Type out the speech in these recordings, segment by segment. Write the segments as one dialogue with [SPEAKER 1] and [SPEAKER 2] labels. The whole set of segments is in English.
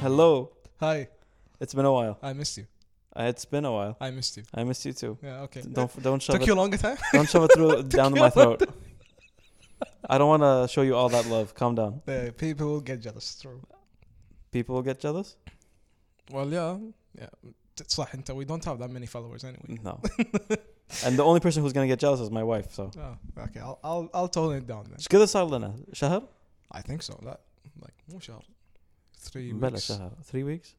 [SPEAKER 1] Hello.
[SPEAKER 2] Hi,
[SPEAKER 1] It's been a while.
[SPEAKER 2] I missed you.
[SPEAKER 1] Uh, It's been a while.
[SPEAKER 2] I missed you.
[SPEAKER 1] I missed you too.
[SPEAKER 2] Yeah, okay.
[SPEAKER 1] Don't don't shove
[SPEAKER 2] Took
[SPEAKER 1] it.
[SPEAKER 2] you a longer time.
[SPEAKER 1] Don't shove it through down
[SPEAKER 2] you
[SPEAKER 1] my
[SPEAKER 2] a long
[SPEAKER 1] throat. I don't want to show you all that love. Calm down.
[SPEAKER 2] Yeah, people will get jealous. True.
[SPEAKER 1] People will get jealous.
[SPEAKER 2] Well, yeah, yeah. It's صح انت we don't have that many followers anyway.
[SPEAKER 1] No. and the only person who's gonna get jealous is my wife. So.
[SPEAKER 2] Oh, okay. I'll I'll I'll tone it down then.
[SPEAKER 1] ايش كذا صار لنا؟ شهر؟
[SPEAKER 2] I think so. That like مو شهر. Three
[SPEAKER 1] بلا
[SPEAKER 2] weeks. I
[SPEAKER 1] شهر. 3 weeks.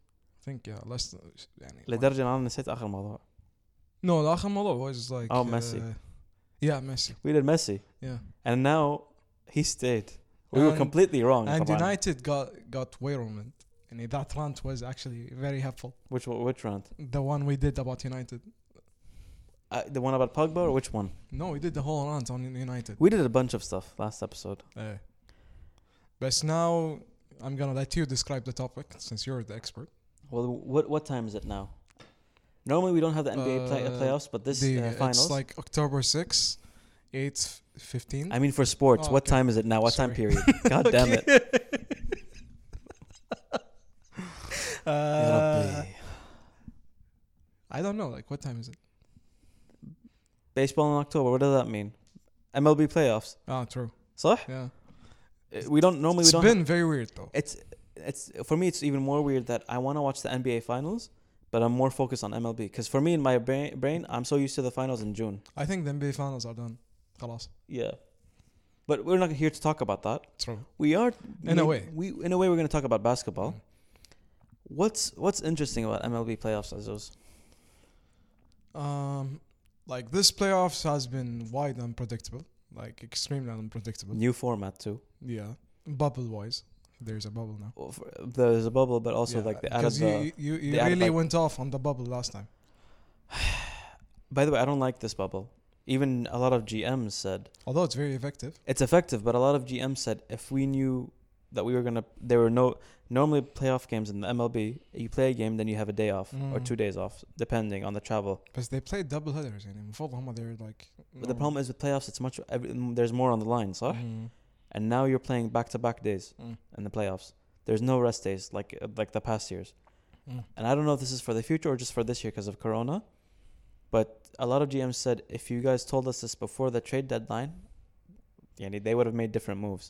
[SPEAKER 2] think yeah. Less than- يعني.
[SPEAKER 1] لدرجه ان انا نسيت اخر موضوع.
[SPEAKER 2] No, the آخر موضوع was like.
[SPEAKER 1] Oh, Messi.
[SPEAKER 2] uh, yeah, Messi.
[SPEAKER 1] We did Messi
[SPEAKER 2] Yeah.
[SPEAKER 1] and now he stayed. We were
[SPEAKER 2] And-
[SPEAKER 1] completely wrong.
[SPEAKER 2] And
[SPEAKER 1] طبعا.
[SPEAKER 2] United got got way wrong. And that rant was actually very helpful.
[SPEAKER 1] Which one- which round?
[SPEAKER 2] The one we did about United.
[SPEAKER 1] Uh, the one about Pogba or which one?
[SPEAKER 2] No, we did the whole rant on United.
[SPEAKER 1] We did a bunch of stuff last episode.
[SPEAKER 2] Uh, but now I'm gonna let you describe the topic since you're the expert.
[SPEAKER 1] Well, what what time is it now? Normally we don't have the NBA play-
[SPEAKER 2] Uh,
[SPEAKER 1] playoffs, but this
[SPEAKER 2] The-
[SPEAKER 1] uh, finals.
[SPEAKER 2] It's like October 6th, 8th, 15th.
[SPEAKER 1] I mean, for sports,
[SPEAKER 2] Oh,
[SPEAKER 1] what
[SPEAKER 2] okay.
[SPEAKER 1] time is it now? What time
[SPEAKER 2] Sorry.
[SPEAKER 1] period? God damn it!
[SPEAKER 2] Uh,
[SPEAKER 1] يا ربي.
[SPEAKER 2] I don't know. Like, what time is it?
[SPEAKER 1] Baseball in October. What does that mean? MLB playoffs.
[SPEAKER 2] Ah, true.
[SPEAKER 1] صح?
[SPEAKER 2] Yeah.
[SPEAKER 1] Uh, We don't normally
[SPEAKER 2] It's
[SPEAKER 1] we don't.
[SPEAKER 2] been very weird though.
[SPEAKER 1] it's it's for me. It's even more weird that I want to watch the NBA finals, but I'm more focused on MLB because for me in my brain, brain, I'm so used to the finals in June.
[SPEAKER 2] I think the NBA finals are done. خلاص.
[SPEAKER 1] Yeah, but we're not here to talk about that.
[SPEAKER 2] True.
[SPEAKER 1] We are
[SPEAKER 2] In
[SPEAKER 1] we-
[SPEAKER 2] a way.
[SPEAKER 1] We in a way we're going to talk about basketball. What's what's interesting about MLB playoffs, Azos?
[SPEAKER 2] Um, like this playoffs has been wide unpredictable, like extremely unpredictable.
[SPEAKER 1] New format too.
[SPEAKER 2] Yeah, bubble wise, there's a bubble now.
[SPEAKER 1] Well, for- There's a bubble, but also
[SPEAKER 2] Yeah,
[SPEAKER 1] like they added
[SPEAKER 2] because
[SPEAKER 1] the. uh,
[SPEAKER 2] you you, you
[SPEAKER 1] they added,
[SPEAKER 2] really
[SPEAKER 1] like-
[SPEAKER 2] went off on the bubble last time.
[SPEAKER 1] by the way, I don't like this bubble. Even a lot of GMs said
[SPEAKER 2] Although it's very effective.
[SPEAKER 1] it's effective, but a lot of GMs said if we knew that we were gonna, there were no normally playoff games in the MLB. You play a game, then you have a day off or
[SPEAKER 2] Mm.
[SPEAKER 1] two days off, depending on the travel.
[SPEAKER 2] Because they played double headers and المفروض هم they're like
[SPEAKER 1] But the problem is with playoffs, it's much every, there's more on the line, صح?
[SPEAKER 2] Mhm.
[SPEAKER 1] And now you're playing back to back days
[SPEAKER 2] Mm.
[SPEAKER 1] in the playoffs. There's no rest days like uh, like the past years.
[SPEAKER 2] Mm.
[SPEAKER 1] And I don't know if this is for the future or just for this year because of Corona. But a lot of GMs said if you guys told us this before the trade deadline, yani they would have made different moves.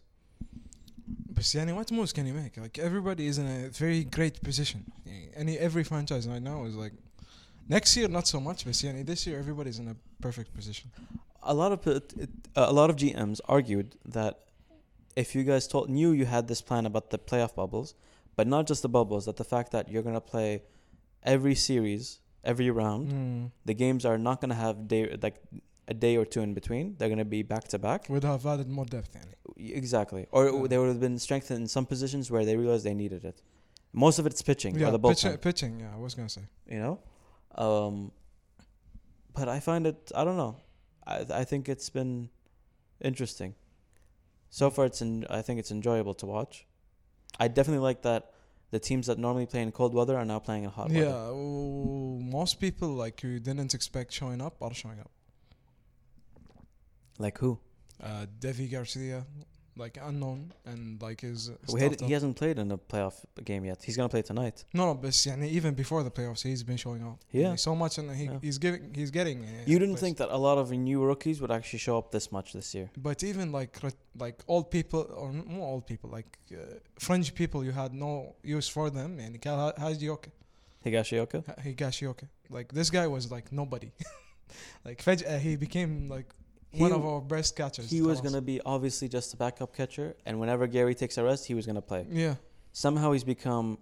[SPEAKER 2] But يعني what moves can you make? Like everybody is in a very great position. يعني Any every franchise right now is like next year not so much, but يعني this year everybody's in a perfect position.
[SPEAKER 1] A lot of it- it- a lot of GMs argued that if you guys told knew you had this plan about the playoff bubbles, but not just the bubbles, that the fact that you're gonna play every series every round.
[SPEAKER 2] Mm.
[SPEAKER 1] the games are not going to have day like a day or two in between. They're going to be back to back.
[SPEAKER 2] Would have added more depth. يعني.
[SPEAKER 1] Exactly. Or
[SPEAKER 2] Yeah.
[SPEAKER 1] they would have been strengthened in some positions where they realized they needed it. Most of it's pitching or
[SPEAKER 2] Yeah,
[SPEAKER 1] the
[SPEAKER 2] pitching,
[SPEAKER 1] bullpen.
[SPEAKER 2] pitching. Yeah, I was gonna say.
[SPEAKER 1] you know, um, but I find it. I don't know. I I think it's been interesting. So far, it's en- I think it's enjoyable to watch. I definitely like that the teams that normally play in cold weather are now playing in hot weather.
[SPEAKER 2] Yeah, oh, most people like you didn't expect showing up are showing up.
[SPEAKER 1] Like who?
[SPEAKER 2] Uh, Devi Garcia, like unknown and like his.
[SPEAKER 1] We had,
[SPEAKER 2] startup.
[SPEAKER 1] he hasn't played in a playoff game yet. He's gonna play tonight.
[SPEAKER 2] no, no, but يعني even before the playoffs, he's been showing up.
[SPEAKER 1] Yeah.
[SPEAKER 2] Like, so much, and he,
[SPEAKER 1] Yeah.
[SPEAKER 2] he's giving, he's getting. uh,
[SPEAKER 1] You didn't
[SPEAKER 2] plays.
[SPEAKER 1] think that a lot of new rookies would actually show up this much this year.
[SPEAKER 2] But even like re- like old people or more old people like uh, French people, you had no use for them. And Kyle Hagioke,
[SPEAKER 1] Higashioka?
[SPEAKER 2] Higashioke, like this guy was like nobody. like فجأة he became like
[SPEAKER 1] He,
[SPEAKER 2] one of our best catchers.
[SPEAKER 1] he was
[SPEAKER 2] خلاص.
[SPEAKER 1] going to be obviously just a backup catcher, and whenever Gary takes a rest, he was going to play.
[SPEAKER 2] Yeah.
[SPEAKER 1] Somehow he's become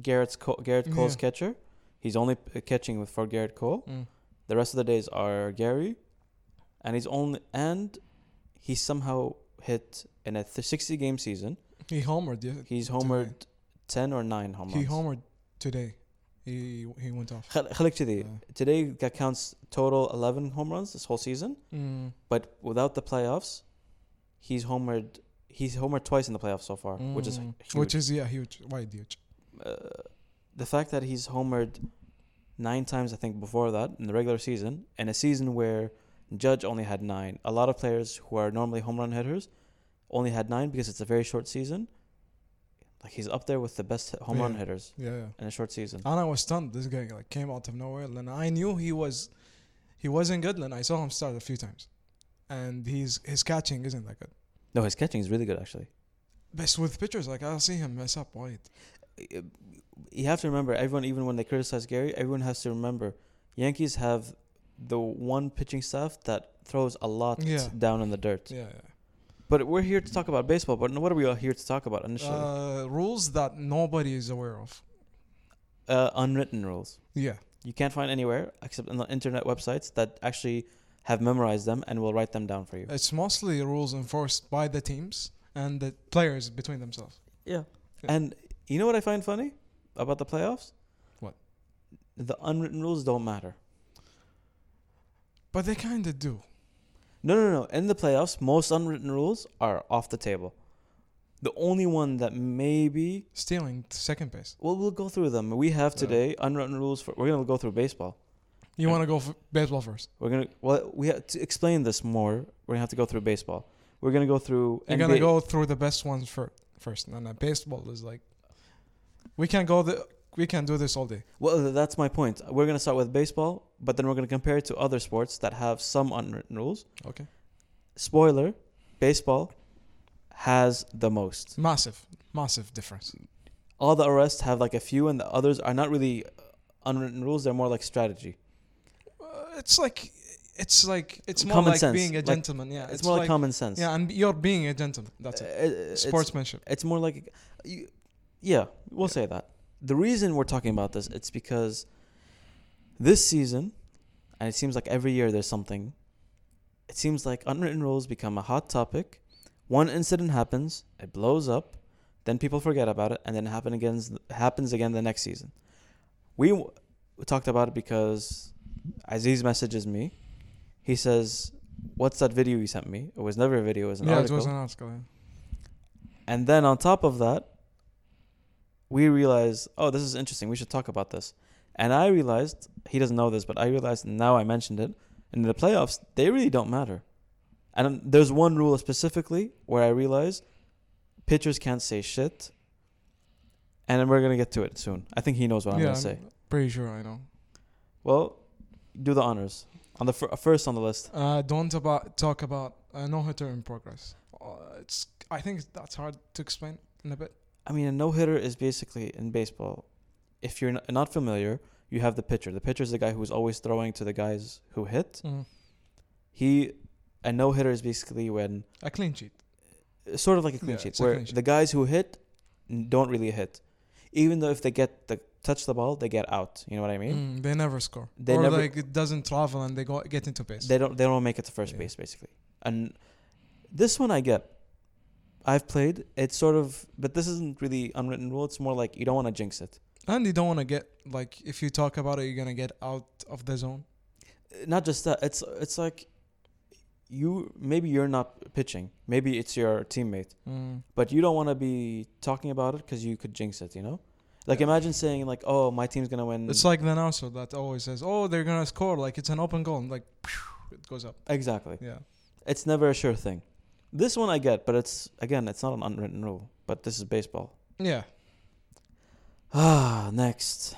[SPEAKER 1] Garrett's Co- Garrett Cole's
[SPEAKER 2] Yeah.
[SPEAKER 1] catcher. He's only p- catching with for Garrett Cole.
[SPEAKER 2] Mm.
[SPEAKER 1] The rest of the days are Gary, and he's only and he somehow hit in a th- 60 game season.
[SPEAKER 2] He homered. Yeah.
[SPEAKER 1] He's
[SPEAKER 2] Tonight.
[SPEAKER 1] homered 10 or 9 home
[SPEAKER 2] He
[SPEAKER 1] runs.
[SPEAKER 2] homered today. He he went off.
[SPEAKER 1] خل- خليك كذي.
[SPEAKER 2] Yeah.
[SPEAKER 1] Today that counts total 11 home runs this whole season.
[SPEAKER 2] Mm.
[SPEAKER 1] But without the playoffs, he's homered. He's homered twice in the playoffs so far, which is
[SPEAKER 2] Mm.
[SPEAKER 1] huge.
[SPEAKER 2] which is yeah huge, wide huge.
[SPEAKER 1] uh, the fact that he's homered nine times, I think, before that in the regular season, in a season where Judge only had nine. A lot of players who are normally home run hitters only had nine because it's a very short season. Like he's up there with the best home run
[SPEAKER 2] Yeah.
[SPEAKER 1] hitters
[SPEAKER 2] Yeah, yeah.
[SPEAKER 1] in a short season.
[SPEAKER 2] And I was stunned. This guy like came out of nowhere, and I knew he was, he wasn't good. And I saw him start a few times, and he's his catching isn't that good.
[SPEAKER 1] No, his catching is really good actually.
[SPEAKER 2] But with pitchers, like I'll see him mess up wide.
[SPEAKER 1] you have to remember everyone even when they criticize Gary, everyone has to remember Yankees have the one pitching staff that throws a lot
[SPEAKER 2] Yeah.
[SPEAKER 1] down in the dirt.
[SPEAKER 2] Yeah, yeah.
[SPEAKER 1] But we're here to talk about baseball, but what are we all here to talk about initially? Uh,
[SPEAKER 2] Uh, rules that nobody is aware of.
[SPEAKER 1] Uh, unwritten rules.
[SPEAKER 2] Yeah,
[SPEAKER 1] You can't find anywhere except on the internet websites that actually have memorized them and will write them down for you.
[SPEAKER 2] it's mostly rules enforced by the teams and the players between themselves.
[SPEAKER 1] Yeah.
[SPEAKER 2] Yeah.
[SPEAKER 1] And you know what I find funny about the playoffs?
[SPEAKER 2] What?
[SPEAKER 1] The unwritten rules don't matter.
[SPEAKER 2] But they kind of do.
[SPEAKER 1] No, no, no. In the playoffs, most unwritten rules are off the table. The only one that maybe
[SPEAKER 2] Stealing second base.
[SPEAKER 1] well, we'll go through them. We have
[SPEAKER 2] Yeah.
[SPEAKER 1] today unwritten rules for. We're gonna go through baseball.
[SPEAKER 2] You want to go for baseball first?
[SPEAKER 1] We're gonna well, we have to explain this more. We're gonna have to go through baseball. We're gonna go through.
[SPEAKER 2] You're gonna go through the best ones fir- first, and then baseball is like, we can go the, we can do this all day.
[SPEAKER 1] Well, th- that's my point. We're gonna start with baseball, but then we're gonna compare it to other sports that have some unwritten rules.
[SPEAKER 2] Okay.
[SPEAKER 1] Spoiler: baseball has the most.
[SPEAKER 2] Massive, massive difference.
[SPEAKER 1] all the arrests have like a few, and the others are not really uh, unwritten rules. They're more like strategy.
[SPEAKER 2] Uh, it's like, it's like, it's more
[SPEAKER 1] Common
[SPEAKER 2] like
[SPEAKER 1] sense,
[SPEAKER 2] being a
[SPEAKER 1] like-
[SPEAKER 2] gentleman. yeah,
[SPEAKER 1] It's, more like, common sense.
[SPEAKER 2] Yeah, and you're being a gentleman. That's
[SPEAKER 1] Uh,
[SPEAKER 2] it.
[SPEAKER 1] it- it's-
[SPEAKER 2] Sportsmanship.
[SPEAKER 1] It's, more like, you, yeah, we'll
[SPEAKER 2] Yeah.
[SPEAKER 1] say that. The reason we're talking about this, it's because this season, and it seems like every year there's something. It seems like unwritten rules become a hot topic. One incident happens, it blows up, then people forget about it, and then it happen again, happens again the next season. We w- talked about it because Aziz messages me. He says, "What's that video you sent me?" It was never a video; it was an
[SPEAKER 2] yeah,
[SPEAKER 1] article.
[SPEAKER 2] it was an article. Yeah.
[SPEAKER 1] And then on top of that, we realized, oh, this is interesting. We should talk about this. And I realized, he doesn't know this, but I realized now I mentioned it. In the playoffs, they really don't matter. And um, there's one rule specifically where I realized pitchers can't say shit. And then we're going to get to it soon. I think he knows what I'm
[SPEAKER 2] yeah,
[SPEAKER 1] going to say.
[SPEAKER 2] pretty sure I know.
[SPEAKER 1] Well, do the honors. On the fir- first on the list.
[SPEAKER 2] Uh, don't about talk about uh, no hitter in progress. Uh, it's I think that's hard to explain in a bit.
[SPEAKER 1] I mean, a no hitter is basically in baseball. If you're n- not familiar, you have the pitcher. The pitcher is the guy who's always throwing to the guys who hit.
[SPEAKER 2] Mm-hmm.
[SPEAKER 1] He, a no hitter is basically when
[SPEAKER 2] A clean sheet.
[SPEAKER 1] sort of like a clean
[SPEAKER 2] Yeah,
[SPEAKER 1] sheet,
[SPEAKER 2] it's a
[SPEAKER 1] where
[SPEAKER 2] clean sheet.
[SPEAKER 1] the guys who hit n- don't really hit, even though if they get the touch the ball, they get out. You know what I mean?
[SPEAKER 2] Mm, they never score.
[SPEAKER 1] They
[SPEAKER 2] or
[SPEAKER 1] never-
[SPEAKER 2] like it doesn't travel and they go get into base.
[SPEAKER 1] They don't. They don't make it to first
[SPEAKER 2] Yeah.
[SPEAKER 1] base basically. And this one I get. I've played. It's sort of, but this isn't really unwritten rule. It's more like you don't want to jinx it.
[SPEAKER 2] and you don't want to get like if you talk about it, you're gonna get out of the zone.
[SPEAKER 1] not just that it's it's like you maybe you're not pitching maybe it's your teammate
[SPEAKER 2] Mm.
[SPEAKER 1] but you don't want to be talking about it because you could jinx it you know like
[SPEAKER 2] Yeah.
[SPEAKER 1] imagine saying like oh my team's gonna win
[SPEAKER 2] It's like the announcer that always says, "Oh, they're gonna score!" Like it's an open goal, and like it goes up.
[SPEAKER 1] exactly
[SPEAKER 2] Yeah,
[SPEAKER 1] it's never a sure thing this one i get but it's again it's not an unwritten rule but this is baseball
[SPEAKER 2] yeah.
[SPEAKER 1] ah next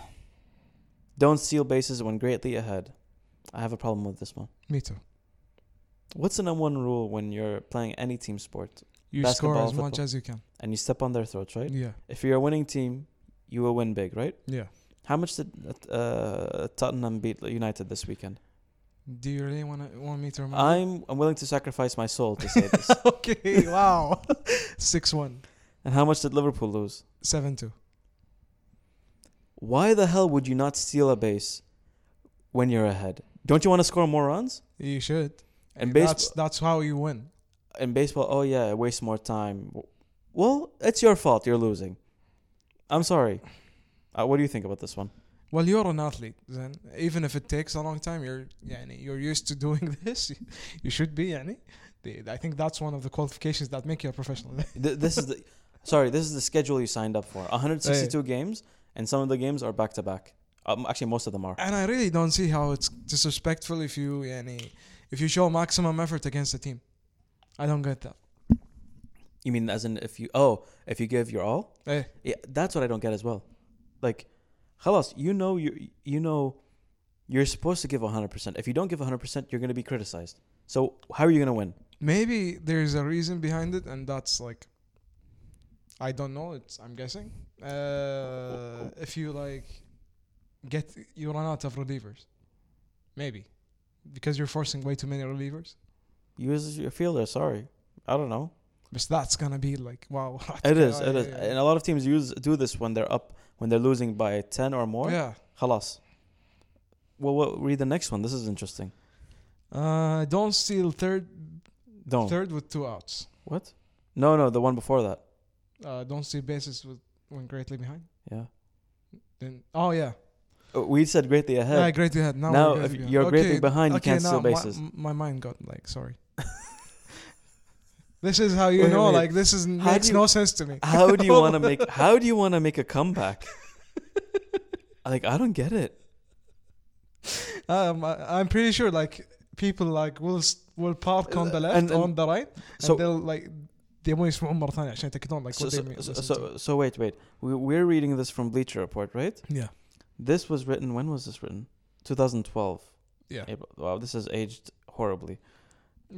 [SPEAKER 1] don't steal bases when greatly ahead i have a problem with this one
[SPEAKER 2] Me too.
[SPEAKER 1] what's the number one rule when you're playing any team sport
[SPEAKER 2] You score
[SPEAKER 1] Basketball,
[SPEAKER 2] as much
[SPEAKER 1] football.
[SPEAKER 2] as you can.
[SPEAKER 1] and you step on their throats right
[SPEAKER 2] Yeah,
[SPEAKER 1] if you're a winning team, you will win big, right?
[SPEAKER 2] yeah.
[SPEAKER 1] How much did uh, Tottenham beat United this weekend?
[SPEAKER 2] Do you really want to want me to remember?
[SPEAKER 1] I'm I'm willing to sacrifice my soul to say this.
[SPEAKER 2] okay, wow. 6 1,
[SPEAKER 1] and how much did Liverpool lose?
[SPEAKER 2] 7 2.
[SPEAKER 1] Why the hell would you not steal a base when you're ahead? Don't you want to score more runs?
[SPEAKER 2] You should.
[SPEAKER 1] And
[SPEAKER 2] that's, that's how you win.
[SPEAKER 1] In baseball, oh yeah, it wastes more time. Well, it's your fault. You're losing. I'm sorry. Uh, what do you think about this one?
[SPEAKER 2] Well, you're an athlete, then. Even if it takes a long time, you're يعني, you're used to doing this. You should be. يعني. The- I think that's one of the qualifications that make you a professional.
[SPEAKER 1] Th- this is the sorry. This is the schedule you signed up for. 162 games, and some of the games are back to back. Um, Actually, most of them are.
[SPEAKER 2] and I really don't see how it's disrespectful if you يعني, if you show maximum effort against a team. I don't get that.
[SPEAKER 1] You mean as in if you oh if you give your all?
[SPEAKER 2] Eh,
[SPEAKER 1] Yeah, that's what I don't get as well. Like, خلاص, you know you you know you're supposed to give 100%. If you don't give 100%, you're going to be criticized. So, how are you going to win?
[SPEAKER 2] maybe there's a reason behind it, and that's like, I don't know. It's I'm guessing. Uh, if you like, get you run out of relievers, maybe, because you're forcing way too many relievers.
[SPEAKER 1] Use your fielder, sorry. I don't know.
[SPEAKER 2] But that's gonna be like wow.
[SPEAKER 1] It is,
[SPEAKER 2] yeah,
[SPEAKER 1] it is.
[SPEAKER 2] yeah,
[SPEAKER 1] And a lot of teams use do this when they're up when they're losing by 10 or more.
[SPEAKER 2] Yeah.
[SPEAKER 1] خلاص. Well, well, read the next one. This is interesting.
[SPEAKER 2] Uh, don't steal third
[SPEAKER 1] Don't.
[SPEAKER 2] third with two outs.
[SPEAKER 1] What? No, no, the one before that.
[SPEAKER 2] Uh, don't steal bases with when greatly behind.
[SPEAKER 1] Yeah.
[SPEAKER 2] Then oh yeah,
[SPEAKER 1] Uh, We said greatly ahead.
[SPEAKER 2] yeah greatly ahead. Now,
[SPEAKER 1] Now,
[SPEAKER 2] we're
[SPEAKER 1] if
[SPEAKER 2] greatly behind.
[SPEAKER 1] you're greatly
[SPEAKER 2] Okay,
[SPEAKER 1] behind, you
[SPEAKER 2] okay,
[SPEAKER 1] can't steal
[SPEAKER 2] now my-
[SPEAKER 1] bases.
[SPEAKER 2] m- My, mind got like sorry. this is how you
[SPEAKER 1] Wait,
[SPEAKER 2] know.
[SPEAKER 1] wait.
[SPEAKER 2] Like this is
[SPEAKER 1] How
[SPEAKER 2] makes
[SPEAKER 1] do
[SPEAKER 2] no
[SPEAKER 1] you-
[SPEAKER 2] sense to me.
[SPEAKER 1] How do you want to make? How do you want to make a comeback? like I don't get it.
[SPEAKER 2] Um, I, I'm pretty sure like people like will s- will park on the left
[SPEAKER 1] Uh, And- and-
[SPEAKER 2] on the right,
[SPEAKER 1] So
[SPEAKER 2] and they'll like they won't يسمعون مرة ثانية عشان يتأكدون like
[SPEAKER 1] so
[SPEAKER 2] what they
[SPEAKER 1] so,
[SPEAKER 2] mean.
[SPEAKER 1] so,
[SPEAKER 2] listen
[SPEAKER 1] so, so wait wait. We, we're reading this from Bleacher Report, right?
[SPEAKER 2] to. yeah,
[SPEAKER 1] This was written. When was this written? 2012.
[SPEAKER 2] Yeah.
[SPEAKER 1] April. Wow, this has aged horribly.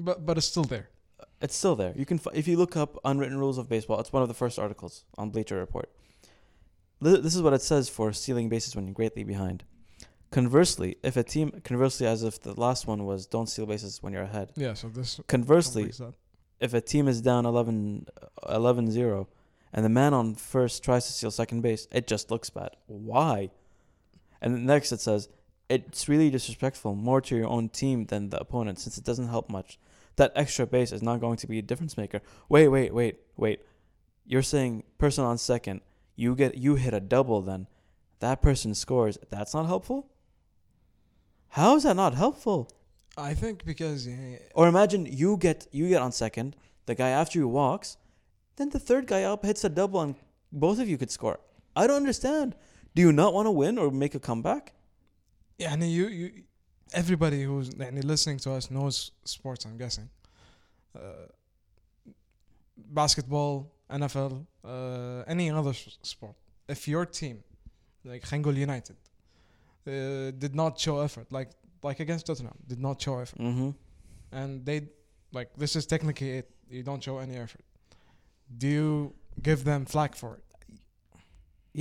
[SPEAKER 2] but but it's still there.
[SPEAKER 1] It's still there. You can fi- if you look up unwritten rules of baseball. It's one of the first articles on Bleacher Report. Li- This is what it says for stealing bases when you're greatly behind. Conversely, if a team conversely as if the last one was don't steal bases when you're ahead.
[SPEAKER 2] Yeah, so this
[SPEAKER 1] Conversely,
[SPEAKER 2] completes that.
[SPEAKER 1] if a team is down 11 0 and the man on first tries to steal second base, it just looks bad. Why? And then next it says, it's really disrespectful more to your own team than the opponent since it doesn't help much. That extra base is not going to be a difference maker. Wait, wait, wait, wait. You're saying person on second, you get you hit a double then. That person scores. That's not helpful? How is that not helpful?
[SPEAKER 2] I think because yeah,
[SPEAKER 1] Or imagine you get you get on second, the guy after you walks, then the third guy up hits a double and both of you could score. I don't understand. Do you not want to win or make a comeback?
[SPEAKER 2] يعني you you everybody who's يعني listening to us knows sports I'm guessing uh, basketball NFL uh, any other s- sport if your team like خلينا نقول United uh, did not show effort like like against Tottenham did not show effort
[SPEAKER 1] Mm-hmm.
[SPEAKER 2] and they like this is technically it you don't show any effort do you give them flack for it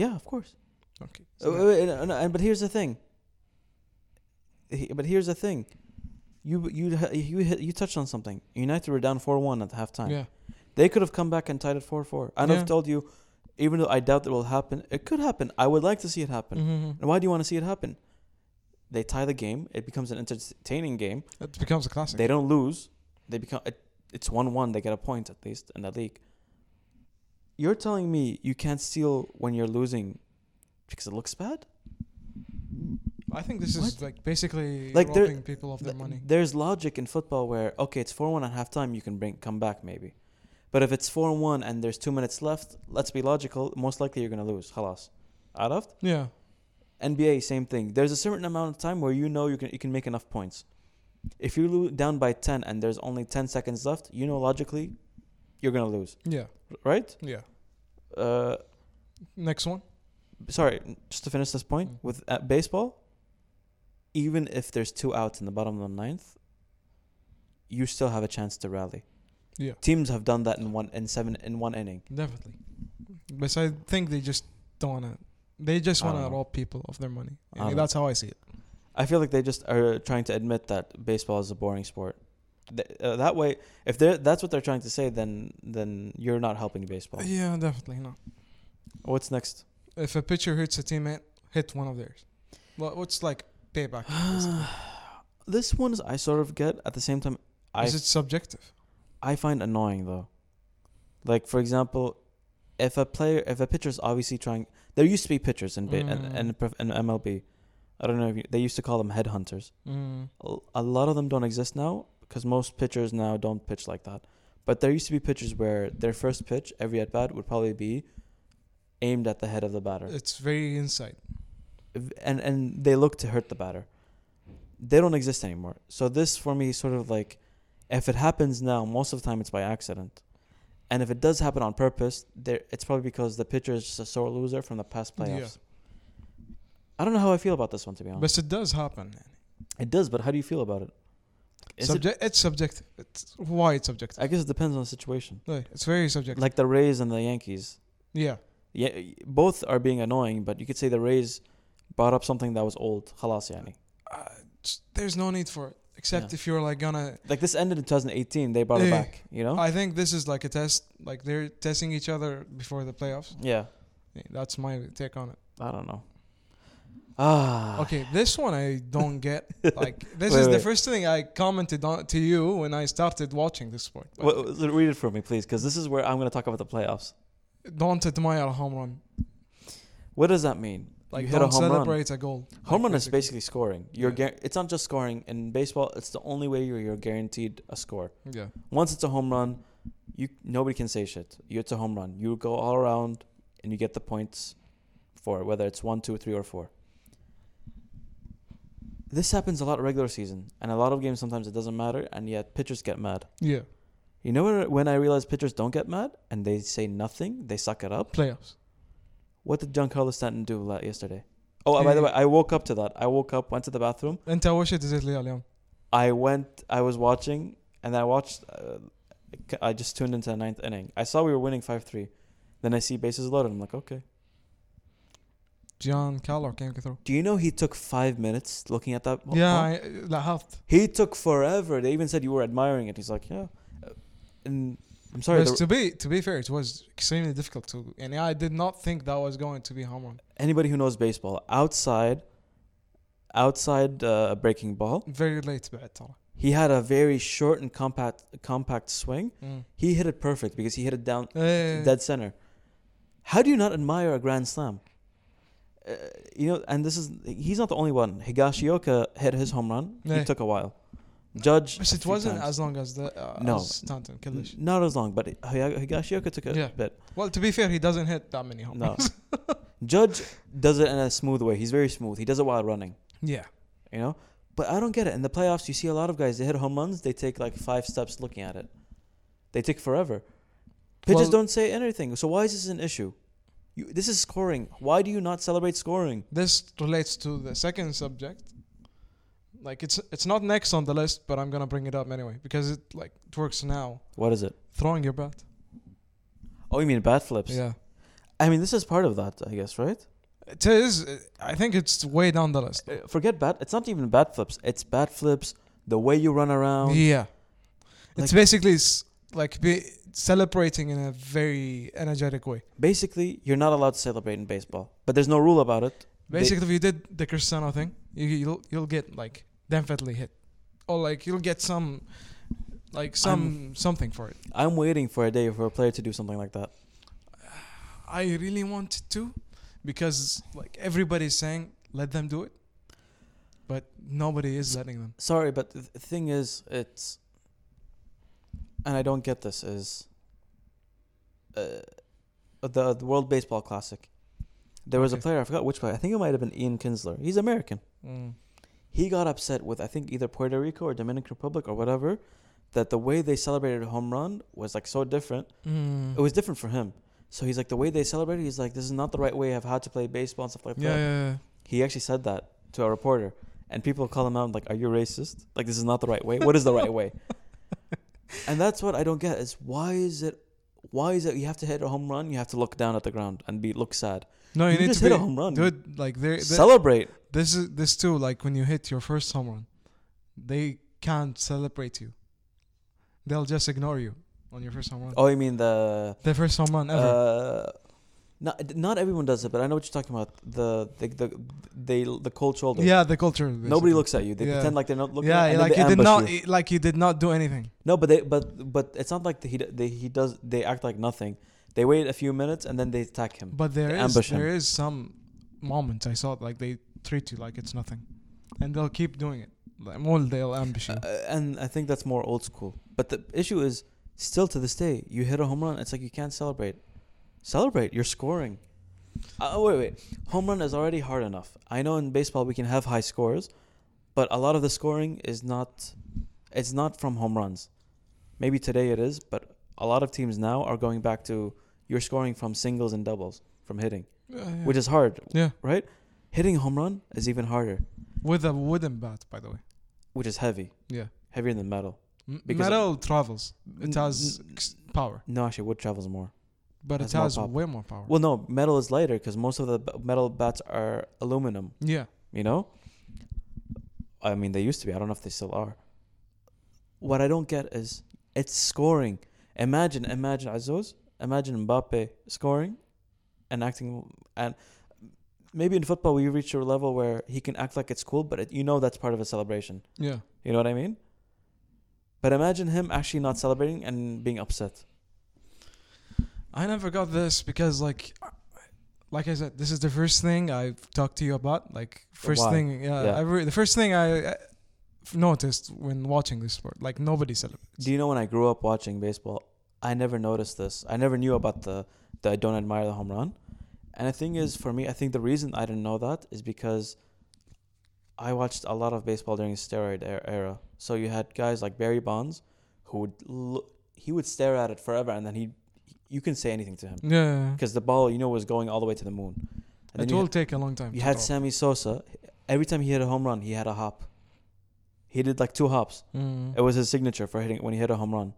[SPEAKER 1] Yeah, of course.
[SPEAKER 2] okay
[SPEAKER 1] Uh,
[SPEAKER 2] so,
[SPEAKER 1] wait, no, no, and- but here's the thing. He- But here's the thing. You you ha- you hit, you touched on something. United were down four one at the halftime.
[SPEAKER 2] yeah
[SPEAKER 1] They could have come back and tied it four four. And
[SPEAKER 2] Yeah.
[SPEAKER 1] I've told you, even though I doubt it will happen, it could happen. I would like to see it happen.
[SPEAKER 2] Mhm.
[SPEAKER 1] And why do you want to see it happen? They tie the game. It becomes an entertaining game.
[SPEAKER 2] it becomes a classic
[SPEAKER 1] They don't lose. They become it, it's one one. They get a point at least in the league. You're telling me you can't steal when you're losing because it looks bad?
[SPEAKER 2] I think this is
[SPEAKER 1] What?
[SPEAKER 2] like basically
[SPEAKER 1] Like, there-
[SPEAKER 2] robbing people of their
[SPEAKER 1] Th-
[SPEAKER 2] money.
[SPEAKER 1] There's logic in football where okay, it's four one at halftime. You can bring come back maybe, but if it's four one and there's two minutes left, let's be logical. Most likely you're gonna lose. Halas, عرفت?
[SPEAKER 2] Yeah,
[SPEAKER 1] NBA, same thing. There's a certain amount of time where you know you can you can make enough points. If you're lo- down by ten and there's only ten seconds left, you know logically you're gonna lose,
[SPEAKER 2] yeah,
[SPEAKER 1] right?
[SPEAKER 2] yeah.
[SPEAKER 1] Uh,
[SPEAKER 2] Next one.
[SPEAKER 1] sorry, just to finish this point
[SPEAKER 2] Mm.
[SPEAKER 1] with uh, baseball. Even if there's two outs in the bottom of the ninth, you still have a chance to rally.
[SPEAKER 2] Yeah.
[SPEAKER 1] Teams have done that in one in seven in one inning.
[SPEAKER 2] Definitely. But I think they just don't wanna. They just
[SPEAKER 1] I don't
[SPEAKER 2] wanna
[SPEAKER 1] know.
[SPEAKER 2] rob people of their money.
[SPEAKER 1] I
[SPEAKER 2] Yeah,
[SPEAKER 1] don't
[SPEAKER 2] that's how I see it.
[SPEAKER 1] I feel like they just are trying to admit that baseball is a boring sport. Th- uh, that way, if they're that's what they're trying to say, then then you're not helping baseball.
[SPEAKER 2] Yeah, definitely not.
[SPEAKER 1] What's next?
[SPEAKER 2] If a pitcher hits a teammate, hit one of theirs. Well, what's like payback? basically.
[SPEAKER 1] this one's I sort of get at the same time. I
[SPEAKER 2] is it subjective?
[SPEAKER 1] I find annoying though. Like for example, if a player, if a pitcher's obviously trying, there used to be pitchers in ba-
[SPEAKER 2] Mm.
[SPEAKER 1] and in, prof- in MLB. I don't know if you, they used to call them headhunters.
[SPEAKER 2] Mm.
[SPEAKER 1] a a lot of them don't exist now because most pitchers now don't pitch like that. But there used to be pitchers where their first pitch, every at bat, would probably be aimed at the head of the batter,
[SPEAKER 2] It's very inside.
[SPEAKER 1] If- and and they look to hurt the batter. They don't exist anymore. So this for me is sort of like, if it happens now, most of the time it's by accident, And if it does happen on purpose, there it's probably because the pitcher is just a sore loser from the past
[SPEAKER 2] Yeah.
[SPEAKER 1] playoffs. I don't know how I feel about this one to be honest.
[SPEAKER 2] But it does happen.
[SPEAKER 1] it does, but how do you feel about it? Is it-
[SPEAKER 2] Subje- it's subjective. It's why it's subjective.
[SPEAKER 1] I guess it depends on the situation.
[SPEAKER 2] No, it's very subjective.
[SPEAKER 1] Like the Rays and the Yankees.
[SPEAKER 2] yeah.
[SPEAKER 1] Yeah, both are being annoying, but you could say the Rays brought up something that was old. خلاص يعني.
[SPEAKER 2] Uh, just- there's no need for it except
[SPEAKER 1] Yeah.
[SPEAKER 2] if you're like gonna
[SPEAKER 1] Like this ended in 2018. They brought it
[SPEAKER 2] Yeah.
[SPEAKER 1] back. You know.
[SPEAKER 2] I think this is like a test. Like they're testing each other before the playoffs.
[SPEAKER 1] yeah.
[SPEAKER 2] Yeah, That's my take on it.
[SPEAKER 1] I don't know. Ah.
[SPEAKER 2] Okay, this one I don't get. Like this
[SPEAKER 1] Wait,
[SPEAKER 2] is the
[SPEAKER 1] wait.
[SPEAKER 2] first thing I commented on to you when I started watching this sport. Like,
[SPEAKER 1] Wha- wha- read it for me, please, because this is where I'm going to talk about the playoffs.
[SPEAKER 2] Don't admire a home run.
[SPEAKER 1] What does that mean?
[SPEAKER 2] Like
[SPEAKER 1] you hit a
[SPEAKER 2] don't
[SPEAKER 1] home run.
[SPEAKER 2] celebrate a goal.
[SPEAKER 1] Home
[SPEAKER 2] Like,
[SPEAKER 1] run is basically scoring. You're
[SPEAKER 2] Yeah.
[SPEAKER 1] guar- it's not just scoring in baseball. It's the only way you're, you're guaranteed a score.
[SPEAKER 2] Yeah.
[SPEAKER 1] Once it's a home run, you nobody can say shit. You it's a home run. You go all around and you get the points for it, whether it's one, two, three, or four. This happens a lot regular season, and a lot of games sometimes it doesn't matter, and yet pitchers get mad.
[SPEAKER 2] Yeah.
[SPEAKER 1] You know where, when I realized pitchers don't get mad and they say nothing, they suck it up.
[SPEAKER 2] Playoffs.
[SPEAKER 1] What did Giancarlo Stanton do la- yesterday? Oh, by the way, I woke up to that. I woke up, went to the bathroom.
[SPEAKER 2] انت اول شيء دزيت لي إياه اليوم.
[SPEAKER 1] I went. I was watching, and I watched. Uh, I just tuned into the ninth inning. I saw we were winning five three. Then I see bases loaded. I'm like, okay.
[SPEAKER 2] جيان كالور came through.
[SPEAKER 1] Do you know he took five minutes looking at that? ball?
[SPEAKER 2] Yeah, I- لاحظت.
[SPEAKER 1] He took forever. They even said you were admiring it. He's like, yeah. Uh, And I'm sorry.
[SPEAKER 2] But
[SPEAKER 1] The,
[SPEAKER 2] to be to be fair, it was extremely difficult to and I did not think that was going to be home run.
[SPEAKER 1] anybody who knows baseball outside, outside uh, a breaking ball,
[SPEAKER 2] Very late بعد ترى.
[SPEAKER 1] he had a very short and compact, compact swing.
[SPEAKER 2] Mm.
[SPEAKER 1] He hit it perfect because he hit it down
[SPEAKER 2] Eh,
[SPEAKER 1] dead center. How do you not admire a grand slam? Uh, you know, and this is—he's not the only one. Higashioka hit his home run.
[SPEAKER 2] Yeah.
[SPEAKER 1] He took a while. Judge,
[SPEAKER 2] But
[SPEAKER 1] a
[SPEAKER 2] it
[SPEAKER 1] few
[SPEAKER 2] wasn't
[SPEAKER 1] times.
[SPEAKER 2] as long as the uh,
[SPEAKER 1] No.
[SPEAKER 2] as Stanton كلش.
[SPEAKER 1] N- not as long, but Higa- Higashioka took a
[SPEAKER 2] Yeah.
[SPEAKER 1] bit.
[SPEAKER 2] Well, to be fair, he doesn't hit that many home
[SPEAKER 1] No.
[SPEAKER 2] runs.
[SPEAKER 1] Judge does it in a smooth way. He's very smooth. He does it while running.
[SPEAKER 2] yeah.
[SPEAKER 1] You know, but I don't get it. In the playoffs, you see a lot of guys. They hit home runs. They take like five steps looking at it. They take forever. Pitchers
[SPEAKER 2] Well-
[SPEAKER 1] don't say anything. So why is this an issue? You, this is scoring. Why do you not celebrate scoring?
[SPEAKER 2] This relates to the second subject. Like it's it's not next on the list, but I'm gonna bring it up anyway because it like it works now.
[SPEAKER 1] What is it?
[SPEAKER 2] Throwing your bat.
[SPEAKER 1] Oh, you mean bat flips?
[SPEAKER 2] Yeah.
[SPEAKER 1] I mean, this is part of that, I guess, right?
[SPEAKER 2] It is. uh, I think it's way down the list.
[SPEAKER 1] Uh, Forget bat. It's not even bat flips. It's bat flips. The way you run around.
[SPEAKER 2] Yeah.
[SPEAKER 1] Like-
[SPEAKER 2] it's basically s- like be celebrating in a very energetic way.
[SPEAKER 1] Basically, you're not allowed to celebrate in baseball, but there's no rule about it. They-
[SPEAKER 2] Basically, if you did the Cristiano thing, you, you'll you'll get like definitely hit, or like you'll get some, like some something for it.
[SPEAKER 1] I'm waiting for a day for a player to do something like that.
[SPEAKER 2] I really wanted to, because like everybody's saying let them do it, but nobody is letting them.
[SPEAKER 1] Sorry, but th- the thing is, it's. And I don't get this is. Uh, the, the World Baseball Classic. There was a
[SPEAKER 2] Okay.
[SPEAKER 1] player, I forgot which player. I think it might have been Ian Kinsler. He's American. Mm. he got upset with I think either Puerto Rico or Dominican Republic or whatever that the way they celebrated a home run was like so different.
[SPEAKER 2] Mm.
[SPEAKER 1] It was different for him. So he's like the way they celebrated. He's like this is not the right way of how to play baseball and stuff like
[SPEAKER 2] yeah,
[SPEAKER 1] that.
[SPEAKER 2] yeah, yeah.
[SPEAKER 1] He actually said that to a reporter, and people call him out like, "Are you racist? Like this is not the right way. What is the right way?" and that's what I don't get is why is it why is it you have to hit a home run? You have to look down at the ground and be look sad.
[SPEAKER 2] No, you,
[SPEAKER 1] You
[SPEAKER 2] need
[SPEAKER 1] just
[SPEAKER 2] to
[SPEAKER 1] hit
[SPEAKER 2] be
[SPEAKER 1] a home run.
[SPEAKER 2] dude. Like there, there-
[SPEAKER 1] Celebrate.
[SPEAKER 2] This is this too. Like when you hit your first home run, they can't celebrate you. They'll just ignore you on your first home run.
[SPEAKER 1] Oh, you mean the
[SPEAKER 2] The first home run ever.
[SPEAKER 1] Uh, not not everyone does it, but I know what you're talking about. The the the they the cold shoulder.
[SPEAKER 2] yeah, the culture.
[SPEAKER 1] Nobody
[SPEAKER 2] basically.
[SPEAKER 1] looks at you. They
[SPEAKER 2] Yeah.
[SPEAKER 1] pretend like they're not looking.
[SPEAKER 2] Yeah,
[SPEAKER 1] at you, and
[SPEAKER 2] like
[SPEAKER 1] then
[SPEAKER 2] you
[SPEAKER 1] they
[SPEAKER 2] did
[SPEAKER 1] ambush
[SPEAKER 2] not,
[SPEAKER 1] you.
[SPEAKER 2] you- like you did not do anything.
[SPEAKER 1] No, but they but but it's not like he d- they, he does. They act like nothing. They wait a few minutes and then they attack him.
[SPEAKER 2] But there
[SPEAKER 1] They
[SPEAKER 2] is
[SPEAKER 1] ambush him.
[SPEAKER 2] there is some moments I saw like they treat you like it's nothing, and they'll keep doing it. Like more, they'll ambush you.
[SPEAKER 1] Uh, and I think that's more old school. But the issue is still to this day, you hit a home run. It's like you can't celebrate. Celebrate. You're scoring. Uh, oh, wait, wait. Home run is already hard enough. I know in baseball we can have high scores, but a lot of the scoring is not. It's not from home runs. Maybe today it is, but a lot of teams now are going back to you're scoring from singles and doubles from hitting,
[SPEAKER 2] Yeah, yeah.
[SPEAKER 1] which is hard,
[SPEAKER 2] yeah,
[SPEAKER 1] right? Hitting a home run is even harder,
[SPEAKER 2] with a wooden bat, by the way.
[SPEAKER 1] which is heavy,
[SPEAKER 2] Yeah,
[SPEAKER 1] heavier than metal.
[SPEAKER 2] M-
[SPEAKER 1] Because-
[SPEAKER 2] metal travels.
[SPEAKER 1] N-
[SPEAKER 2] It has
[SPEAKER 1] n-
[SPEAKER 2] ex- power,
[SPEAKER 1] No, actually, wood travels more.
[SPEAKER 2] but it
[SPEAKER 1] has more
[SPEAKER 2] has
[SPEAKER 1] power.
[SPEAKER 2] way more power.
[SPEAKER 1] Well, no, metal is lighter because most of the b- metal bats are aluminum.
[SPEAKER 2] yeah,
[SPEAKER 1] You know? I mean, they used to be. I don't know if they still are. What I don't get is it's scoring. Imagine, imagine Azos, imagine Mbappe scoring and acting. And maybe in football, we reach a level where he can act like it's cool, but it, you know that's part of a celebration.
[SPEAKER 2] yeah.
[SPEAKER 1] You know what I mean? But imagine him actually not celebrating and being upset.
[SPEAKER 2] I never got this because like like I said, this is the first thing I've talked to you about. Like first
[SPEAKER 1] Why?
[SPEAKER 2] thing, yeah,
[SPEAKER 1] Yeah.
[SPEAKER 2] I re- the first thing I uh, f- noticed when watching this sport, like nobody celebrates.
[SPEAKER 1] Do you know when I grew up watching baseball, I never noticed this. I never knew about the the I don't admire the home run. And the thing is, for me, I think the reason I didn't know that is because I watched a lot of baseball during the steroid er- era. So you had guys like Barry Bonds, who would look, he would stare at it forever, and then he, you can say anything to him
[SPEAKER 2] Yeah, yeah,
[SPEAKER 1] because the ball, you know, was going all the way to the moon.
[SPEAKER 2] yeah.
[SPEAKER 1] And then
[SPEAKER 2] it
[SPEAKER 1] you
[SPEAKER 2] will
[SPEAKER 1] ha-
[SPEAKER 2] take a long time.
[SPEAKER 1] you
[SPEAKER 2] to
[SPEAKER 1] had
[SPEAKER 2] drop.
[SPEAKER 1] Sammy Sosa. Every time he hit a home run, he had a hop. He did like two hops.
[SPEAKER 2] Mm.
[SPEAKER 1] It was his signature for hitting when he hit a home run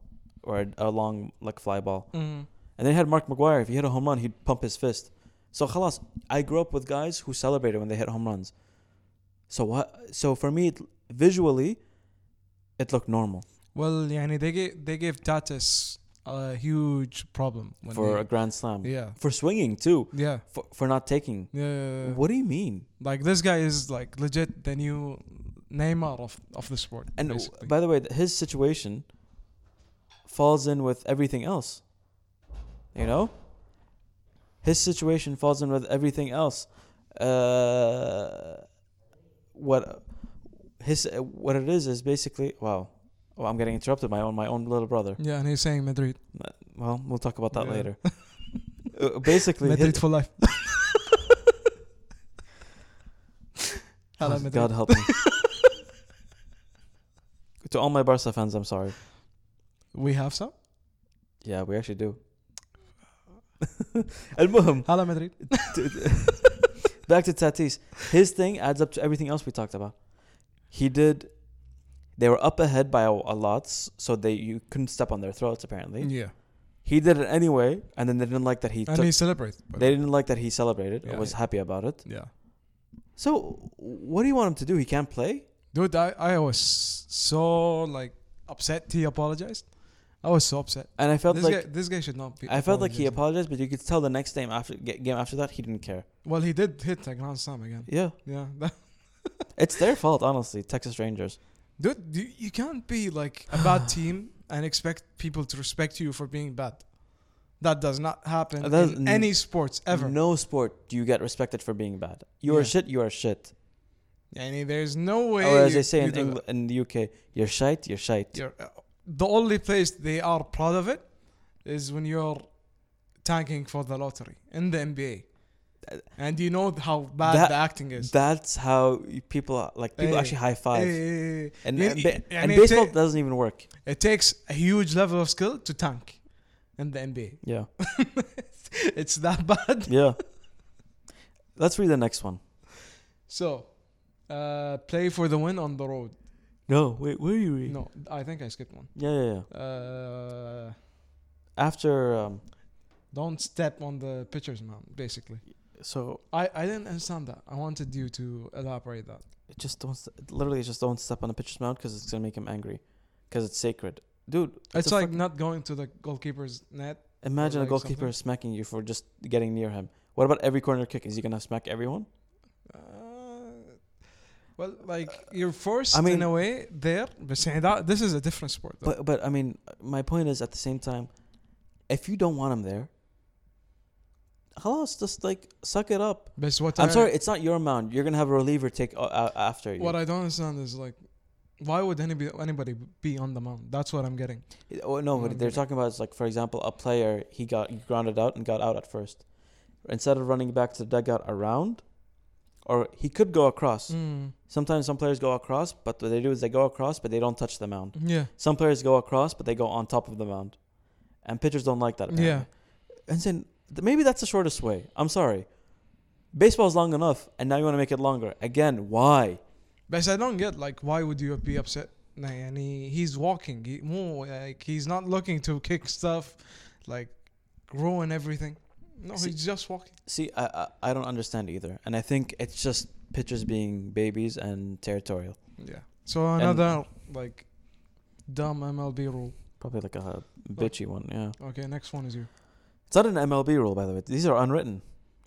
[SPEAKER 1] or a, a long like fly ball.
[SPEAKER 2] Mm.
[SPEAKER 1] And then he had Mark McGuire. If he hit a home run, he'd pump his fist. So خلاص, I grew up with guys who celebrated when they hit home runs. So what? So for me, it, visually, it looked normal
[SPEAKER 2] Well, yani they gave they gave Tatis a huge problem when
[SPEAKER 1] for
[SPEAKER 2] they-
[SPEAKER 1] a grand slam,
[SPEAKER 2] yeah,
[SPEAKER 1] for swinging too,
[SPEAKER 2] yeah,
[SPEAKER 1] for, for not taking.
[SPEAKER 2] yeah. yeah, yeah.
[SPEAKER 1] What do you mean?
[SPEAKER 2] Like this guy is like legit the new Neymar of of the sport.
[SPEAKER 1] And w-
[SPEAKER 2] basically.
[SPEAKER 1] by the way, th- his situation falls in with everything else. You know? His situation falls in with everything else. Uh, what his uh, what it is is basically wow. Oh, I'm getting interrupted by my own my own little brother. Uh,
[SPEAKER 2] yeah, and he's saying Madrid,
[SPEAKER 1] Well, we'll talk about that
[SPEAKER 2] Yeah.
[SPEAKER 1] later. Uh, basically, his-
[SPEAKER 2] Madrid for life. Hello,
[SPEAKER 1] Oh,
[SPEAKER 2] Madrid.
[SPEAKER 1] God help me. to all my Barca fans, I'm sorry.
[SPEAKER 2] We have some.
[SPEAKER 1] Yeah, we actually do. المهم
[SPEAKER 2] Hello, Madrid.
[SPEAKER 1] back to Tatis. His thing adds up to everything else we talked about. He did. They were up ahead by a, a lot, s- so they you couldn't step on their throats. Apparently,
[SPEAKER 2] Yeah,
[SPEAKER 1] he did it anyway, and then they didn't like that he.
[SPEAKER 2] and
[SPEAKER 1] took,
[SPEAKER 2] he celebrates. by the
[SPEAKER 1] they
[SPEAKER 2] way.
[SPEAKER 1] didn't like that he celebrated. or
[SPEAKER 2] Yeah,
[SPEAKER 1] was
[SPEAKER 2] he-
[SPEAKER 1] happy about it.
[SPEAKER 2] Yeah,
[SPEAKER 1] So, what do you want him to do? He can't play.
[SPEAKER 2] dude, I I was so like upset. He apologized. I was so upset.
[SPEAKER 1] And I felt
[SPEAKER 2] This
[SPEAKER 1] like
[SPEAKER 2] guy, this guy should not be.
[SPEAKER 1] I felt like he
[SPEAKER 2] apologizing.
[SPEAKER 1] apologized, but you could tell the next game after ga- game after that he didn't care.
[SPEAKER 2] Well, he did hit a grand slam again.
[SPEAKER 1] Yeah,
[SPEAKER 2] Yeah,
[SPEAKER 1] it's their fault, honestly. Texas Rangers.
[SPEAKER 2] Dude, you, you can't be like a bad team and expect people to respect you for being bad. That does not happen
[SPEAKER 1] Uh, that's-
[SPEAKER 2] in any sports ever.
[SPEAKER 1] No sport do you get respected for being bad. You are
[SPEAKER 2] Yeah.
[SPEAKER 1] shit. You are shit.
[SPEAKER 2] Yani, there's no way.
[SPEAKER 1] or as
[SPEAKER 2] you-
[SPEAKER 1] they say
[SPEAKER 2] you
[SPEAKER 1] in
[SPEAKER 2] do
[SPEAKER 1] England, in the UK, you're shite, you're shite.
[SPEAKER 2] that. You're- uh, the only place they are proud of it is when you're tanking for the lottery in the NBA, and you know how bad
[SPEAKER 1] That-
[SPEAKER 2] the acting is.
[SPEAKER 1] That's how you- people are- like people
[SPEAKER 2] Hey,
[SPEAKER 1] actually high five.
[SPEAKER 2] Eh,
[SPEAKER 1] And,
[SPEAKER 2] you-
[SPEAKER 1] and, ba-
[SPEAKER 2] I
[SPEAKER 1] and
[SPEAKER 2] mean,
[SPEAKER 1] baseball
[SPEAKER 2] ta-
[SPEAKER 1] doesn't even work.
[SPEAKER 2] it takes a huge level of skill to tank in the NBA.
[SPEAKER 1] Yeah,
[SPEAKER 2] It's that bad.
[SPEAKER 1] yeah. Let's read the next one.
[SPEAKER 2] So, uh, play for the win on the road.
[SPEAKER 1] No, wait, where are you reading?
[SPEAKER 2] No, I think I skipped one.
[SPEAKER 1] Yeah, yeah, yeah.
[SPEAKER 2] Uh,
[SPEAKER 1] After um,
[SPEAKER 2] don't step on the pitcher's mound, basically.
[SPEAKER 1] so
[SPEAKER 2] I, I didn't understand that. I wanted you to elaborate that.
[SPEAKER 1] it just don't st- literally just don't step on a pitcher's mound because it's gonna make him angry, because it's sacred, dude.
[SPEAKER 2] It's,
[SPEAKER 1] a
[SPEAKER 2] like
[SPEAKER 1] fuck-
[SPEAKER 2] not going to the goalkeeper's net.
[SPEAKER 1] imagine a
[SPEAKER 2] like
[SPEAKER 1] goalkeeper
[SPEAKER 2] something.
[SPEAKER 1] smacking you for just getting near him. What about every corner kick? Is he gonna smack everyone?
[SPEAKER 2] Uh, well, like you're forced
[SPEAKER 1] Uh, I mean-
[SPEAKER 2] in a way there. But يعني that, this is a different sport. Though.
[SPEAKER 1] But but I mean, my point is at the same time, if you don't want him there, خلاص, just like suck it up.
[SPEAKER 2] But what
[SPEAKER 1] I'm
[SPEAKER 2] I-
[SPEAKER 1] sorry, it's not your mound. You're gonna have a reliever take o- a- after you.
[SPEAKER 2] What I don't understand is like, why would anybody anybody be on the mound? That's what I'm getting.
[SPEAKER 1] oh, no,
[SPEAKER 2] No,
[SPEAKER 1] what
[SPEAKER 2] I'm
[SPEAKER 1] they're
[SPEAKER 2] kidding.
[SPEAKER 1] talking about is like, for example, a player he got grounded out and got out at first. Instead of running back to the dugout around, or he could go across.
[SPEAKER 2] Mm,
[SPEAKER 1] Sometimes some players go across, but what they do is they go across, but they don't touch the mound.
[SPEAKER 2] yeah.
[SPEAKER 1] Some players go across, but they go on top of the mound. and pitchers don't like that. Apparently.
[SPEAKER 2] Yeah.
[SPEAKER 1] and saying th- maybe that's the shortest way. I'm sorry, baseball's long enough, and now you want to make it longer again. Why?
[SPEAKER 2] But I don't get like why would you be upset? Nah, And he, he's walking. He, مو- like he's not looking to kick stuff, like ruin everything. No,
[SPEAKER 1] See-
[SPEAKER 2] he's just walking.
[SPEAKER 1] See, I, I I don't understand either, and I think it's just pitchers being babies and territorial.
[SPEAKER 2] Yeah. So another like dumb MLB rule.
[SPEAKER 1] Probably like a bitchy one. Yeah,
[SPEAKER 2] Okay, next one is you.
[SPEAKER 1] it's not an MLB rule, by the way. These are unwritten.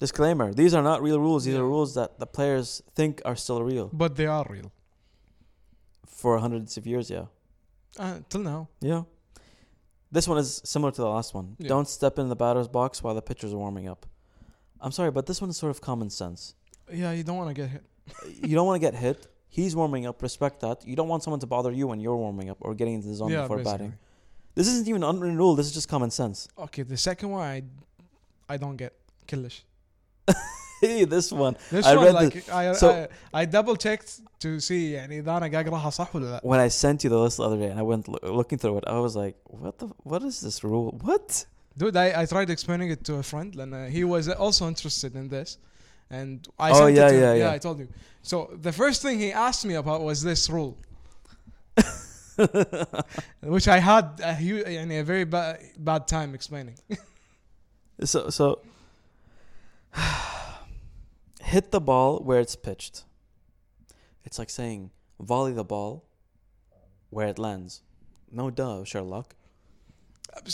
[SPEAKER 1] Disclaimer: These are not real rules. These are
[SPEAKER 2] Yeah.
[SPEAKER 1] rules that the players think are still real
[SPEAKER 2] But they are real.
[SPEAKER 1] for hundreds of years. Yeah.
[SPEAKER 2] Uh, till now.
[SPEAKER 1] Yeah. This one is similar to the last one.
[SPEAKER 2] Yeah.
[SPEAKER 1] Don't step in the batter's box while the pitchers are warming up. I'm sorry, but this one is sort of common sense.
[SPEAKER 2] Yeah, you don't want to get hit.
[SPEAKER 1] you don't want to get hit. He's warming up. Respect that. You don't want someone to bother you when you're warming up or getting into the zone
[SPEAKER 2] yeah,
[SPEAKER 1] before
[SPEAKER 2] basically.
[SPEAKER 1] batting. This isn't even an unwritten rule. This is just common sense.
[SPEAKER 2] Okay, the second one I, I don't get. Killish.
[SPEAKER 1] Hey, this one.
[SPEAKER 2] This
[SPEAKER 1] I
[SPEAKER 2] one
[SPEAKER 1] read
[SPEAKER 2] like I,
[SPEAKER 1] so-
[SPEAKER 2] I I double checked to see يعني اذا انا قاعد اقراها صح ولا لا.
[SPEAKER 1] When I sent you the list the other day and I went loo- looking through it, I was like, "What the? What is this rule? What?"
[SPEAKER 2] Dude, I, I tried explaining it to a friend, and uh, he was also interested in this. And I
[SPEAKER 1] Oh,
[SPEAKER 2] sent
[SPEAKER 1] yeah,
[SPEAKER 2] it to him.
[SPEAKER 1] yeah, yeah.
[SPEAKER 2] I told you. So the first thing he asked me about was this rule, which I had a, hu- يعني a very ba- bad time explaining.
[SPEAKER 1] So so hit the ball where it's pitched. It's like saying volley the ball where it lands. No duh, Sherlock.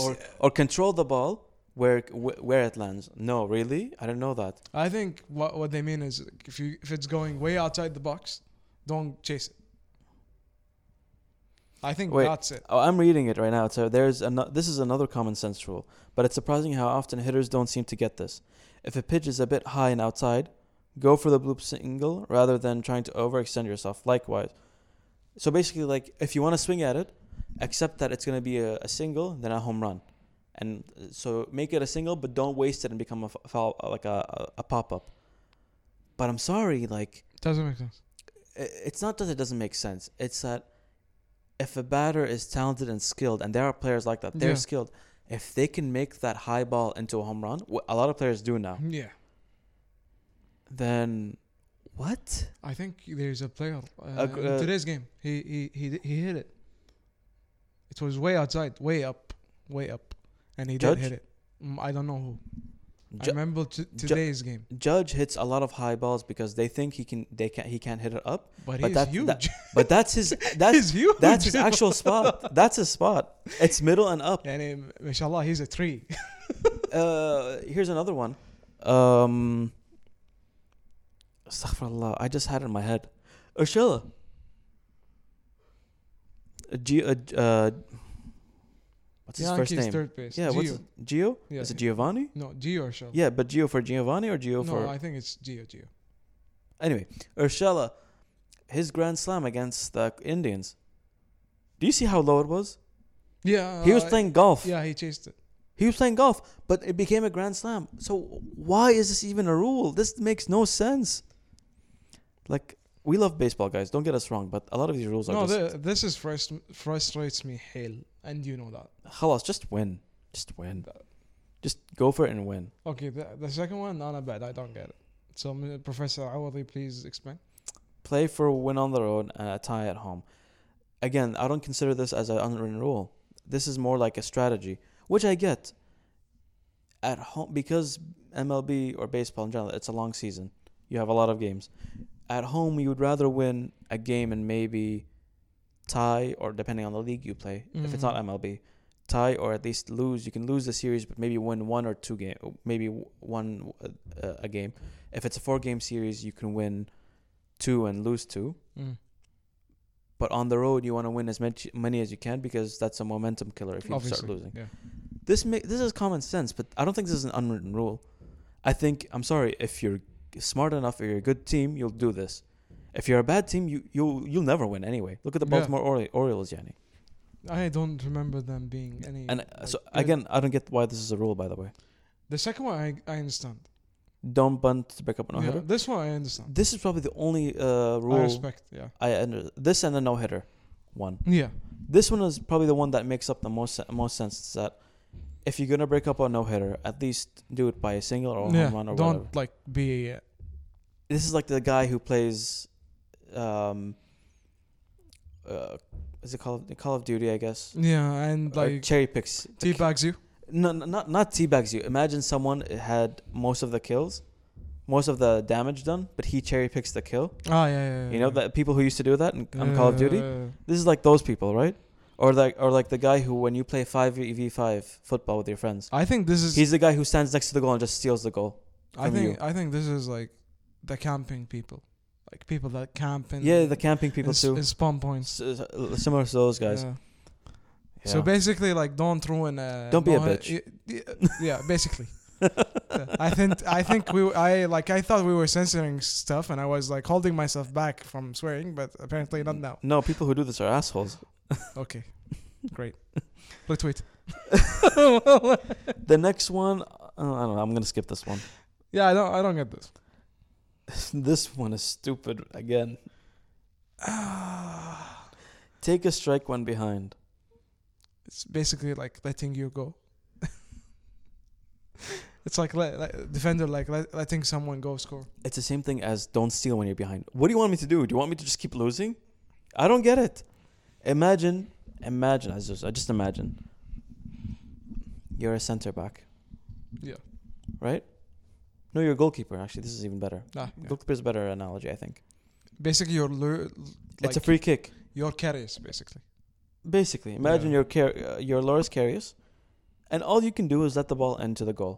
[SPEAKER 1] Or or control the ball where wh- where it lands. No, really? I do not know that.
[SPEAKER 2] I think what what they mean is if you if it's going way outside the box, don't chase it. I think
[SPEAKER 1] Wait.
[SPEAKER 2] that's it.
[SPEAKER 1] Oh, I'm reading it right now. So there's ano- this is another common sense rule, but it's surprising how often hitters don't seem to get this. If a pitch is a bit high and outside, go for the bloop single rather than trying to overextend yourself. Likewise, so basically, like if you want to swing at it, accept that it's going to be a, a single, then a home run, and uh, so make it a single, but don't waste it and become a f- foul, like a, a, a pop up. But I'm sorry, like
[SPEAKER 2] Doesn't make sense.
[SPEAKER 1] i- it's not that it doesn't make sense. It's that if a batter is talented and skilled, and there are players like that, they're
[SPEAKER 2] Yeah.
[SPEAKER 1] skilled. If they can make that high ball into a home run, wh- a lot of players do now.
[SPEAKER 2] Yeah.
[SPEAKER 1] Then what?
[SPEAKER 2] I think there's a player uh,
[SPEAKER 1] Ac-
[SPEAKER 2] in
[SPEAKER 1] uh,
[SPEAKER 2] today's game. He, he he he hit it. It was way outside, way up, way up, and he
[SPEAKER 1] Judge?
[SPEAKER 2] did hit it. Mm, I don't know who. I
[SPEAKER 1] Ju-
[SPEAKER 2] remember t- today's game,
[SPEAKER 1] Judge hits a lot of high balls because they think he can. They can. He can't hit it up.
[SPEAKER 2] but,
[SPEAKER 1] but
[SPEAKER 2] he's
[SPEAKER 1] that-
[SPEAKER 2] huge.
[SPEAKER 1] that- But that's his. That's
[SPEAKER 2] he's huge.
[SPEAKER 1] that's his actual spot. That's his spot. It's middle and up.
[SPEAKER 2] يعني mashallah, he's a tree.
[SPEAKER 1] Uh, here's another one. Um, astaghfirullah. I just had it in my head. Urshela. Uh, G- uh, uh, what's his first
[SPEAKER 2] Yankees
[SPEAKER 1] name?
[SPEAKER 2] third base.
[SPEAKER 1] yeah, what's
[SPEAKER 2] Gio.
[SPEAKER 1] his- Gio?
[SPEAKER 2] Yeah,
[SPEAKER 1] Is it
[SPEAKER 2] yeah.
[SPEAKER 1] Giovanni?
[SPEAKER 2] No, Gio or Shell.
[SPEAKER 1] Yeah, but Gio for Giovanni or Gio
[SPEAKER 2] no,
[SPEAKER 1] for
[SPEAKER 2] I think it's Gio. Gio.
[SPEAKER 1] anyway? Urshela, his grand slam against the Indians. Do you see how low it was?
[SPEAKER 2] Yeah,
[SPEAKER 1] He was
[SPEAKER 2] uh,
[SPEAKER 1] playing golf.
[SPEAKER 2] Yeah, he chased it.
[SPEAKER 1] He was playing golf, but it became a grand slam. So why is this even a rule? This makes no sense. Like we love baseball, guys. Don't get us wrong, but a lot of these rules are
[SPEAKER 2] No,
[SPEAKER 1] just
[SPEAKER 2] thi- this is frust- frustrates me hell, and you know that.
[SPEAKER 1] halas. Just win, just win, just go for it and win.
[SPEAKER 2] Okay, the, the second one, not a bad. I don't get it. So, m- Professor Awadi, please explain.
[SPEAKER 1] Play for a win on the road and a tie at home. Again, I don't consider this as an unwritten rule. This is more like a strategy, which I get. At home, because MLB or baseball in general, it's a long season. You have a lot of games. At home, you would rather win a game and maybe tie, or depending on the league you play, if it's not
[SPEAKER 2] Mhm.
[SPEAKER 1] MLB, tie or at least lose. You can lose the series, but maybe win one or two game, maybe w- one uh, a game. If it's a four game series, you can win two and lose two.
[SPEAKER 2] Mm.
[SPEAKER 1] But on the road, you want to win as much many as you can because that's a momentum killer. If you start losing,
[SPEAKER 2] Yeah.
[SPEAKER 1] this ma- this is common sense, but I don't think this is an unwritten rule. I think I'm sorry if you're smart enough or you're a good team, you'll do this. If you're a bad team, you you you'll never win anyway. Look at the
[SPEAKER 2] Yeah.
[SPEAKER 1] Baltimore Ori- Orioles, Yanni.
[SPEAKER 2] I don't remember them being any.
[SPEAKER 1] And uh,
[SPEAKER 2] like,
[SPEAKER 1] so
[SPEAKER 2] good.
[SPEAKER 1] again, I don't get why this is a rule. By the way,
[SPEAKER 2] the second one I, I understand.
[SPEAKER 1] don't bunt to pick up a no
[SPEAKER 2] Yeah,
[SPEAKER 1] hitter.
[SPEAKER 2] this one I understand.
[SPEAKER 1] This is probably the only uh,
[SPEAKER 2] I
[SPEAKER 1] rule
[SPEAKER 2] respect. Yeah.
[SPEAKER 1] I, under this and the no hitter one.
[SPEAKER 2] Yeah.
[SPEAKER 1] This one is probably the one that makes up the most se- most sense. Is that if you're gonna break up a no hitter, at least do it by a single or a
[SPEAKER 2] yeah,
[SPEAKER 1] home run or
[SPEAKER 2] don't
[SPEAKER 1] whatever.
[SPEAKER 2] like be.
[SPEAKER 1] This is like the guy who plays, um, uh, is it Call of, Call of Duty? I guess.
[SPEAKER 2] Yeah, and
[SPEAKER 1] Or
[SPEAKER 2] like
[SPEAKER 1] cherry picks. the ki-
[SPEAKER 2] teabags you.
[SPEAKER 1] No, no, not not teabags you. Imagine someone had most of the kills, most of the damage done, but he cherry picks the kill.
[SPEAKER 2] Ah, yeah, yeah. yeah
[SPEAKER 1] You know
[SPEAKER 2] yeah.
[SPEAKER 1] that people who used to do that in, on Call of Duty.
[SPEAKER 2] Uh,
[SPEAKER 1] This is like those people, right? Or like or like the guy who when you play five v five football with your friends,
[SPEAKER 2] I think this is.
[SPEAKER 1] he's the guy who stands next to the goal and just steals the goal.
[SPEAKER 2] I
[SPEAKER 1] from
[SPEAKER 2] think
[SPEAKER 1] you.
[SPEAKER 2] I think this is like the camping people, like people that camp in.
[SPEAKER 1] Yeah, the camping people
[SPEAKER 2] in,
[SPEAKER 1] too.
[SPEAKER 2] In spawn points.
[SPEAKER 1] S- s- similar to those guys.
[SPEAKER 2] Yeah.
[SPEAKER 1] Yeah.
[SPEAKER 2] So basically, like, don't ruin. Uh,
[SPEAKER 1] Don't be a
[SPEAKER 2] no-
[SPEAKER 1] bitch.
[SPEAKER 2] y- y- Yeah, basically. Yeah. I think I think we I like I thought we were censoring stuff, and I was like holding myself back from swearing, but apparently not now.
[SPEAKER 1] No, people who do this are assholes.
[SPEAKER 2] Okay, great. Let's tweet.
[SPEAKER 1] The next one, uh, I don't know. I'm gonna skip this one.
[SPEAKER 2] Yeah, I don't I don't get this.
[SPEAKER 1] this one is stupid again. Take a strike when behind.
[SPEAKER 2] It's basically like letting you go. it's like let, let, defender like let, letting someone go score.
[SPEAKER 1] It's the same thing as don't steal when you're behind. What do you want me to do? Do you want me to just keep losing? I don't get it. Imagine, imagine. I just, I just imagine. You're a center back.
[SPEAKER 2] Yeah.
[SPEAKER 1] Right. No, you're a goalkeeper. Actually, this is even better.
[SPEAKER 2] Ah, yeah.
[SPEAKER 1] Goalkeeper is a better analogy, I think.
[SPEAKER 2] Basically, your lure,
[SPEAKER 1] it's a free kick.
[SPEAKER 2] your carries basically.
[SPEAKER 1] Basically, imagine
[SPEAKER 2] Yeah.
[SPEAKER 1] your car- uh, your Loris carries, and all you can do is let the ball into the goal.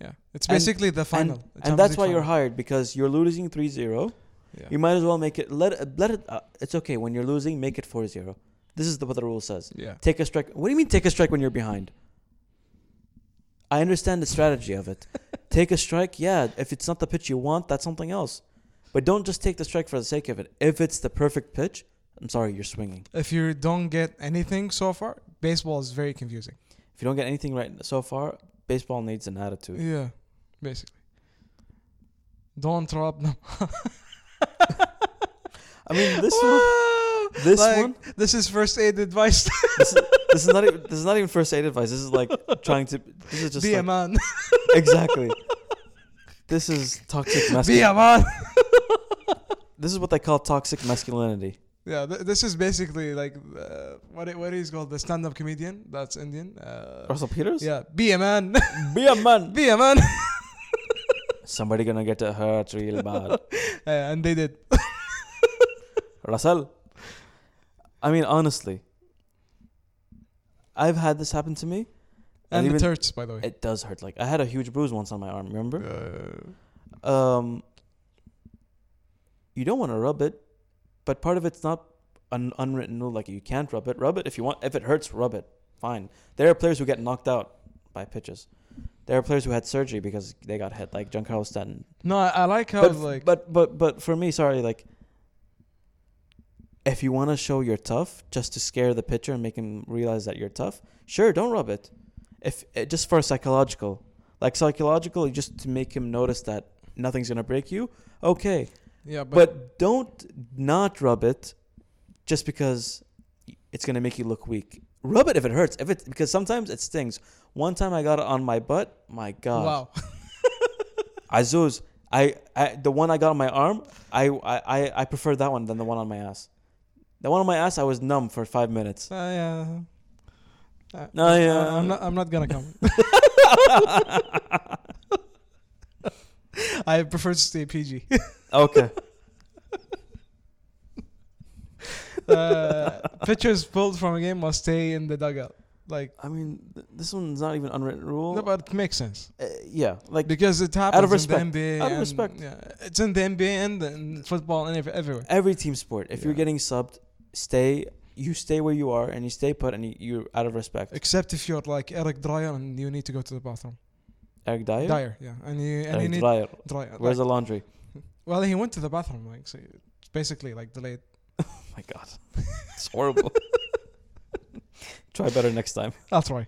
[SPEAKER 2] Yeah, it's
[SPEAKER 1] And-
[SPEAKER 2] basically the final.
[SPEAKER 1] and,
[SPEAKER 2] the
[SPEAKER 1] and
[SPEAKER 2] Champions
[SPEAKER 1] that's
[SPEAKER 2] League
[SPEAKER 1] why you're
[SPEAKER 2] final.
[SPEAKER 1] hired because you're losing 3-0.
[SPEAKER 2] Yeah.
[SPEAKER 1] You might as well make it let it- let it. Uh, it's okay when you're losing, make it 4-0. This is the, what the rule says.
[SPEAKER 2] yeah.
[SPEAKER 1] Take a strike. What do you mean take a strike when you're behind? I understand the strategy of it. take a strike, yeah. If it's not the pitch you want, that's something else. But don't just take the strike for the sake of it. If it's the perfect pitch, I'm sorry, you're swinging.
[SPEAKER 2] If you don't get anything so far, baseball is very confusing.
[SPEAKER 1] If you don't get anything right so far, baseball needs an attitude.
[SPEAKER 2] Yeah, basically. Don't drop them.
[SPEAKER 1] I mean, this one, this one,
[SPEAKER 2] This is first aid advice.
[SPEAKER 1] this is, this is not even, this is not even first aid advice. This is like trying to. This is just
[SPEAKER 2] Be a
[SPEAKER 1] like-
[SPEAKER 2] man.
[SPEAKER 1] exactly. This is toxic
[SPEAKER 2] Be a
[SPEAKER 1] masculinity.
[SPEAKER 2] man.
[SPEAKER 1] This is what they call toxic masculinity.
[SPEAKER 2] Yeah, th- this is basically like uh, what it, what he's called the stand-up comedian. That's Indian. Uh,
[SPEAKER 1] Russell Peters.
[SPEAKER 2] yeah, be a man.
[SPEAKER 1] Be a man.
[SPEAKER 2] be a man.
[SPEAKER 1] Somebody gonna get hurt real bad.
[SPEAKER 2] Uh, and they did.
[SPEAKER 1] Russell. I mean, honestly, I've had this happen to me.
[SPEAKER 2] And
[SPEAKER 1] even-
[SPEAKER 2] it hurts, by the way.
[SPEAKER 1] It does hurt. Like I had a huge bruise once on my arm. Remember?
[SPEAKER 2] Uh,
[SPEAKER 1] um, you don't want to rub it, but part of it's not an unwritten rule like you can't rub it. Rub it if you want. If it hurts, rub it. Fine. There are players who get knocked out by pitches. There are players who had surgery because they got hit, like Giancarlo Stanton.
[SPEAKER 2] no, I, I like how
[SPEAKER 1] But,
[SPEAKER 2] like
[SPEAKER 1] but but but for me, sorry, like if you want to show you're tough, just to scare the pitcher and make him realize that you're tough, sure, don't rub it. If eh, just for psychological, like psychological, just to make him notice that nothing's gonna break you. Okay,
[SPEAKER 2] yeah,
[SPEAKER 1] but,
[SPEAKER 2] but,
[SPEAKER 1] don't not rub it just because it's gonna make you look weak. Rub it if it hurts. If it because sometimes it stings. One time I got it on my butt. My God.
[SPEAKER 2] wow,
[SPEAKER 1] Azuz, I, I the one I got on my arm, I, I I- I prefer that one than the one on my ass. The one on my ass, I was numb for five minutes.
[SPEAKER 2] Uh, yeah. Uh,
[SPEAKER 1] No,
[SPEAKER 2] I-
[SPEAKER 1] yeah.
[SPEAKER 2] I'm not. I'm not gonna come. I prefer to stay PG.
[SPEAKER 1] Okay,
[SPEAKER 2] Uh, pictures pulled from a game must stay in the dugout. Like,
[SPEAKER 1] I mean th- this one's not even unwritten rule.
[SPEAKER 2] no, but it makes sense
[SPEAKER 1] Uh, yeah, like
[SPEAKER 2] because it happens
[SPEAKER 1] respect.
[SPEAKER 2] in the NBA.
[SPEAKER 1] Out of
[SPEAKER 2] and-
[SPEAKER 1] respect.
[SPEAKER 2] Yeah, it's in the NBA and in football and ev- everywhere.
[SPEAKER 1] every team sport, if you're
[SPEAKER 2] Yeah.
[SPEAKER 1] getting subbed, stay you stay where you are and you stay put and you, you're out of respect.
[SPEAKER 2] Except if you're like Eric Dreyer and you need to go to the bathroom.
[SPEAKER 1] Eric Dyer,
[SPEAKER 2] Dyer, yeah, and you and you
[SPEAKER 1] Eric
[SPEAKER 2] need
[SPEAKER 1] Dyer.
[SPEAKER 2] Dreyer.
[SPEAKER 1] Where's
[SPEAKER 2] like-
[SPEAKER 1] the laundry?
[SPEAKER 2] well, he went to the bathroom, like so it's basically like delayed.
[SPEAKER 1] Oh my God, it's horrible. Try better next time.
[SPEAKER 2] I'll try.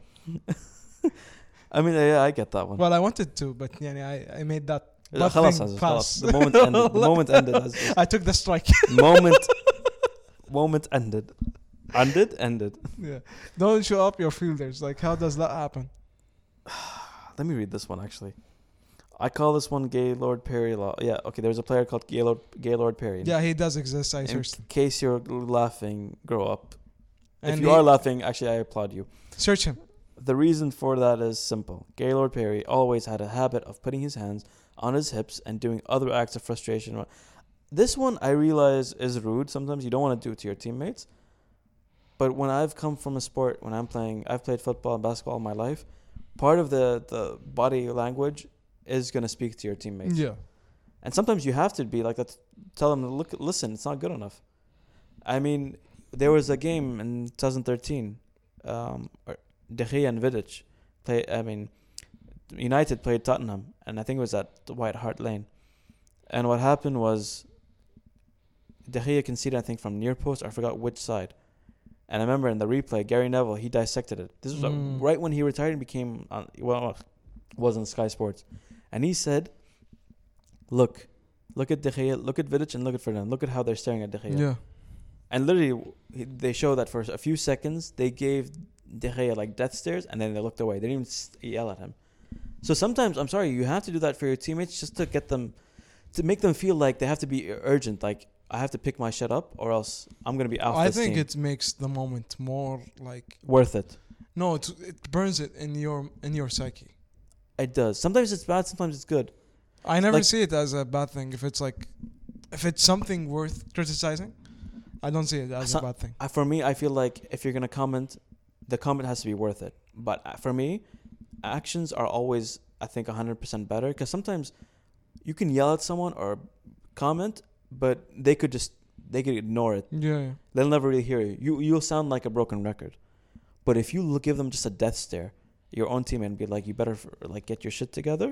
[SPEAKER 1] I mean, yeah, I get that one.
[SPEAKER 2] Well, I wanted to, but yani, I, I made that.
[SPEAKER 1] لا
[SPEAKER 2] that
[SPEAKER 1] خلاص
[SPEAKER 2] thing
[SPEAKER 1] عزيز
[SPEAKER 2] pass.
[SPEAKER 1] خلاص the moment ended the moment ended عزيز
[SPEAKER 2] I took the strike.
[SPEAKER 1] moment moment ended Ended, ended.
[SPEAKER 2] yeah. Don't show up your fielders. Like, how does that happen?
[SPEAKER 1] Ah, Let me read this one actually. I call this one Gaylord Perry Law. Yeah, okay. There's a player called Gaylord Gaylord Perry.
[SPEAKER 2] Yeah, he does exist. I
[SPEAKER 1] In
[SPEAKER 2] searched.
[SPEAKER 1] case you're laughing, grow up.
[SPEAKER 2] And
[SPEAKER 1] if you
[SPEAKER 2] he-
[SPEAKER 1] are laughing, actually, I applaud you.
[SPEAKER 2] Search him.
[SPEAKER 1] The reason for that is simple. Gaylord Perry always had a habit of putting his hands on his hips and doing other acts of frustration. This one I realize is rude. Sometimes you don't want to do it to your teammates. But when I've come from a sport, when I'm playing, I've played football and basketball all my life. Part of the, the body language is going to speak to your teammates.
[SPEAKER 2] Yeah.
[SPEAKER 1] And sometimes you have to be like that. to Tell them, look, listen, it's not good enough. I mean, there was a game in 2013. Um, or De Gea and Vidic play. I mean, United played Tottenham, and I think it was at the White Hart Lane. And what happened was, De Gea conceded, I think, from near post. I forgot which side. And I remember in the replay, Gary Neville he dissected it. This was uh,
[SPEAKER 2] Mm.
[SPEAKER 1] right when he retired and became on, well, was on Sky Sports, and he said, "Look, look at De Gea, look at Vidic, and look at Ferdinand. Look at how they're staring at De Gea."
[SPEAKER 2] Yeah.
[SPEAKER 1] And literally, he- they show that for a few seconds. They gave De Gea like death stares, and then they looked away. They didn't even s- yell at him. So sometimes, I'm sorry, you have to do that for your teammates just to get them, to make them feel like they have to be urgent. Like I have to pick my shit up, or else I'm gonna be out.
[SPEAKER 2] I think
[SPEAKER 1] team.
[SPEAKER 2] it makes the moment more like
[SPEAKER 1] worth it.
[SPEAKER 2] no, it, it burns it in your in your psyche.
[SPEAKER 1] It does. Sometimes it's bad. Sometimes it's good.
[SPEAKER 2] I never
[SPEAKER 1] Like-
[SPEAKER 2] see it as a bad thing. If it's like, if it's something worth criticizing, I don't see it as
[SPEAKER 1] So-
[SPEAKER 2] a bad thing.
[SPEAKER 1] I, for me, I feel like if you're gonna comment, the comment has to be worth it. But uh, for me, actions are always, I think, 100% better because sometimes you can yell at someone or comment, but they could just they could ignore it.
[SPEAKER 2] Yeah, yeah.
[SPEAKER 1] They'll never really hear you. You you'll sound like a broken record. But if you l- give them just a death stare, your own team and be like, you better f- like get your shit together,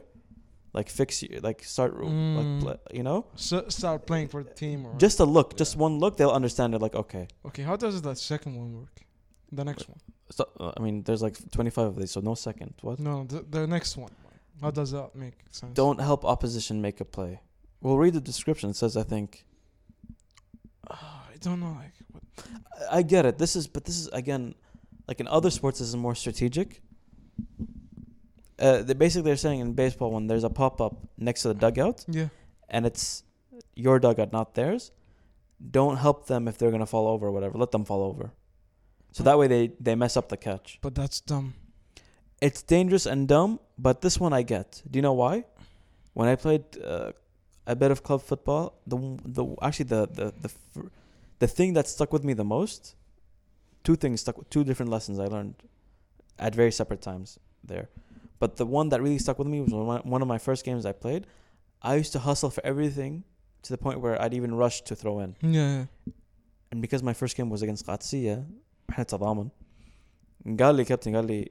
[SPEAKER 1] like fix you, like start
[SPEAKER 2] Mm.
[SPEAKER 1] like pl- you know,
[SPEAKER 2] So, start playing for the team or
[SPEAKER 1] just a look, just
[SPEAKER 3] Yeah.
[SPEAKER 1] one look, they'll understand it. Like okay.
[SPEAKER 2] okay. How does that second one work? The next one.
[SPEAKER 1] So, uh, I mean, there's like 25 of these, so no second. What?
[SPEAKER 2] No, the, the next one. How does that make sense?
[SPEAKER 1] Don't help opposition make a play. We'll read the description. It says, I think.
[SPEAKER 2] Ah, I don't know. Like what?
[SPEAKER 1] I- I get it. This is, but this is, again, like in other sports, this is more strategic. Uh, they basically are saying in baseball when there's a pop up next to the dugout
[SPEAKER 2] Yeah.
[SPEAKER 1] and it's your dugout, not theirs, don't help them if they're going to fall over or whatever. Let them fall over. So that way they, they mess up the catch.
[SPEAKER 2] But that's dumb.
[SPEAKER 1] it's dangerous and dumb, but this one I get. Do you know why? When I played uh, a bit of club football, the the actually the the the fir- the thing that stuck with me the most, two things stuck, two different lessons I learned at very separate times there, but the one that really stuck with me was when my- one of my first games I played. I used to hustle for everything to the point where I'd even rush to throw in.
[SPEAKER 2] Yeah. yeah.
[SPEAKER 1] And because my first game was against قادسية احنا تضامن قال لي كابتن قال لي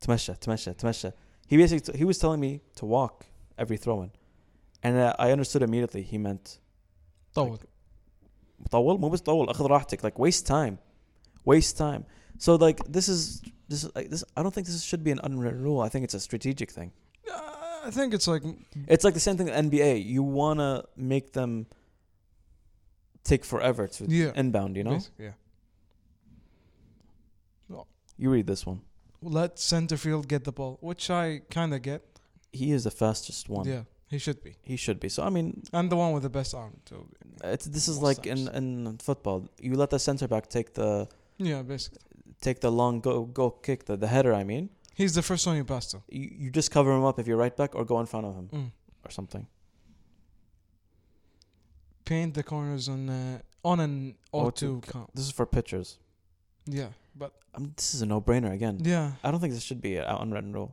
[SPEAKER 1] تمشى تمشى تمشى he basically he was telling me to walk every throw in and uh, I understood immediately he meant
[SPEAKER 2] طول.
[SPEAKER 1] طول مو بس طول اخذ راحتك like waste time waste time so like this is this is- like, this I don't think this should be an unwritten rule I think it's a strategic thing
[SPEAKER 2] Uh, I think it's like
[SPEAKER 1] it's like the same thing in NBA you want to make them take forever to
[SPEAKER 2] yeah.
[SPEAKER 1] inbound you know
[SPEAKER 2] basic- yeah.
[SPEAKER 1] you read this one
[SPEAKER 2] Let center field get the ball, which I kind of get.
[SPEAKER 1] he is the fastest one
[SPEAKER 2] Yeah, he should be.
[SPEAKER 1] He should be. So I mean,
[SPEAKER 2] And the one with the best arm too.
[SPEAKER 1] it's, this is
[SPEAKER 2] Most
[SPEAKER 1] like in,
[SPEAKER 2] times.
[SPEAKER 1] in football. You let the center back take the
[SPEAKER 2] Yeah, basically.
[SPEAKER 1] take the long go go kick the, the header. I mean,
[SPEAKER 2] He's the first one you pass to.
[SPEAKER 1] you, you just cover him up if you're right back or go in front of him
[SPEAKER 2] Mm.
[SPEAKER 1] or something.
[SPEAKER 2] Paint the corners on uh, on an
[SPEAKER 1] O2
[SPEAKER 2] O2 count.
[SPEAKER 1] This is for pitchers.
[SPEAKER 2] Yeah, but
[SPEAKER 1] I mean, this is a no brainer again.
[SPEAKER 2] yeah,
[SPEAKER 1] I don't think this should be an unwritten rule.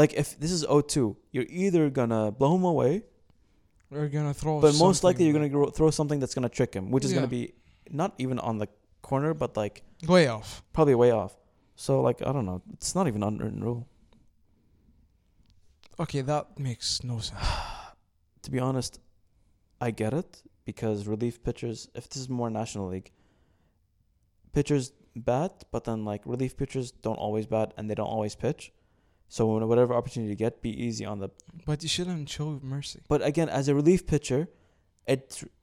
[SPEAKER 1] Like if this is 0-2, you're either gonna blow him away,
[SPEAKER 2] we're gonna throw.
[SPEAKER 1] but most
[SPEAKER 2] something
[SPEAKER 1] likely you're
[SPEAKER 2] like-
[SPEAKER 1] gonna gro- throw something that's gonna trick him, which is gonna
[SPEAKER 2] Yeah.
[SPEAKER 1] be not even on the corner, but like
[SPEAKER 2] way off.
[SPEAKER 1] probably way off. So like I don't know. It's not even an unwritten rule.
[SPEAKER 2] Okay, that makes no sense.
[SPEAKER 1] to be honest, I get it because relief pitchers, if this is more National League, pitchers bat, but then like relief pitchers don't always bat and they don't always pitch. So when- whatever opportunity you get, be easy on the.
[SPEAKER 2] But you shouldn't show mercy.
[SPEAKER 1] But again, as a relief pitcher, it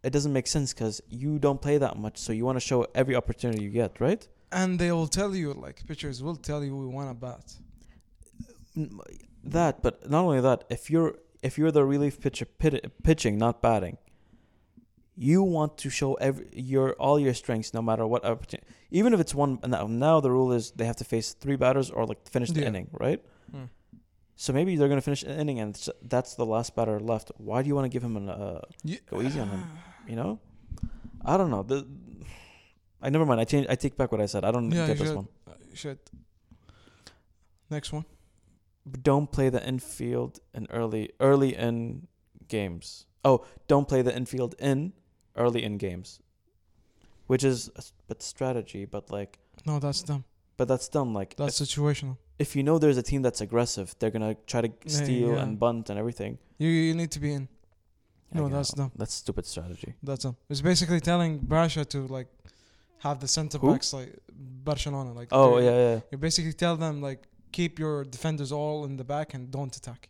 [SPEAKER 1] it doesn't make sense because you don't play that much, so you want to show every opportunity you get, right?
[SPEAKER 2] And they will tell you, like, pitchers will tell you we want to bat.
[SPEAKER 1] N- That, but not only that, if you're if you're the relief pitcher pit, pitching, not batting, you want to show every your all your strengths, no matter what opportunity. Even if it's one now, now the rule is they have to face three batters or like finish the
[SPEAKER 2] Yeah.
[SPEAKER 1] inning, right?
[SPEAKER 2] Hmm.
[SPEAKER 1] So maybe they're gonna finish an inning and s- that's the last batter left. Why do you want to give him an uh,
[SPEAKER 2] You,
[SPEAKER 1] go easy on him.
[SPEAKER 2] ah,
[SPEAKER 1] You know, I don't know. The I never mind. I change. I take back what I said. I don't
[SPEAKER 2] Yeah,
[SPEAKER 1] get
[SPEAKER 2] you
[SPEAKER 1] this
[SPEAKER 2] should.
[SPEAKER 1] one.
[SPEAKER 2] Shit. Next one.
[SPEAKER 1] But don't play the infield in early early in games. Oh, don't play the infield in early in games, which is a s- but strategy. But like,
[SPEAKER 2] No, that's dumb.
[SPEAKER 1] but that's dumb. Like,
[SPEAKER 2] That's situational.
[SPEAKER 1] if you know there's a team that's aggressive, they're gonna try to
[SPEAKER 2] Yeah,
[SPEAKER 1] steal
[SPEAKER 2] yeah.
[SPEAKER 1] and bunt and everything.
[SPEAKER 2] You you need to be in.
[SPEAKER 1] I
[SPEAKER 2] No,
[SPEAKER 1] get
[SPEAKER 2] that's
[SPEAKER 1] it.
[SPEAKER 2] dumb.
[SPEAKER 1] That's stupid strategy.
[SPEAKER 2] That's dumb. It's basically telling Barca to like have the centre
[SPEAKER 1] Who?
[SPEAKER 2] backs like Barcelona. Like
[SPEAKER 1] Oh
[SPEAKER 2] they-
[SPEAKER 1] yeah, yeah.
[SPEAKER 2] You basically tell them like keep your defenders all in the back and don't attack.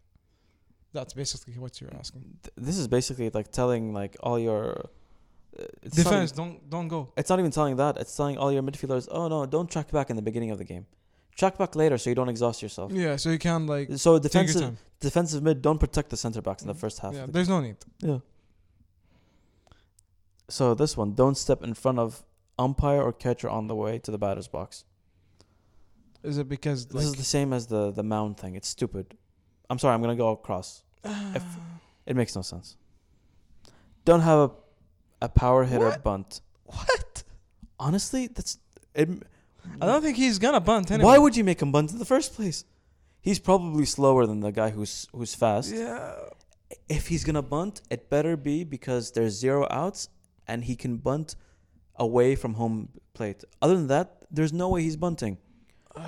[SPEAKER 2] That's basically what you're asking.
[SPEAKER 1] Th- This is basically like telling like all your uh, it's not
[SPEAKER 2] Defense, don't don't go.
[SPEAKER 1] it's not even telling that. It's telling all your midfielders, oh no, don't track back in the beginning of the game. Track back later so you don't exhaust yourself.
[SPEAKER 2] Yeah, so you can like
[SPEAKER 1] So
[SPEAKER 2] take your
[SPEAKER 1] defensive
[SPEAKER 2] time. Mm.
[SPEAKER 1] defensive mid don't protect the center backs in the first half.
[SPEAKER 2] Yeah,
[SPEAKER 1] of the-
[SPEAKER 2] there's no need.
[SPEAKER 1] so this one, don't step in front of umpire or catcher on the way to the batter's box.
[SPEAKER 2] Is it because
[SPEAKER 1] This is
[SPEAKER 2] like
[SPEAKER 1] the same as the the mound thing. It's stupid. I'm sorry. I'm gonna go across. if- It makes no sense. Don't have a a power hitter
[SPEAKER 2] What?
[SPEAKER 1] bunt.
[SPEAKER 2] what?
[SPEAKER 1] Honestly, that's it.
[SPEAKER 2] I don't think he's gonna bunt anyway.
[SPEAKER 1] Why would you make him bunt in the first place? He's probably slower than the guy who's who's fast.
[SPEAKER 2] Yeah.
[SPEAKER 1] if he's gonna bunt, it better be because there's zero outs and he can bunt away from home plate. Other than that, there's no way he's bunting.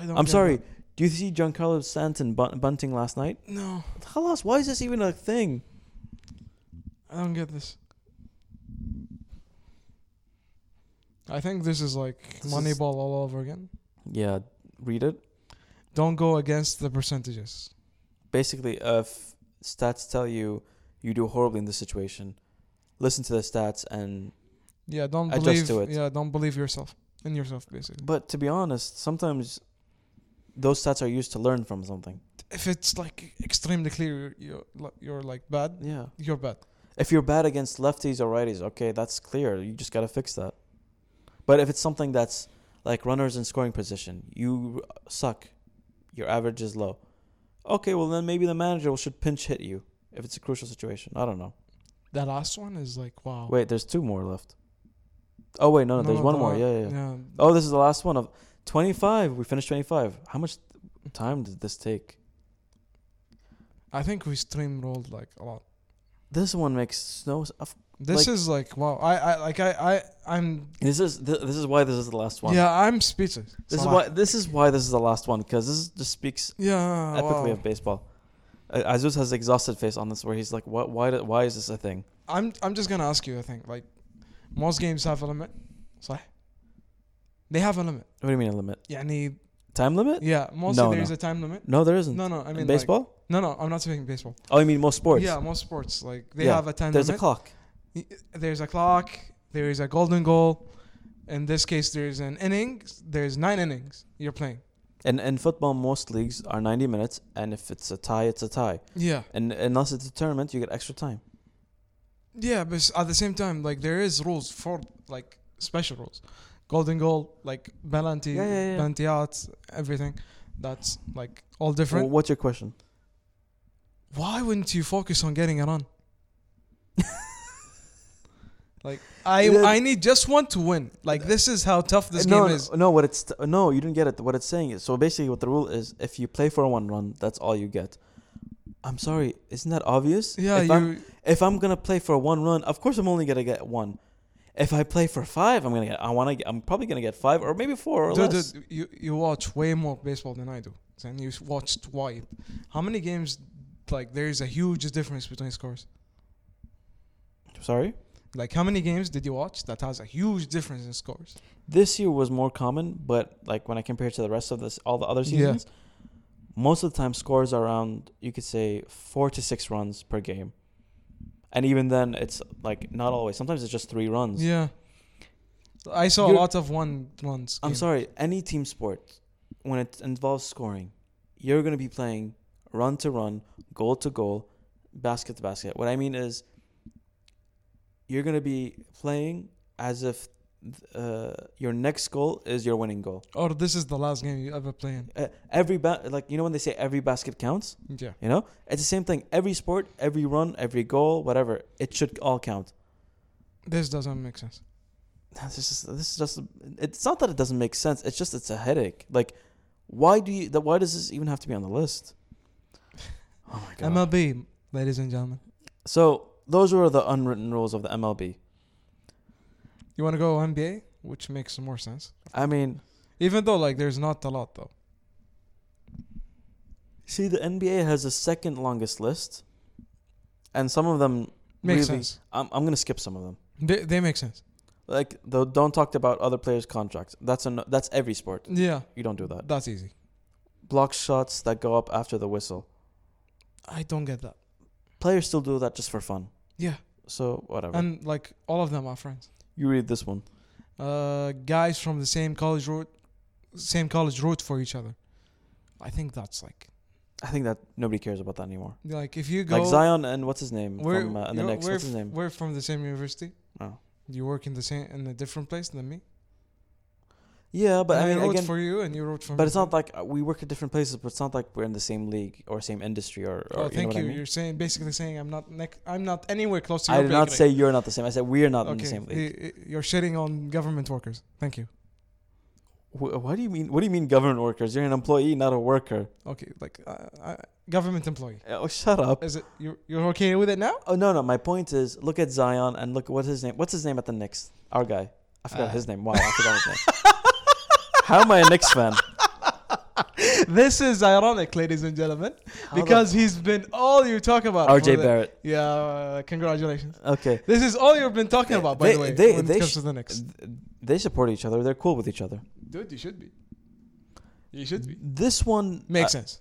[SPEAKER 2] I don't
[SPEAKER 1] I'm
[SPEAKER 2] get
[SPEAKER 1] sorry.
[SPEAKER 2] it.
[SPEAKER 1] Do you see Giancarlo Stanton bun- bunting last night?
[SPEAKER 2] No,
[SPEAKER 1] Halas, why is this even a thing?
[SPEAKER 2] I don't get this. I think this is like
[SPEAKER 1] This is-
[SPEAKER 2] Moneyball all over again.
[SPEAKER 1] Yeah, read it.
[SPEAKER 2] Don't go against the percentages.
[SPEAKER 1] Basically, uh, if stats tell you you do horribly in this situation, listen to the stats and.
[SPEAKER 2] Yeah, don't
[SPEAKER 1] Adjust
[SPEAKER 2] believe.
[SPEAKER 1] to it.
[SPEAKER 2] Yeah, don't believe yourself in yourself basically.
[SPEAKER 1] But to be honest, sometimes those stats are used to learn from something.
[SPEAKER 2] If it's like extremely clear, you're you're, you're like bad.
[SPEAKER 1] Yeah.
[SPEAKER 2] You're bad.
[SPEAKER 1] If you're bad against lefties or righties, okay, that's clear. You just got to fix that. But if it's something that's like runners in scoring position, you suck. Your average is low. Okay, well then maybe the manager will- should pinch hit you if it's a crucial situation. I don't know.
[SPEAKER 2] That last one is like wow.
[SPEAKER 1] Wait, there's two more left. Oh wait, no, no, there's one
[SPEAKER 2] the
[SPEAKER 1] more.
[SPEAKER 2] la-
[SPEAKER 1] Yeah, yeah, yeah. Oh, this is the last one of 25. We finished 25. How much time did this take?
[SPEAKER 2] I think we stream rolled like a lot.
[SPEAKER 1] This one makes no. s- of-
[SPEAKER 2] This
[SPEAKER 1] Like-
[SPEAKER 2] is like wow. I I like I I I'm
[SPEAKER 1] This is th- this is why this is the last one.
[SPEAKER 2] yeah I'm speechless.
[SPEAKER 1] This is
[SPEAKER 2] Salah.
[SPEAKER 1] why this is why this is the last one because this is, just speaks
[SPEAKER 2] Yeah.
[SPEAKER 1] epically
[SPEAKER 2] Oh, wow.
[SPEAKER 1] of baseball. Uh, Azuz has exhausted face on this, where he's like, "What? Why? do- Why is this a thing?"
[SPEAKER 2] I'm I'm just gonna ask you. I think like most games have a limit. صح? They have a limit.
[SPEAKER 1] What do you mean a limit?
[SPEAKER 2] يعني
[SPEAKER 1] Time limit?
[SPEAKER 2] yeah, mostly
[SPEAKER 1] No,
[SPEAKER 2] there
[SPEAKER 1] no.
[SPEAKER 2] is a time limit.
[SPEAKER 1] No, there isn't.
[SPEAKER 2] No, no, I
[SPEAKER 1] In
[SPEAKER 2] mean like-
[SPEAKER 1] baseball?
[SPEAKER 2] no, no, I'm not saying baseball.
[SPEAKER 1] oh, you mean most sports?
[SPEAKER 2] Yeah, most sports like they
[SPEAKER 1] Yeah,
[SPEAKER 2] have a time
[SPEAKER 1] There's a
[SPEAKER 2] limit.
[SPEAKER 1] clock.
[SPEAKER 2] there's a clock. There is a golden goal. In this case, there's an inning. There's nine innings you're playing.
[SPEAKER 1] And in football, most leagues are 90 minutes, and if it's a tie, it's a tie.
[SPEAKER 2] Yeah,
[SPEAKER 1] And unless it's a tournament, you get extra time.
[SPEAKER 2] yeah, but s- at the same time, like there is rules for like special rules, golden goal, like penalty,
[SPEAKER 1] Yeah, yeah, yeah.
[SPEAKER 2] penalty outs, everything. That's like all different.
[SPEAKER 1] Well, what's your question?
[SPEAKER 2] why wouldn't you focus on getting it on? like I
[SPEAKER 1] Yeah.
[SPEAKER 2] I need just one to win. Like this is how tough this
[SPEAKER 1] Uh, no,
[SPEAKER 2] game
[SPEAKER 1] no,
[SPEAKER 2] is.
[SPEAKER 1] no. What it's no, you didn't get it. What it's saying is so basically what the rule is: if you play for one run, that's all you get. I'm sorry, isn't that obvious?
[SPEAKER 2] Yeah,
[SPEAKER 1] If
[SPEAKER 2] you
[SPEAKER 1] I'm- if I'm gonna play for one run, of course I'm only gonna get one. If I play for five, I'm gonna get. I want to. I'm probably gonna get five or maybe four or
[SPEAKER 2] dude,
[SPEAKER 1] less.
[SPEAKER 2] dude, you you watch way more baseball than I do. And you watched wide. How many games like there's a huge difference between scores?
[SPEAKER 1] Sorry,
[SPEAKER 2] Like how many games did you watch that has a huge difference in scores?
[SPEAKER 1] this year was more common, but like when I compare it to the rest of this, all the other
[SPEAKER 2] Yeah.
[SPEAKER 1] seasons, most of the time scores are around you could say four to six runs per game, and even then, it's like not always. Sometimes it's just three runs.
[SPEAKER 2] Yeah. I saw
[SPEAKER 1] You're-
[SPEAKER 2] a lot of one ones.
[SPEAKER 1] I'm
[SPEAKER 2] games.
[SPEAKER 1] sorry, any team sport, when it involves scoring, you're going to be playing run to run, goal to goal, basket to basket. What I mean is, you're going to be playing as if uh, your next goal is your winning goal.
[SPEAKER 2] Or this is the last game you ever play in.
[SPEAKER 1] Uh, every ba- like you know when they say every basket counts,
[SPEAKER 2] Yeah.
[SPEAKER 1] you know it's the same thing. Every sport, every run, every goal, whatever, it should all count.
[SPEAKER 2] This doesn't make sense.
[SPEAKER 1] this is this is just it's not that it doesn't make sense it's just it's a headache like why do you that why does this even have to be on the list oh my god
[SPEAKER 2] MLB, ladies and gentlemen.
[SPEAKER 1] so those were the unwritten rules of the mlb
[SPEAKER 2] You want to go NBA, which makes more sense.
[SPEAKER 1] i mean
[SPEAKER 2] Even though like there's not a lot though.
[SPEAKER 1] see the nba has the second longest list and some of them
[SPEAKER 2] Makes
[SPEAKER 1] Really?
[SPEAKER 2] sense.
[SPEAKER 1] i'm, I'm gonna skip some of them
[SPEAKER 2] They, they make sense.
[SPEAKER 1] like the don't talk about other players contracts that's an that's every sport
[SPEAKER 2] Yeah,
[SPEAKER 1] you don't do that
[SPEAKER 2] that's easy.
[SPEAKER 1] block shots that go up after the whistle
[SPEAKER 2] I don't get that.
[SPEAKER 1] players still do that just for fun
[SPEAKER 2] Yeah,
[SPEAKER 1] so whatever
[SPEAKER 2] and like all of them are friends.
[SPEAKER 1] you read this one
[SPEAKER 2] Uh, guys from the same college road, same college road for each other. I think that's like
[SPEAKER 1] I think that nobody cares about that anymore.
[SPEAKER 2] like if you go.
[SPEAKER 1] Like Zion and what's his name
[SPEAKER 2] we're,
[SPEAKER 1] from uh, and the
[SPEAKER 2] you're-
[SPEAKER 1] next.
[SPEAKER 2] we're
[SPEAKER 1] What's his
[SPEAKER 2] f-
[SPEAKER 1] name?
[SPEAKER 2] We're from the same university.
[SPEAKER 1] Oh.
[SPEAKER 2] You work in the same in a different place than me.
[SPEAKER 1] Yeah, but
[SPEAKER 2] And
[SPEAKER 1] I mean
[SPEAKER 2] wrote
[SPEAKER 1] again,
[SPEAKER 2] for you and you wrote for me.
[SPEAKER 1] but it's not like uh, we work at different places, but it's not like we're in the same league or same industry or. or
[SPEAKER 2] Oh, thank
[SPEAKER 1] you.
[SPEAKER 2] you.
[SPEAKER 1] Know what I, mean?
[SPEAKER 2] You're saying basically saying I'm not nec- I'm not anywhere close to.
[SPEAKER 1] I
[SPEAKER 2] your
[SPEAKER 1] did not
[SPEAKER 2] bakery.
[SPEAKER 1] say you're not the same. I said we're not in the
[SPEAKER 2] Okay,
[SPEAKER 1] same league.
[SPEAKER 2] y- y- You're shitting on government workers. Thank you.
[SPEAKER 1] Wh- what do you mean? What do you mean, government workers? You're an employee, not a worker.
[SPEAKER 2] Okay, like uh, uh, government employee.
[SPEAKER 1] Oh, shut up.
[SPEAKER 2] Is it you're you're okay with it now?
[SPEAKER 1] Oh no, no. My point is, look at Zion and look at what's his name. What's his name at the Knicks? Our guy. I forgot
[SPEAKER 2] Uh.
[SPEAKER 1] his name. Wow, I forgot his name. How am I a Knicks fan?
[SPEAKER 2] This is ironic, ladies and gentlemen,
[SPEAKER 1] How the-
[SPEAKER 2] because uh, he's been all you talk about. for
[SPEAKER 1] R.J.
[SPEAKER 2] the-
[SPEAKER 1] Barrett.
[SPEAKER 2] Yeah, uh, congratulations.
[SPEAKER 1] Okay.
[SPEAKER 2] This is all you've been talking about, by
[SPEAKER 1] They-
[SPEAKER 2] the way.
[SPEAKER 1] they-
[SPEAKER 2] when
[SPEAKER 1] they
[SPEAKER 2] it comes
[SPEAKER 1] sh- uh,
[SPEAKER 2] to the next,
[SPEAKER 1] Th- They support each other. They're cool with each other.
[SPEAKER 2] dude, you should be. You should be.
[SPEAKER 1] This one
[SPEAKER 2] Makes
[SPEAKER 1] uh,
[SPEAKER 2] sense.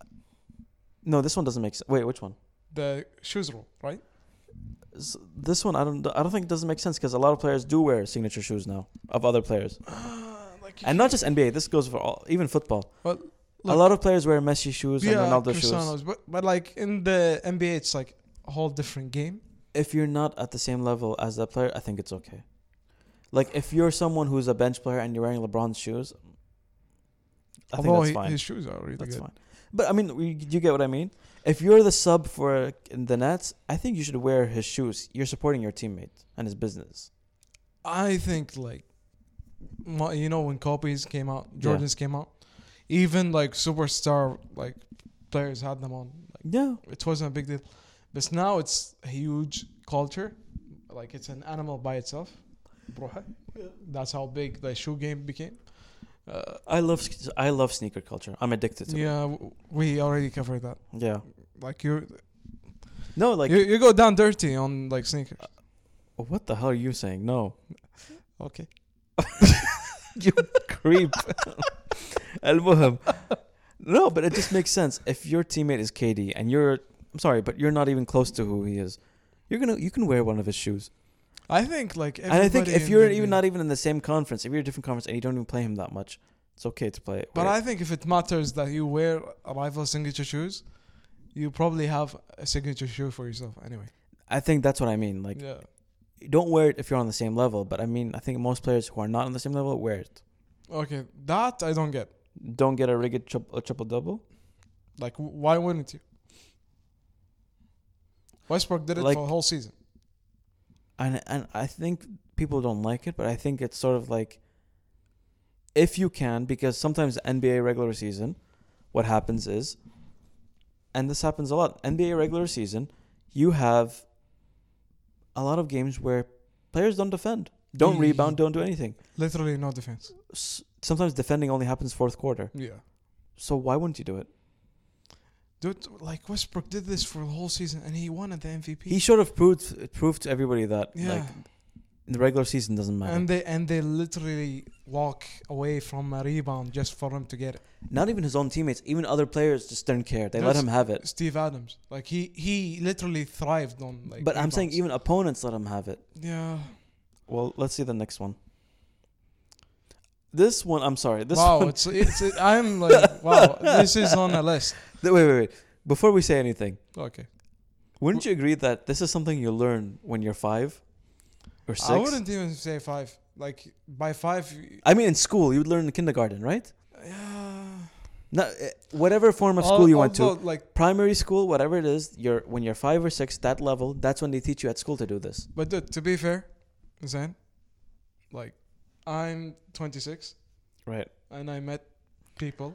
[SPEAKER 1] No, this one doesn't make sense. Wait, which one?
[SPEAKER 2] The shoes rule, right?
[SPEAKER 1] S- This one I don't. I don't think it doesn't make sense because a lot of players do wear signature shoes now of other players,
[SPEAKER 2] like
[SPEAKER 1] and not just NBA. This goes for all, even football.
[SPEAKER 2] Well,
[SPEAKER 1] a
[SPEAKER 2] look-
[SPEAKER 1] lot of players wear Messi shoes and Ronaldo shoes.
[SPEAKER 2] Cristiano's, but but like in the NBA, it's like a whole different game.
[SPEAKER 1] If you're not at the same level as that player, I think it's okay. Like if you're someone who's a bench player and you're wearing LeBron's shoes, I think
[SPEAKER 2] Although
[SPEAKER 1] that's
[SPEAKER 2] he-
[SPEAKER 1] fine.
[SPEAKER 2] his shoes are really
[SPEAKER 1] That's
[SPEAKER 2] good.
[SPEAKER 1] fine. But I mean, we- you get what I mean. If you're the sub for in the Nets, I think you should wear his shoes. You're supporting your teammate and his business.
[SPEAKER 2] I think like mo- you know when copies came out,
[SPEAKER 1] Yeah.
[SPEAKER 2] Jordans came out, even like superstar like players had them on. Like
[SPEAKER 1] Yeah,
[SPEAKER 2] it wasn't a big deal, but now it's a huge culture. Like it's an animal by itself. بروحه. That's how big the shoe game became. Uh,
[SPEAKER 1] I love s- I love sneaker culture. I'm addicted to it.
[SPEAKER 2] yeah, w- we already covered that.
[SPEAKER 1] Yeah.
[SPEAKER 2] Like you,
[SPEAKER 1] No, like Uh, oh,
[SPEAKER 2] you, you go down dirty on like sneakers.
[SPEAKER 1] what the hell are you saying? No,
[SPEAKER 2] Okay.
[SPEAKER 1] you creep. Al-Muhim. No, but it just makes sense. If your teammate is KD and you're, I'm sorry, but you're not even close to who he is. You're gonna you can wear one of his shoes.
[SPEAKER 2] I think like
[SPEAKER 1] and I think
[SPEAKER 2] everybody
[SPEAKER 1] if
[SPEAKER 2] in
[SPEAKER 1] you're
[SPEAKER 2] the
[SPEAKER 1] even
[SPEAKER 2] NBA
[SPEAKER 1] not even in the same conference, if you're a different conference and you don't even play him that much, it's okay to play.
[SPEAKER 2] But
[SPEAKER 1] wear-
[SPEAKER 2] I think if it matters that you wear a rival signature shoes, you probably have a signature shoe for yourself anyway.
[SPEAKER 1] I think that's what I mean. Like,
[SPEAKER 2] yeah.
[SPEAKER 1] don't wear it if you're on the same level. But I mean, I think most players who are not on the same level wear it.
[SPEAKER 2] Okay, that I don't get.
[SPEAKER 1] Don't get a rigged tri- a triple double.
[SPEAKER 2] Like, w- why wouldn't you? Westbrook did it
[SPEAKER 1] Like-
[SPEAKER 2] for a whole season.
[SPEAKER 1] And and I think people don't like it, but I think it's sort of like if you can, because sometimes NBA regular season, what happens is, and this happens a lot. NBA regular season, you have a lot of games where players don't defend, don't
[SPEAKER 2] Ye-
[SPEAKER 1] rebound, don't do anything.
[SPEAKER 2] Literally no defense.
[SPEAKER 1] S- sometimes defending only happens fourth quarter.
[SPEAKER 2] Yeah.
[SPEAKER 1] So why wouldn't you do it?
[SPEAKER 2] Dude, like Westbrook did this for the whole season and he won at the MVP.
[SPEAKER 1] He should have proved proved to everybody that
[SPEAKER 2] yeah.
[SPEAKER 1] like the regular season doesn't matter.
[SPEAKER 2] And they and they literally walk away from a rebound just for him to get it.
[SPEAKER 1] Not even his own teammates, even other players just didn't care. They let
[SPEAKER 2] That's-
[SPEAKER 1] him have it.
[SPEAKER 2] Steve Adams, like he he literally thrived on like.
[SPEAKER 1] But I'm saying
[SPEAKER 2] rebounds.
[SPEAKER 1] even opponents let him have it.
[SPEAKER 2] yeah.
[SPEAKER 1] Well, let's see the next one. This one, I'm sorry. This
[SPEAKER 2] wow,
[SPEAKER 1] one.
[SPEAKER 2] it's it's it, I'm like wow, this is on a list.
[SPEAKER 1] Wait, wait, wait. Before we say anything,
[SPEAKER 2] Okay,
[SPEAKER 1] wouldn't you agree that this is something you learn when you're five or six?
[SPEAKER 2] I wouldn't even say five. Like by five, you-
[SPEAKER 1] I mean, in school, you would learn in kindergarten, right?
[SPEAKER 2] yeah.
[SPEAKER 1] Not, eh, whatever form of
[SPEAKER 2] Al-
[SPEAKER 1] school you went to,
[SPEAKER 2] although, Like,
[SPEAKER 1] primary school, whatever it is, you're when you're five or six, that level, that's when they teach you at school to do this.
[SPEAKER 2] but dude, to be fair, Zan, like, I'm 26
[SPEAKER 1] Right.
[SPEAKER 2] and I met people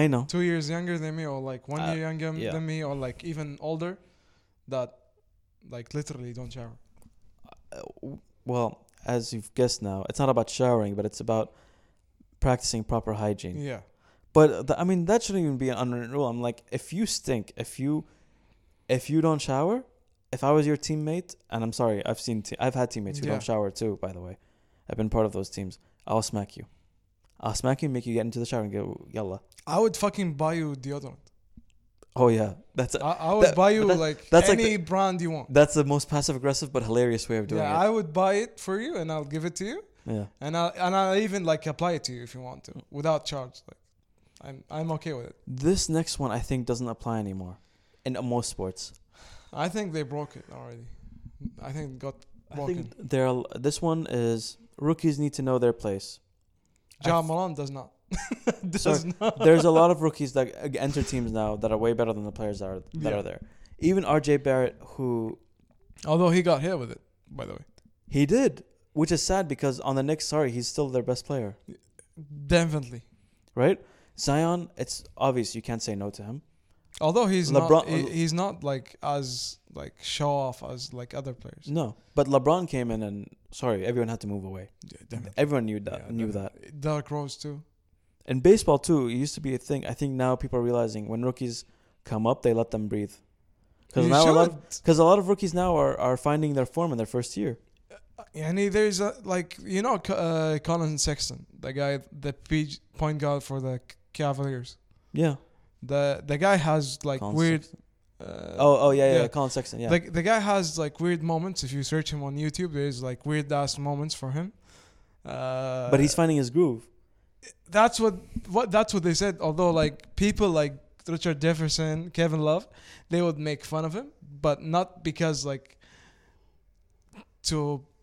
[SPEAKER 1] I know.
[SPEAKER 2] two years younger than me, or like one
[SPEAKER 1] Uh,
[SPEAKER 2] year younger
[SPEAKER 1] yeah.
[SPEAKER 2] than me, or like even older, that like literally don't shower.
[SPEAKER 1] Uh, w- well, as you've guessed now, it's not about showering, but it's about practicing proper hygiene.
[SPEAKER 2] Yeah,
[SPEAKER 1] But th- I mean, that shouldn't even be an unwritten rule. I'm like, if you stink, if you, if you don't shower, if I was your teammate, and I'm sorry, I've seen, te- I've had teammates who
[SPEAKER 2] Yeah.
[SPEAKER 1] don't shower too. By the way, I've been part of those teams. I'll smack you. I'll smack you, and make you get into the shower and go yalla.
[SPEAKER 2] I would fucking buy you deodorant.
[SPEAKER 1] Oh yeah, that's
[SPEAKER 2] I, I would
[SPEAKER 1] That-
[SPEAKER 2] buy you
[SPEAKER 1] but that-
[SPEAKER 2] like
[SPEAKER 1] that's like
[SPEAKER 2] any brand you want.
[SPEAKER 1] that's the most passive aggressive but hilarious way of doing
[SPEAKER 2] Yeah,
[SPEAKER 1] it.
[SPEAKER 2] I would buy it for you, and I'll give it to you,
[SPEAKER 1] yeah.
[SPEAKER 2] and I and I'll even like apply it to you if you want to, without charge. Like, I'm I'm okay with it.
[SPEAKER 1] This next one I think doesn't apply anymore, in uh, most sports.
[SPEAKER 2] I think they broke it already. I think it got
[SPEAKER 1] I
[SPEAKER 2] broken.
[SPEAKER 1] think there. are- This one is rookies need to know their place. I
[SPEAKER 2] Ja
[SPEAKER 1] th-
[SPEAKER 2] Moran does not. does
[SPEAKER 1] Sorry,
[SPEAKER 2] not.
[SPEAKER 1] There's a lot of rookies that uh, enter teams now that are way better than the players that are that
[SPEAKER 2] Yeah.
[SPEAKER 1] are there. Even R.J. Barrett, who
[SPEAKER 2] Although he got hit with it, by the way.
[SPEAKER 1] he did, which is sad because on the Knicks, sorry, he's still their best player,
[SPEAKER 2] Definitely.
[SPEAKER 1] right? Zion, it's obvious you can't say no to him.
[SPEAKER 2] Although he's
[SPEAKER 1] LeBron-
[SPEAKER 2] not, he- he's not like as like show off as like other players.
[SPEAKER 1] No, but LeBron came in and sorry, everyone had to move away.
[SPEAKER 2] Yeah, definitely.
[SPEAKER 1] Everyone knew that.
[SPEAKER 2] Yeah,
[SPEAKER 1] knew that.
[SPEAKER 2] definitely. Derrick Rose too.
[SPEAKER 1] In baseball too, it used to be a thing. I think now people are realizing when rookies come up, they let them breathe. Because
[SPEAKER 2] You
[SPEAKER 1] now a lot,
[SPEAKER 2] should.
[SPEAKER 1] because a lot of rookies now are, are finding their form in their first year.
[SPEAKER 2] Yani, there's a like you know Co- uh, Colin Sexton, the guy, the PG, point guard for the Cavaliers.
[SPEAKER 1] Yeah.
[SPEAKER 2] The the guy has like
[SPEAKER 1] Colin
[SPEAKER 2] weird.
[SPEAKER 1] Sexton.
[SPEAKER 2] Uh,
[SPEAKER 1] Oh, oh yeah, yeah,
[SPEAKER 2] yeah.
[SPEAKER 1] yeah, Colin Sexton. Yeah.
[SPEAKER 2] The the guy has like weird moments. If you search him on YouTube, there's like weird ass moments for him. Uh,
[SPEAKER 1] but he's finding his groove.
[SPEAKER 2] that's what what that's what they said. Although like people like Richard Jefferson, Kevin Love, they would make fun of him, but not because like to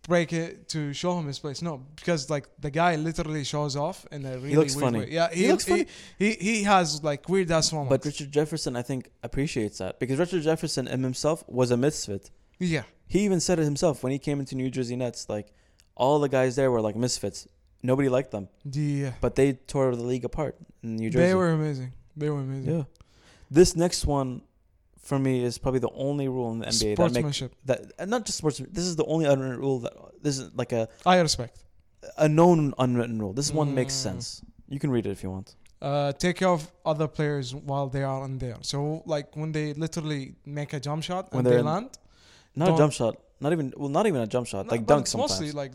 [SPEAKER 2] break it to show him his place. No, because like the guy literally shows off in a really
[SPEAKER 1] looks
[SPEAKER 2] weird
[SPEAKER 1] funny.
[SPEAKER 2] way. Yeah,
[SPEAKER 1] He looks funny.
[SPEAKER 2] He, he he has like weird ass moments.
[SPEAKER 1] But Richard Jefferson, I think, appreciates that because Richard Jefferson in himself was a misfit.
[SPEAKER 2] yeah,
[SPEAKER 1] He even said it himself when he came into New Jersey Nets. Like, all the guys there were like misfits. Nobody liked them,
[SPEAKER 2] the
[SPEAKER 1] but they tore the league apart in New Jersey.
[SPEAKER 2] they were amazing. They were amazing.
[SPEAKER 1] Yeah. This next one for me is probably the only rule in the NBA that makes
[SPEAKER 2] Sportsmanship,
[SPEAKER 1] that and not just sports. This is the only unwritten rule that this is like a
[SPEAKER 2] I respect.
[SPEAKER 1] a known unwritten rule. This one makes
[SPEAKER 2] Mm.
[SPEAKER 1] sense. You can read it if you want.
[SPEAKER 2] uh, take care of other players while they are in there. So like when they literally make a jump shot
[SPEAKER 1] When
[SPEAKER 2] and
[SPEAKER 1] they're
[SPEAKER 2] they
[SPEAKER 1] in-
[SPEAKER 2] land,
[SPEAKER 1] Not a
[SPEAKER 2] Don't-
[SPEAKER 1] jump shot. Not even well, not even a jump shot.
[SPEAKER 2] no,
[SPEAKER 1] like
[SPEAKER 2] but
[SPEAKER 1] dunks
[SPEAKER 2] it's
[SPEAKER 1] sometimes,
[SPEAKER 2] Mostly like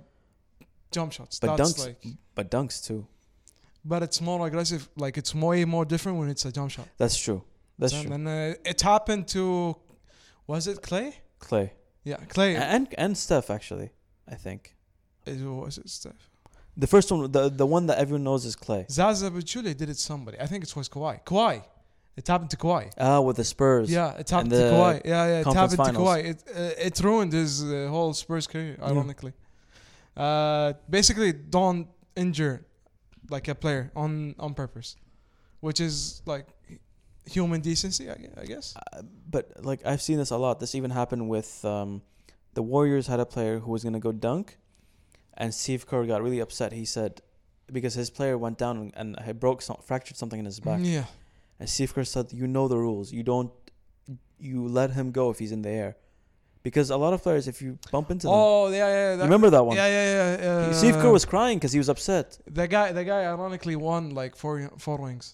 [SPEAKER 2] jump shots.
[SPEAKER 1] But
[SPEAKER 2] That's
[SPEAKER 1] dunks-
[SPEAKER 2] like,
[SPEAKER 1] but dunks too.
[SPEAKER 2] but it's more aggressive. Like it's way more different when it's a jump shot.
[SPEAKER 1] That's true. That's
[SPEAKER 2] and
[SPEAKER 1] true.
[SPEAKER 2] uh, it happened to, was it Clay?
[SPEAKER 1] Clay
[SPEAKER 2] Yeah, Clay.
[SPEAKER 1] A- and and Steph actually, I think
[SPEAKER 2] Is- was it Steph?
[SPEAKER 1] the first one, the the one that everyone knows is Clay.
[SPEAKER 2] Zaza Pachulia did it. to Somebody. I think it was Kawhi. Kawhi. It happened to Kawhi.
[SPEAKER 1] Ah, with the Spurs.
[SPEAKER 2] Yeah, it happened to
[SPEAKER 1] the
[SPEAKER 2] Kawhi. Yeah, yeah, it
[SPEAKER 1] conference
[SPEAKER 2] happened to
[SPEAKER 1] finals.
[SPEAKER 2] Kawhi. It uh, it ruined his uh, whole Spurs career,
[SPEAKER 1] Yeah.
[SPEAKER 2] ironically. Uh, basically, don't injure like a player on on purpose, which is like human decency, I gue- I guess.
[SPEAKER 1] Uh, but like I've seen this a lot. This even happened with um, the Warriors had a player who was gonna go dunk, and Steve Kerr got really upset. He said because his player went down and, and had broke some, fractured something in his back,
[SPEAKER 2] Yeah,
[SPEAKER 1] and Steve Kerr said, "You know the rules. You don't you let him go if he's in the air, because a lot of players if you bump into them,
[SPEAKER 2] Oh, yeah, yeah.
[SPEAKER 1] you remember that one?
[SPEAKER 2] Yeah, yeah, yeah. Uh,
[SPEAKER 1] Steve Kerr was crying because he was upset.
[SPEAKER 2] the guy. The guy ironically won like four four rings.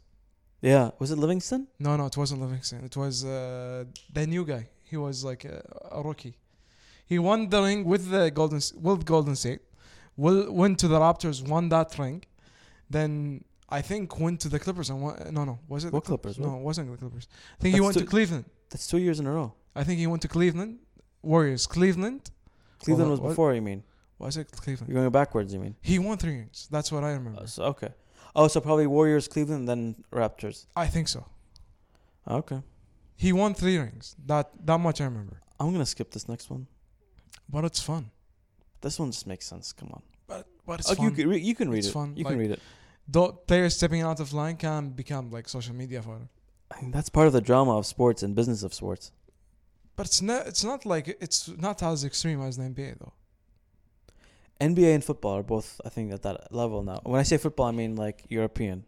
[SPEAKER 1] Yeah, was it Livingston?
[SPEAKER 2] No, no, it wasn't Livingston. It was uh, the new guy. He was like a, a rookie. He won the ring with the Golden S- with Golden State. Will went to the Raptors, won that ring. Then I think went to the Clippers and won, no no was it the
[SPEAKER 1] What Clippers?
[SPEAKER 2] No,
[SPEAKER 1] What?
[SPEAKER 2] it wasn't the Clippers. I think he
[SPEAKER 1] That's
[SPEAKER 2] went to
[SPEAKER 1] two-
[SPEAKER 2] Cleveland.
[SPEAKER 1] That's two years in a row.
[SPEAKER 2] I think he went to Cleveland Warriors. Cleveland
[SPEAKER 1] Cleveland was
[SPEAKER 2] what-
[SPEAKER 1] before. You mean
[SPEAKER 2] was it Cleveland?
[SPEAKER 1] you're going backwards? You mean
[SPEAKER 2] He won three rings. That's what I remember.
[SPEAKER 1] Uh, so, okay? Oh, so probably Warriors, Cleveland, then Raptors. Ah,
[SPEAKER 2] I think so.
[SPEAKER 1] Okay,
[SPEAKER 2] He won three rings. That that much I remember.
[SPEAKER 1] I'm gonna skip this next one.
[SPEAKER 2] But it's fun.
[SPEAKER 1] This one just makes sense. Come on,
[SPEAKER 2] But but it's
[SPEAKER 1] oh, you
[SPEAKER 2] fun.
[SPEAKER 1] can re- you can read
[SPEAKER 2] It's
[SPEAKER 1] it.
[SPEAKER 2] fun,
[SPEAKER 1] You
[SPEAKER 2] like-
[SPEAKER 1] can read it.
[SPEAKER 2] Though players stepping out of line can become like social media fodder.
[SPEAKER 1] I mean, that's part of the drama of sports and business of sports.
[SPEAKER 2] But it's not it's not like it's not as extreme as the NBA though.
[SPEAKER 1] NBA and football are both, I think, at that level now. When I say football, I mean like European.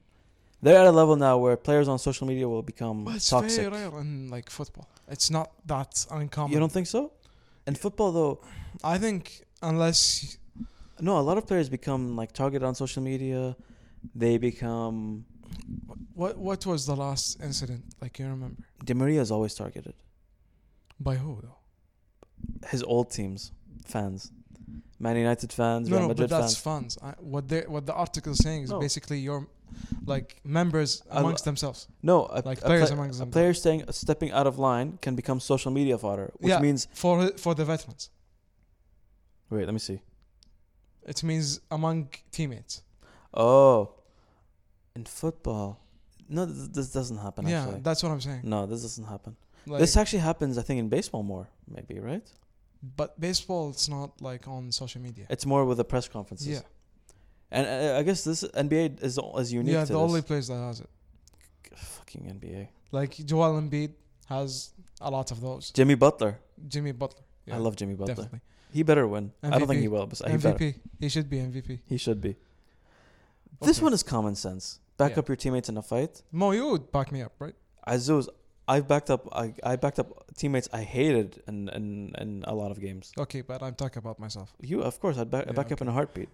[SPEAKER 1] They're at a level now where players on social media will become
[SPEAKER 2] But it's
[SPEAKER 1] toxic.
[SPEAKER 2] very rare in like football. It's not that uncommon.
[SPEAKER 1] You don't think so? In football, though,
[SPEAKER 2] I think unless
[SPEAKER 1] no, a lot of players become like targeted on social media. They become.
[SPEAKER 2] what what was the last incident like you remember?
[SPEAKER 1] Di Maria is always targeted.
[SPEAKER 2] By who though?
[SPEAKER 1] His old teams, fans, Man United fans,
[SPEAKER 2] No,
[SPEAKER 1] Real
[SPEAKER 2] no, but
[SPEAKER 1] Madrid
[SPEAKER 2] that's
[SPEAKER 1] fans.
[SPEAKER 2] fans. I, what they what the article is saying is
[SPEAKER 1] No.
[SPEAKER 2] basically your like members
[SPEAKER 1] I-
[SPEAKER 2] amongst themselves.
[SPEAKER 1] No, a,
[SPEAKER 2] Like
[SPEAKER 1] a,
[SPEAKER 2] players
[SPEAKER 1] pla-
[SPEAKER 2] amongst
[SPEAKER 1] a
[SPEAKER 2] them.
[SPEAKER 1] player staying, stepping out of line can become social media fodder, which
[SPEAKER 2] Yeah.
[SPEAKER 1] means
[SPEAKER 2] For for the veterans.
[SPEAKER 1] wait, let me see.
[SPEAKER 2] It means among teammates.
[SPEAKER 1] Oh, in football, no, this, this doesn't happen.
[SPEAKER 2] yeah,
[SPEAKER 1] actually.
[SPEAKER 2] that's what I'm saying.
[SPEAKER 1] no, this doesn't happen.
[SPEAKER 2] Like,
[SPEAKER 1] this actually happens, I think, in baseball more, maybe, right?
[SPEAKER 2] but baseball, it's not like on social media.
[SPEAKER 1] It's more with the press conferences.
[SPEAKER 2] Yeah,
[SPEAKER 1] and uh, I guess this NBA is is unique.
[SPEAKER 2] yeah,
[SPEAKER 1] to
[SPEAKER 2] the
[SPEAKER 1] this.
[SPEAKER 2] only place that has it.
[SPEAKER 1] fucking NBA.
[SPEAKER 2] Like Joel Embiid has a lot of those.
[SPEAKER 1] Jimmy Butler,
[SPEAKER 2] Jimmy Butler.
[SPEAKER 1] I
[SPEAKER 2] Yeah,
[SPEAKER 1] love Jimmy Butler.
[SPEAKER 2] definitely
[SPEAKER 1] He better win. I don't think
[SPEAKER 2] MVP.
[SPEAKER 1] he will, but he better.
[SPEAKER 2] MVP. He should be MVP.
[SPEAKER 1] He should be. This
[SPEAKER 2] Okay.
[SPEAKER 1] one is common sense. Back
[SPEAKER 2] Yeah.
[SPEAKER 1] up your teammates in a fight.
[SPEAKER 2] Mo, you would back me up, right?
[SPEAKER 1] Azuz, I've backed up. I, I backed up teammates I hated in, in in a lot of games.
[SPEAKER 2] Okay, but I'm talking about myself.
[SPEAKER 1] You, of course, I'd back,
[SPEAKER 2] Yeah,
[SPEAKER 1] back up in a heartbeat.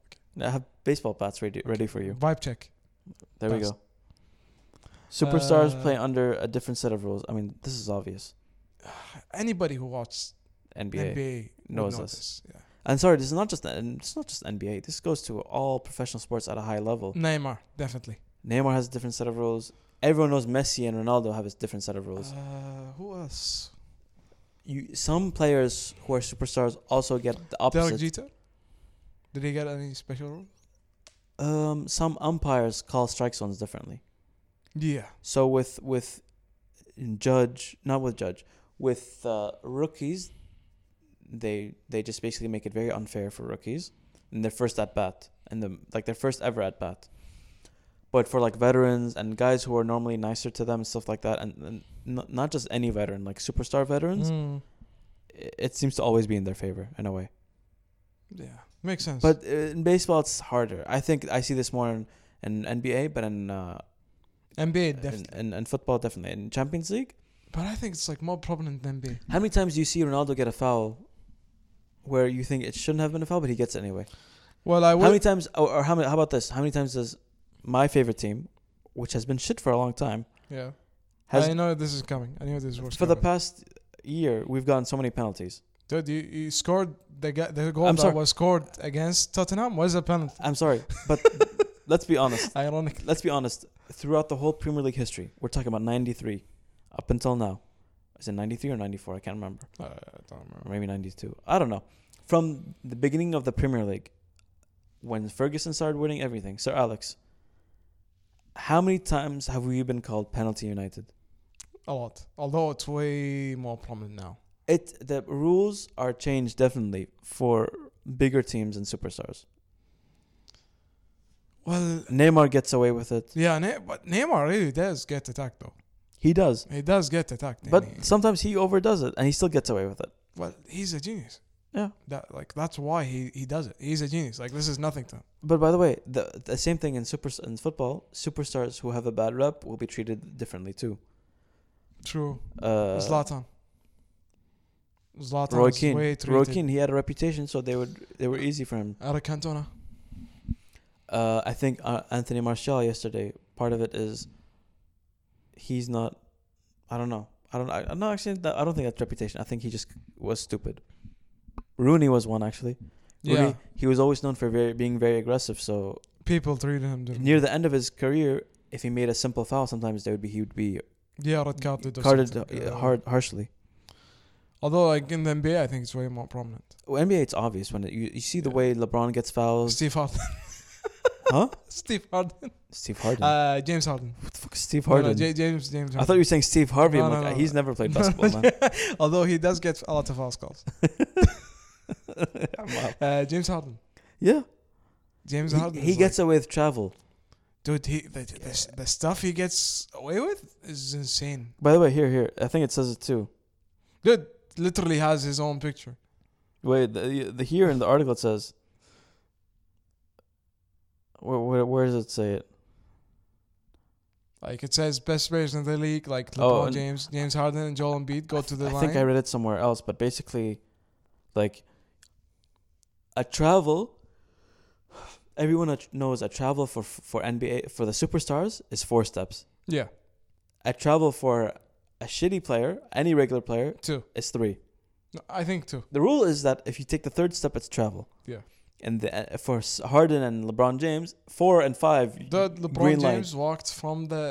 [SPEAKER 2] Okay.
[SPEAKER 1] I have baseball bats ready, ready for you.
[SPEAKER 2] Vibe check.
[SPEAKER 1] There we go.
[SPEAKER 2] Best.
[SPEAKER 1] Superstars
[SPEAKER 2] Uh,
[SPEAKER 1] play under a different set of rules. I mean, this is obvious.
[SPEAKER 2] Anybody who watched
[SPEAKER 1] NBA.
[SPEAKER 2] NBA, would
[SPEAKER 1] knows
[SPEAKER 2] know
[SPEAKER 1] us.
[SPEAKER 2] this. Yeah.
[SPEAKER 1] And sorry, this is not just and it's not just NBA. This goes to all professional sports at a high level.
[SPEAKER 2] Neymar, definitely.
[SPEAKER 1] Neymar has a different set of rules. Everyone knows Messi and Ronaldo have a different set of
[SPEAKER 2] Uh,
[SPEAKER 1] rules.
[SPEAKER 2] who else?
[SPEAKER 1] You, some players who are superstars also get the
[SPEAKER 2] Derek
[SPEAKER 1] opposite.
[SPEAKER 2] Jeter. Did he get any special role?
[SPEAKER 1] Um, some umpires call strike zones differently.
[SPEAKER 2] Yeah.
[SPEAKER 1] So with with judge, not with judge, with uh, rookies, they they just basically make it very unfair for rookies in their first at bat and the like their first ever at bat. But for like veterans and guys who are normally nicer to them and stuff like that, and, and n- not just any veteran, like superstar veterans,
[SPEAKER 2] Mm,
[SPEAKER 1] i it seems to always be in their favor in a way.
[SPEAKER 2] yeah. Makes sense.
[SPEAKER 1] But uh, in baseball, it's harder. I think I see this more in, in NBA, but in, uh,
[SPEAKER 2] NBA,
[SPEAKER 1] in,
[SPEAKER 2] definitely.
[SPEAKER 1] in in football, definitely in Champions League.
[SPEAKER 2] But I think it's like more prominent than NBA.
[SPEAKER 1] How many times do you see Ronaldo get a foul where you think it shouldn't have been a foul, but he gets it anyway?
[SPEAKER 2] Well, I
[SPEAKER 1] how
[SPEAKER 2] would.
[SPEAKER 1] many times, or, or how, many, how about this? How many times does my favorite team, which has been shit for a long time,
[SPEAKER 2] yeah.
[SPEAKER 1] has
[SPEAKER 2] I know this is coming. I knew this was
[SPEAKER 1] for the
[SPEAKER 2] coming.
[SPEAKER 1] past year, we've gotten so many penalties?
[SPEAKER 2] Dude, you, you scored the ga- the goal
[SPEAKER 1] I'm
[SPEAKER 2] that
[SPEAKER 1] sorry.
[SPEAKER 2] was scored against Tottenham was a penalty.
[SPEAKER 1] I'm sorry, but let's be honest.
[SPEAKER 2] Ironically,
[SPEAKER 1] Let's be honest. Throughout the whole Premier League history, we're talking about 93 up until now. Is it 93 or 94? I can't remember.
[SPEAKER 2] Uh, I don't remember.
[SPEAKER 1] or maybe 92. I don't know. From the beginning of the Premier League, when Ferguson started winning everything, Sir Alex, how many times have we been called penalty united?
[SPEAKER 2] a lot. Although it's way more prominent now.
[SPEAKER 1] It the rules are changed definitely for bigger teams and superstars.
[SPEAKER 2] Well,
[SPEAKER 1] Neymar gets away with it.
[SPEAKER 2] yeah, ne- but Neymar really does get attacked though.
[SPEAKER 1] He does.
[SPEAKER 2] He does get attacked.
[SPEAKER 1] But
[SPEAKER 2] and he-
[SPEAKER 1] sometimes he overdoes it and he still gets away with it.
[SPEAKER 2] well, he's a genius.
[SPEAKER 1] Yeah.
[SPEAKER 2] That like that's why he he does it. He's a genius. Like this is nothing to him.
[SPEAKER 1] But by the way, the the same thing in super in football, superstars who have a bad rep will be treated differently too.
[SPEAKER 2] True.
[SPEAKER 1] Uh,
[SPEAKER 2] Zlatan. Zlatan
[SPEAKER 1] Roy
[SPEAKER 2] is
[SPEAKER 1] Keane.
[SPEAKER 2] way
[SPEAKER 1] Roy
[SPEAKER 2] treated.
[SPEAKER 1] Keane, he had a reputation, so they would they were easy for him.
[SPEAKER 2] Eric Cantona.
[SPEAKER 1] Uh, I think uh, Anthony Martial yesterday. Part of it is he's not. I don't know. I don't. I, no, actually, that, I don't think that's reputation. I think he just was stupid. Rooney was one actually. Rooney,
[SPEAKER 2] Yeah,
[SPEAKER 1] he was always known for very, being very aggressive. So
[SPEAKER 2] people treated him differently.
[SPEAKER 1] near the end of his career, if he made a simple foul, sometimes there would be he would be
[SPEAKER 2] yeah, red carded. or
[SPEAKER 1] carded
[SPEAKER 2] something,
[SPEAKER 1] uh,
[SPEAKER 2] yeah.
[SPEAKER 1] hard harshly.
[SPEAKER 2] Although, like in the NBA, I think it's way more prominent.
[SPEAKER 1] Well, NBA, it's obvious when it, you you see the
[SPEAKER 2] Yeah.
[SPEAKER 1] way LeBron gets fouls.
[SPEAKER 2] Steve Harden.
[SPEAKER 1] Huh?
[SPEAKER 2] Steve Harden.
[SPEAKER 1] Steve Harden.
[SPEAKER 2] Uh, James Harden.
[SPEAKER 1] what the fuck is Steve
[SPEAKER 2] No, no,
[SPEAKER 1] Harden?
[SPEAKER 2] J- James James. Harden.
[SPEAKER 1] I thought you were saying Steve Harvey.
[SPEAKER 2] No,
[SPEAKER 1] I'm
[SPEAKER 2] no,
[SPEAKER 1] like,
[SPEAKER 2] no,
[SPEAKER 1] he's
[SPEAKER 2] no.
[SPEAKER 1] never played basketball, man.
[SPEAKER 2] Although he does get a lot of house calls.
[SPEAKER 1] Wow.
[SPEAKER 2] Uh, James Harden.
[SPEAKER 1] Yeah,
[SPEAKER 2] James
[SPEAKER 1] he,
[SPEAKER 2] Harden.
[SPEAKER 1] he
[SPEAKER 2] is
[SPEAKER 1] gets away with travel.
[SPEAKER 2] like, dude. He the, the, the, the stuff he gets away with is insane.
[SPEAKER 1] By the way, here, here, I think it says it too.
[SPEAKER 2] Dude literally has his own picture.
[SPEAKER 1] Wait, the, the here in the article it says. Where, where where does it say it?
[SPEAKER 2] Like it says best players in the league, like LeBron
[SPEAKER 1] Oh, and-
[SPEAKER 2] James, James Harden, and Joel Embiid go to the
[SPEAKER 1] I
[SPEAKER 2] line.
[SPEAKER 1] think I read it somewhere else, but basically, like a travel. Everyone at- knows a travel for for NBA for the superstars is four steps.
[SPEAKER 2] yeah,
[SPEAKER 1] A travel for a shitty player, any regular player,
[SPEAKER 2] two.
[SPEAKER 1] is three.
[SPEAKER 2] No, I think two.
[SPEAKER 1] The rule is that if you take the third step, it's travel.
[SPEAKER 2] Yeah.
[SPEAKER 1] And the, uh, for S- Harden and LeBron James, four and five.
[SPEAKER 2] The
[SPEAKER 1] y-
[SPEAKER 2] LeBron
[SPEAKER 1] green light.
[SPEAKER 2] James walked from the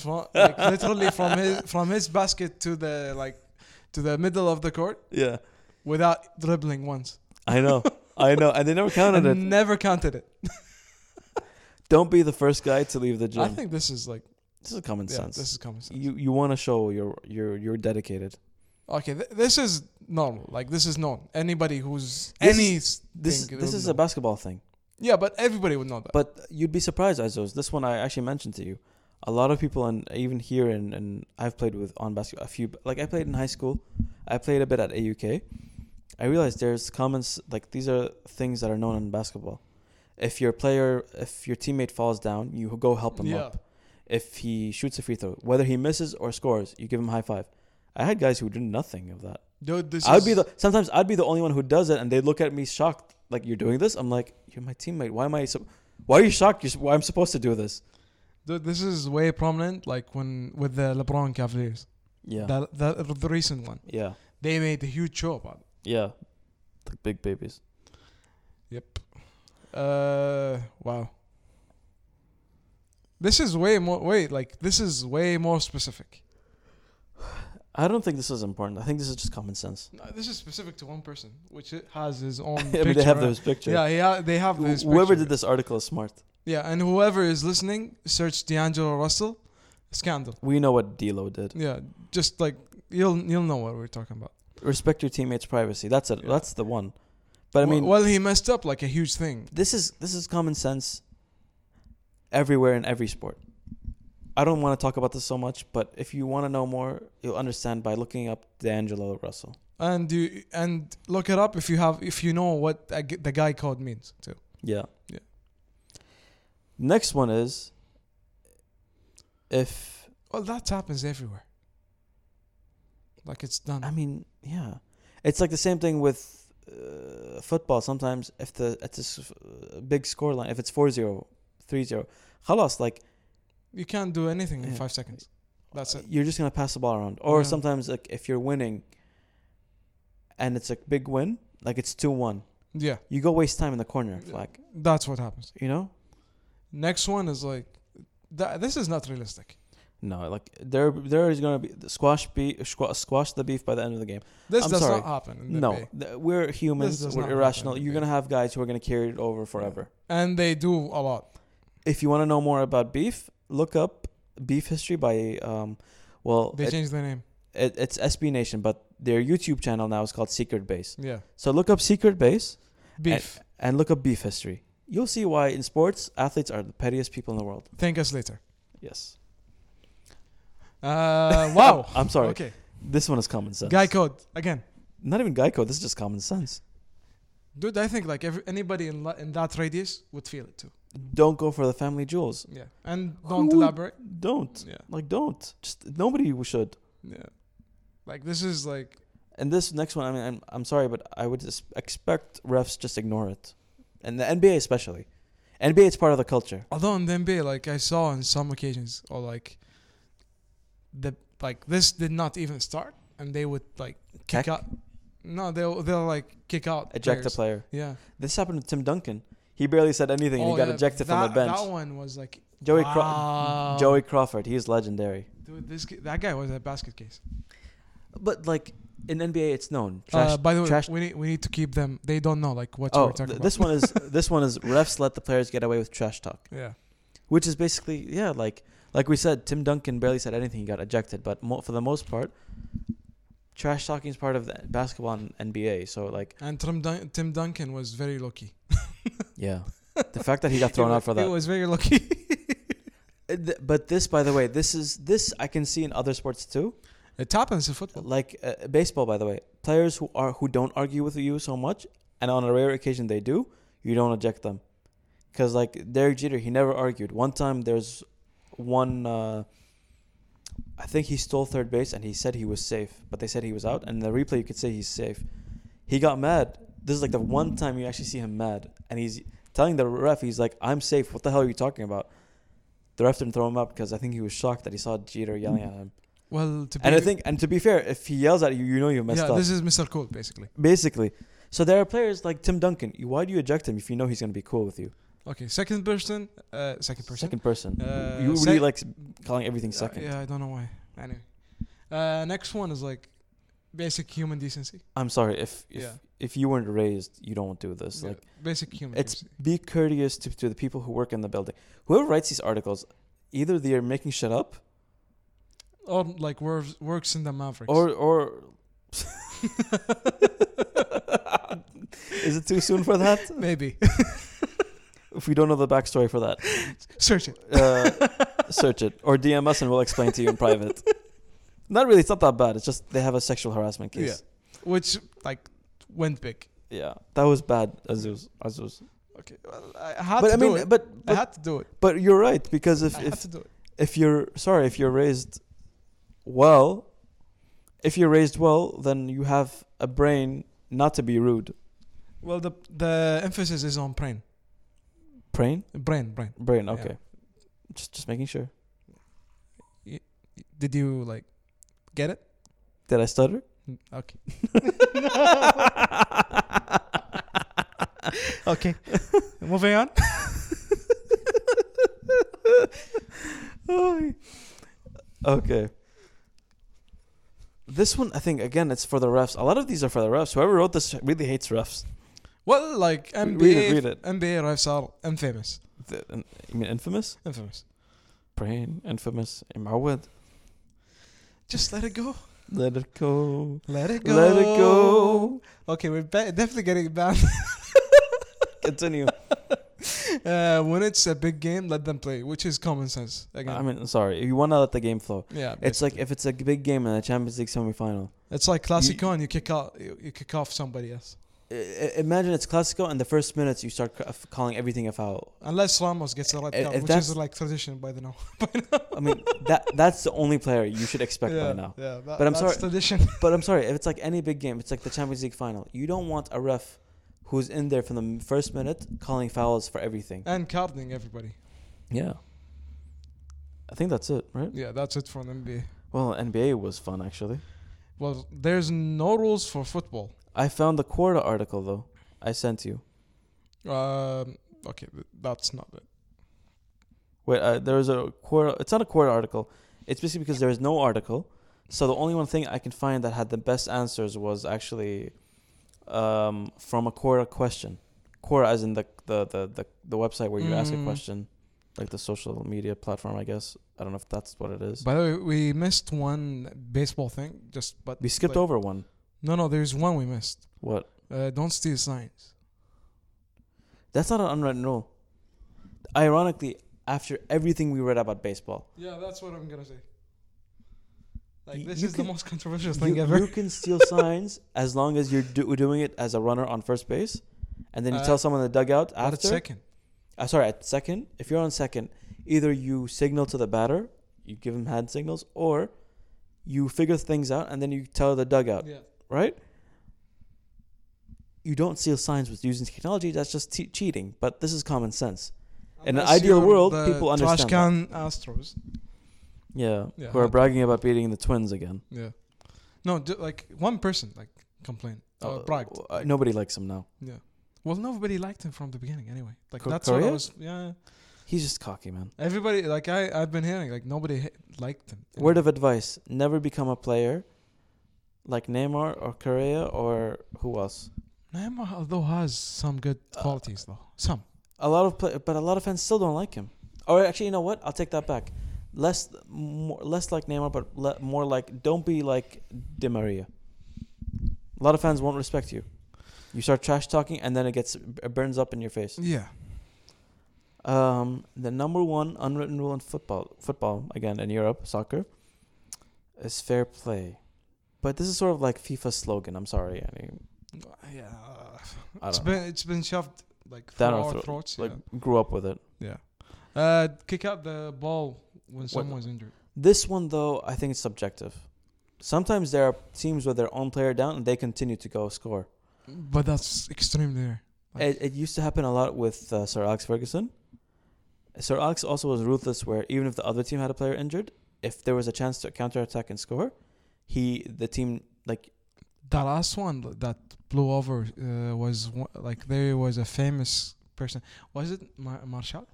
[SPEAKER 2] from like literally from his from his basket to the like to the middle of the court
[SPEAKER 1] Yeah,
[SPEAKER 2] without dribbling once.
[SPEAKER 1] I know, I know, and they never counted
[SPEAKER 2] and
[SPEAKER 1] it.
[SPEAKER 2] never counted it.
[SPEAKER 1] Don't be the first guy to leave the gym.
[SPEAKER 2] I think this is like
[SPEAKER 1] this is common
[SPEAKER 2] yeah,
[SPEAKER 1] sense.
[SPEAKER 2] this is common sense.
[SPEAKER 1] you you want to show you're you're you're dedicated.
[SPEAKER 2] okay, th- this is normal. Like this is known. Anybody who's
[SPEAKER 1] This
[SPEAKER 2] any
[SPEAKER 1] This
[SPEAKER 2] thing
[SPEAKER 1] this
[SPEAKER 2] would
[SPEAKER 1] is
[SPEAKER 2] know.
[SPEAKER 1] a basketball thing,
[SPEAKER 2] yeah, but everybody would know that.
[SPEAKER 1] but you'd be surprised, Izos. This one I actually mentioned to you. A lot of people, and even here, and and I've played with on basketball. A few, like I played in high school, I played a bit at AUK. I realized there's comments like these are things that are known in basketball. If your player, if your teammate falls down, you go help him
[SPEAKER 2] yeah,
[SPEAKER 1] up. If he shoots a free throw, whether he misses or scores, you give him high five. I had guys who did nothing of that.
[SPEAKER 2] dude, this
[SPEAKER 1] I'd
[SPEAKER 2] is,
[SPEAKER 1] be the sometimes I'd be the only one who does it, and they look at me shocked, like you're doing this. I'm like, you're my teammate. Why am I so? Why are you shocked? You're, s- why I'm supposed to do this?
[SPEAKER 2] dude, this is way prominent. Like when with the LeBron Cavaliers,
[SPEAKER 1] Yeah,
[SPEAKER 2] the, the the recent one,
[SPEAKER 1] yeah,
[SPEAKER 2] they made a huge show about it.
[SPEAKER 1] yeah. The big babies.
[SPEAKER 2] Yep. Uh, wow. This is way more. Wait, like this is way more specific.
[SPEAKER 1] I don't think this is important. I think this is just common sense.
[SPEAKER 2] No, this is specific to one person, which it has his own.
[SPEAKER 1] I
[SPEAKER 2] picture.
[SPEAKER 1] mean, they have those pictures.
[SPEAKER 2] Yeah, yeah, they have this.
[SPEAKER 1] Whoever
[SPEAKER 2] picture.
[SPEAKER 1] did this article is smart.
[SPEAKER 2] Yeah, and whoever is listening, search D'Angelo Russell, scandal.
[SPEAKER 1] We know what D'Lo did.
[SPEAKER 2] Yeah, just like you'll you'll know what we're talking about.
[SPEAKER 1] Respect your teammates' privacy. That's it.
[SPEAKER 2] Yeah.
[SPEAKER 1] That's the one. But I mean,
[SPEAKER 2] well, he messed up like a huge thing.
[SPEAKER 1] this is this is common sense everywhere in every sport. I don't want to talk about this so much, but if you want to know more, you'll understand by looking up D'Angelo Russell.
[SPEAKER 2] And you and look it up if you have if you know what a g- the guy code means too.
[SPEAKER 1] Yeah.
[SPEAKER 2] Yeah.
[SPEAKER 1] Next one is if
[SPEAKER 2] Well, that happens everywhere. Like it's done.
[SPEAKER 1] I mean, yeah. It's like the same thing with uh, football sometimes if the it's a s- uh, big scoreline if it's 4-0, 3-0, خلاص like
[SPEAKER 2] you can't do anything in
[SPEAKER 1] Yeah.
[SPEAKER 2] five seconds. That's it.
[SPEAKER 1] Uh, You're just gonna pass the ball around, or
[SPEAKER 2] Yeah.
[SPEAKER 1] sometimes like if you're winning, and it's a big win, like it's two one,
[SPEAKER 2] Yeah,
[SPEAKER 1] you go waste time in the corner flag.
[SPEAKER 2] that's what happens.
[SPEAKER 1] You know,
[SPEAKER 2] Next one is like, that, this is not realistic.
[SPEAKER 1] no, like there there is gonna be the squash be squa- squash the beef by the end of the game.
[SPEAKER 2] This
[SPEAKER 1] I'm
[SPEAKER 2] does
[SPEAKER 1] sorry.
[SPEAKER 2] not happen. In the
[SPEAKER 1] No,
[SPEAKER 2] NBA.
[SPEAKER 1] th- we're humans,
[SPEAKER 2] does
[SPEAKER 1] we're
[SPEAKER 2] not happen
[SPEAKER 1] irrational.
[SPEAKER 2] in the
[SPEAKER 1] You're gonna
[SPEAKER 2] game.
[SPEAKER 1] have guys who are gonna carry it over forever.
[SPEAKER 2] and they do a lot.
[SPEAKER 1] If you want to know more about beef, look up beef history by um, well,
[SPEAKER 2] They
[SPEAKER 1] it,
[SPEAKER 2] changed the name.
[SPEAKER 1] it, it's SB Nation, but their YouTube channel now is called Secret Base.
[SPEAKER 2] Yeah,
[SPEAKER 1] So look up Secret Base.
[SPEAKER 2] beef.
[SPEAKER 1] and look up beef history. You'll see why in sports athletes are the pettiest people in the world.
[SPEAKER 2] Thank us later.
[SPEAKER 1] Yes.
[SPEAKER 2] Uh, wow.
[SPEAKER 1] I'm sorry.
[SPEAKER 2] Okay.
[SPEAKER 1] This one is common sense.
[SPEAKER 2] Guy code again,
[SPEAKER 1] Not even Geico. This is just common sense.
[SPEAKER 2] dude. I think like every, anybody in la- in that radius would feel it too.
[SPEAKER 1] Don't go for the family jewels.
[SPEAKER 2] Yeah, and don't
[SPEAKER 1] Who would-
[SPEAKER 2] elaborate.
[SPEAKER 1] Don't.
[SPEAKER 2] Yeah,
[SPEAKER 1] Like don't. Just nobody should.
[SPEAKER 2] yeah. Like this is like
[SPEAKER 1] And this next one, I mean, I'm, I'm sorry, but I would just expect refs just ignore it, and the NBA especially. NBA, it's part of the culture.
[SPEAKER 2] Although in the NBA, like I saw on some occasions, or like the like this did not even start, and they would like kick
[SPEAKER 1] Tech?
[SPEAKER 2] out. No, they'll they'll like kick out.
[SPEAKER 1] Eject a
[SPEAKER 2] players.
[SPEAKER 1] player.
[SPEAKER 2] Yeah.
[SPEAKER 1] This happened to Tim Duncan. He barely said anything and
[SPEAKER 2] Oh,
[SPEAKER 1] he got
[SPEAKER 2] yeah,
[SPEAKER 1] ejected
[SPEAKER 2] that,
[SPEAKER 1] from the bench.
[SPEAKER 2] That one was like
[SPEAKER 1] Joey
[SPEAKER 2] wow.
[SPEAKER 1] Cro- Joey Crawford, he's legendary.
[SPEAKER 2] Dude, this ki- that guy was a basket case.
[SPEAKER 1] But like in NBA, it's known. Trash,
[SPEAKER 2] uh, by the way,
[SPEAKER 1] trash-
[SPEAKER 2] we need we need to keep them. They don't know like what
[SPEAKER 1] oh,
[SPEAKER 2] we're talking
[SPEAKER 1] th-
[SPEAKER 2] about.
[SPEAKER 1] this one is this one is refs let the players get away with trash talk,
[SPEAKER 2] Yeah.
[SPEAKER 1] which is basically yeah, like like we said, Tim Duncan barely said anything. He got ejected, but mo- for the most part, trash talking is part of the basketball and NBA. So like
[SPEAKER 2] And Tim, Dun- Tim Duncan was very lucky.
[SPEAKER 1] yeah, the fact that he got thrown
[SPEAKER 2] He
[SPEAKER 1] out for
[SPEAKER 2] wa-
[SPEAKER 1] that.
[SPEAKER 2] He was very lucky.
[SPEAKER 1] Uh, th- But this, by the way, this is this I can see in other sports too.
[SPEAKER 2] it happens in football.
[SPEAKER 1] like uh, baseball by the way players who are who don't argue with you so much and on a rare occasion they do you don't eject them because like derek jeter he never argued one time there's one uh, i think he stole third base and he said he was safe but they said he was out and the replay you could say he's safe he got mad this is like the one time you actually see him mad and he's telling the ref he's like i'm safe what the hell are you talking about the ref didn't throw him up because i think he was shocked that he saw jeter yelling at him
[SPEAKER 2] Well, to be
[SPEAKER 1] and I think, and to be fair, if he yells at you, you know you messed
[SPEAKER 2] yeah,
[SPEAKER 1] up.
[SPEAKER 2] this is Mr. Cool basically.
[SPEAKER 1] basically, so there are players like Tim Duncan. You- Why do you eject him if you know he's going to be cool with you?
[SPEAKER 2] Okay, second person, uh, second person.
[SPEAKER 1] Second person.
[SPEAKER 2] Uh,
[SPEAKER 1] you really
[SPEAKER 2] sec-
[SPEAKER 1] like s- calling everything
[SPEAKER 2] Uh,
[SPEAKER 1] second.
[SPEAKER 2] yeah, I don't know why. Anyway, uh, next one is like basic human decency.
[SPEAKER 1] I'm sorry if if,
[SPEAKER 2] Yeah.
[SPEAKER 1] if you weren't raised, you don't do this.
[SPEAKER 2] Yeah,
[SPEAKER 1] Like,
[SPEAKER 2] basic human.
[SPEAKER 1] it's
[SPEAKER 2] decency.
[SPEAKER 1] be courteous to, to the people who work in the building. Whoever writes these articles, either they are making shit up
[SPEAKER 2] or like works works in the Mavericks.
[SPEAKER 1] or or. Is it too soon for that?
[SPEAKER 2] maybe
[SPEAKER 1] If we don't know the backstory for that.
[SPEAKER 2] search it.
[SPEAKER 1] uh, search it or DM us and we'll explain to you in private. Not really. It's not that bad. It's just they have a sexual harassment case.
[SPEAKER 2] Which like went big.
[SPEAKER 1] Yeah, that was bad, Azuz. Azuz.
[SPEAKER 2] Okay, well, I had
[SPEAKER 1] But
[SPEAKER 2] to
[SPEAKER 1] I
[SPEAKER 2] do
[SPEAKER 1] mean,
[SPEAKER 2] it.
[SPEAKER 1] but
[SPEAKER 2] I
[SPEAKER 1] but,
[SPEAKER 2] had to do it.
[SPEAKER 1] but you're right because if
[SPEAKER 2] I had
[SPEAKER 1] if
[SPEAKER 2] to do it.
[SPEAKER 1] if you're sorry if you're raised well, if you're raised well, then you have a brain not to be rude.
[SPEAKER 2] Well, the the emphasis is on brain,
[SPEAKER 1] Brain,
[SPEAKER 2] brain, brain.
[SPEAKER 1] brain.
[SPEAKER 2] Yeah.
[SPEAKER 1] Okay, just just making sure.
[SPEAKER 2] Did you like get it?
[SPEAKER 1] Did I stutter?
[SPEAKER 2] Okay.
[SPEAKER 1] okay.
[SPEAKER 2] Moving on.
[SPEAKER 1] okay. This one, I think, again, it's for the refs. A lot of these are for the refs. Whoever wrote this really hates refs.
[SPEAKER 2] Well, like
[SPEAKER 1] Read it,
[SPEAKER 2] NBA,
[SPEAKER 1] read it.
[SPEAKER 2] NBA refs are infamous,
[SPEAKER 1] The- in- You mean infamous?
[SPEAKER 2] infamous.
[SPEAKER 1] Brain, infamous, Imawad.
[SPEAKER 2] Just let it go.
[SPEAKER 1] Let it go.
[SPEAKER 2] Let it go.
[SPEAKER 1] Let it go.
[SPEAKER 2] Okay, we're ba- definitely getting banned.
[SPEAKER 1] Continue.
[SPEAKER 2] Uh, when it's a big game, let them play, which is common sense. Again,
[SPEAKER 1] I mean, sorry. You want to let the game flow.
[SPEAKER 2] yeah,
[SPEAKER 1] It's like if it's a big game in a Champions League semifinal.
[SPEAKER 2] it's like classic on. You kick out, you, you kick off somebody else,
[SPEAKER 1] I- I- Imagine it's Clasico, and the first minutes you start ca- calling everything a foul.
[SPEAKER 2] unless Ramos gets a red
[SPEAKER 1] If-
[SPEAKER 2] card,
[SPEAKER 1] if
[SPEAKER 2] which
[SPEAKER 1] that's-
[SPEAKER 2] is like tradition by the now.
[SPEAKER 1] I mean, that that's the only player you should expect
[SPEAKER 2] yeah,
[SPEAKER 1] by now.
[SPEAKER 2] yeah, that-
[SPEAKER 1] But I'm
[SPEAKER 2] that's
[SPEAKER 1] sorry-
[SPEAKER 2] tradition.
[SPEAKER 1] But I'm sorry, if it's like any big game, it's like the Champions League final. You don't want a ref who's in there from the m- first minute calling fouls for everything.
[SPEAKER 2] and carding everybody.
[SPEAKER 1] Yeah. I think that's it, right?
[SPEAKER 2] Yeah, that's it from NBA.
[SPEAKER 1] Well, NBA was fun actually.
[SPEAKER 2] Well, there's no rules for football.
[SPEAKER 1] I found the Quora article though. I sent you.
[SPEAKER 2] Um, okay, th- that's not it.
[SPEAKER 1] Wait, uh, there was a Quora. It's not a Quora article. It's basically because there is no article. So the only one thing I can find that had the best answers was actually um, from a Quora question. Quora, as in the the the the, the website where you ask a
[SPEAKER 2] Mm.
[SPEAKER 1] question, like the social media platform. I guess I don't know if that's what it is.
[SPEAKER 2] By the way, we missed one baseball thing. Just but
[SPEAKER 1] we skipped
[SPEAKER 2] like-
[SPEAKER 1] over one.
[SPEAKER 2] No, no, there's one we missed.
[SPEAKER 1] What?
[SPEAKER 2] Uh, don't steal signs.
[SPEAKER 1] That's not an unwritten rule. Ironically, after everything we read about baseball,
[SPEAKER 2] Yeah, that's what I'm gonna say.
[SPEAKER 1] Y-
[SPEAKER 2] Like this
[SPEAKER 1] you
[SPEAKER 2] is
[SPEAKER 1] can-
[SPEAKER 2] the most controversial
[SPEAKER 1] you,
[SPEAKER 2] thing ever.
[SPEAKER 1] you can steal signs as long as you're do- doing it as a runner on first base, and then you
[SPEAKER 2] Uh,
[SPEAKER 1] tell someone in the dugout
[SPEAKER 2] But it's
[SPEAKER 1] after.
[SPEAKER 2] second.
[SPEAKER 1] Uh, sorry, at second. If you're on second, either you signal to the batter, you give him hand signals, or you figure things out and then you tell the dugout,
[SPEAKER 2] Yeah.
[SPEAKER 1] right? You don't steal signs with using technology. That's just te- cheating. But this is common sense. In an
[SPEAKER 2] Unless
[SPEAKER 1] ideal
[SPEAKER 2] you're
[SPEAKER 1] world,
[SPEAKER 2] the
[SPEAKER 1] people
[SPEAKER 2] trash
[SPEAKER 1] understand
[SPEAKER 2] can Astros.
[SPEAKER 1] Yeah,
[SPEAKER 2] Yeah,
[SPEAKER 1] who are
[SPEAKER 2] not-
[SPEAKER 1] bragging about beating the Twins again.
[SPEAKER 2] Yeah. No, d- like one person like complained. Uh,
[SPEAKER 1] Uh,
[SPEAKER 2] Prague.
[SPEAKER 1] uh, nobody likes him now.
[SPEAKER 2] Yeah. Well, nobody liked him from the beginning anyway. Like
[SPEAKER 1] Co-
[SPEAKER 2] that's what I
[SPEAKER 1] Korea?
[SPEAKER 2] was. Yeah.
[SPEAKER 1] He's just cocky, man.
[SPEAKER 2] Everybody like I I've been hearing like nobody ha- liked him.
[SPEAKER 1] Word of advice: never become a player like Neymar or Correa or who else.
[SPEAKER 2] Neymar although has some good
[SPEAKER 1] Uh,
[SPEAKER 2] qualities though. Some.
[SPEAKER 1] A lot of play- but a lot of fans still don't like him. Or actually, you know what? I'll take that back. Less, more, less like Neymar, but le- more like don't be like Di Maria. A lot of fans won't respect you. You start trash talking, and then it gets it burns up in your face.
[SPEAKER 2] Yeah.
[SPEAKER 1] Um, the number one unwritten rule in football, football again in Europe, soccer, is fair play. But this is sort of like FIFA's slogan. I'm sorry, I mean,
[SPEAKER 2] Yeah. uh,
[SPEAKER 1] I
[SPEAKER 2] It's
[SPEAKER 1] don't know.
[SPEAKER 2] been it's been shoved like
[SPEAKER 1] Down
[SPEAKER 2] through
[SPEAKER 1] our
[SPEAKER 2] our
[SPEAKER 1] throat,
[SPEAKER 2] throats.
[SPEAKER 1] like grew up with it.
[SPEAKER 2] yeah. Yeah. Uh, kick out the ball when someone's injured.
[SPEAKER 1] This one though, I think it's subjective. Sometimes there are teams with their own player down and they continue to go score.
[SPEAKER 2] But that's extremely rare. Like-
[SPEAKER 1] It, it used to happen a lot with uh, Sir Alex Ferguson. Sir Alex also was ruthless, where even if the other team had a player injured, if there was a chance to counter attack and score, he the team like
[SPEAKER 2] The last one th- that blew over uh, was one, like there was a famous person. Was it Mar- Marshall?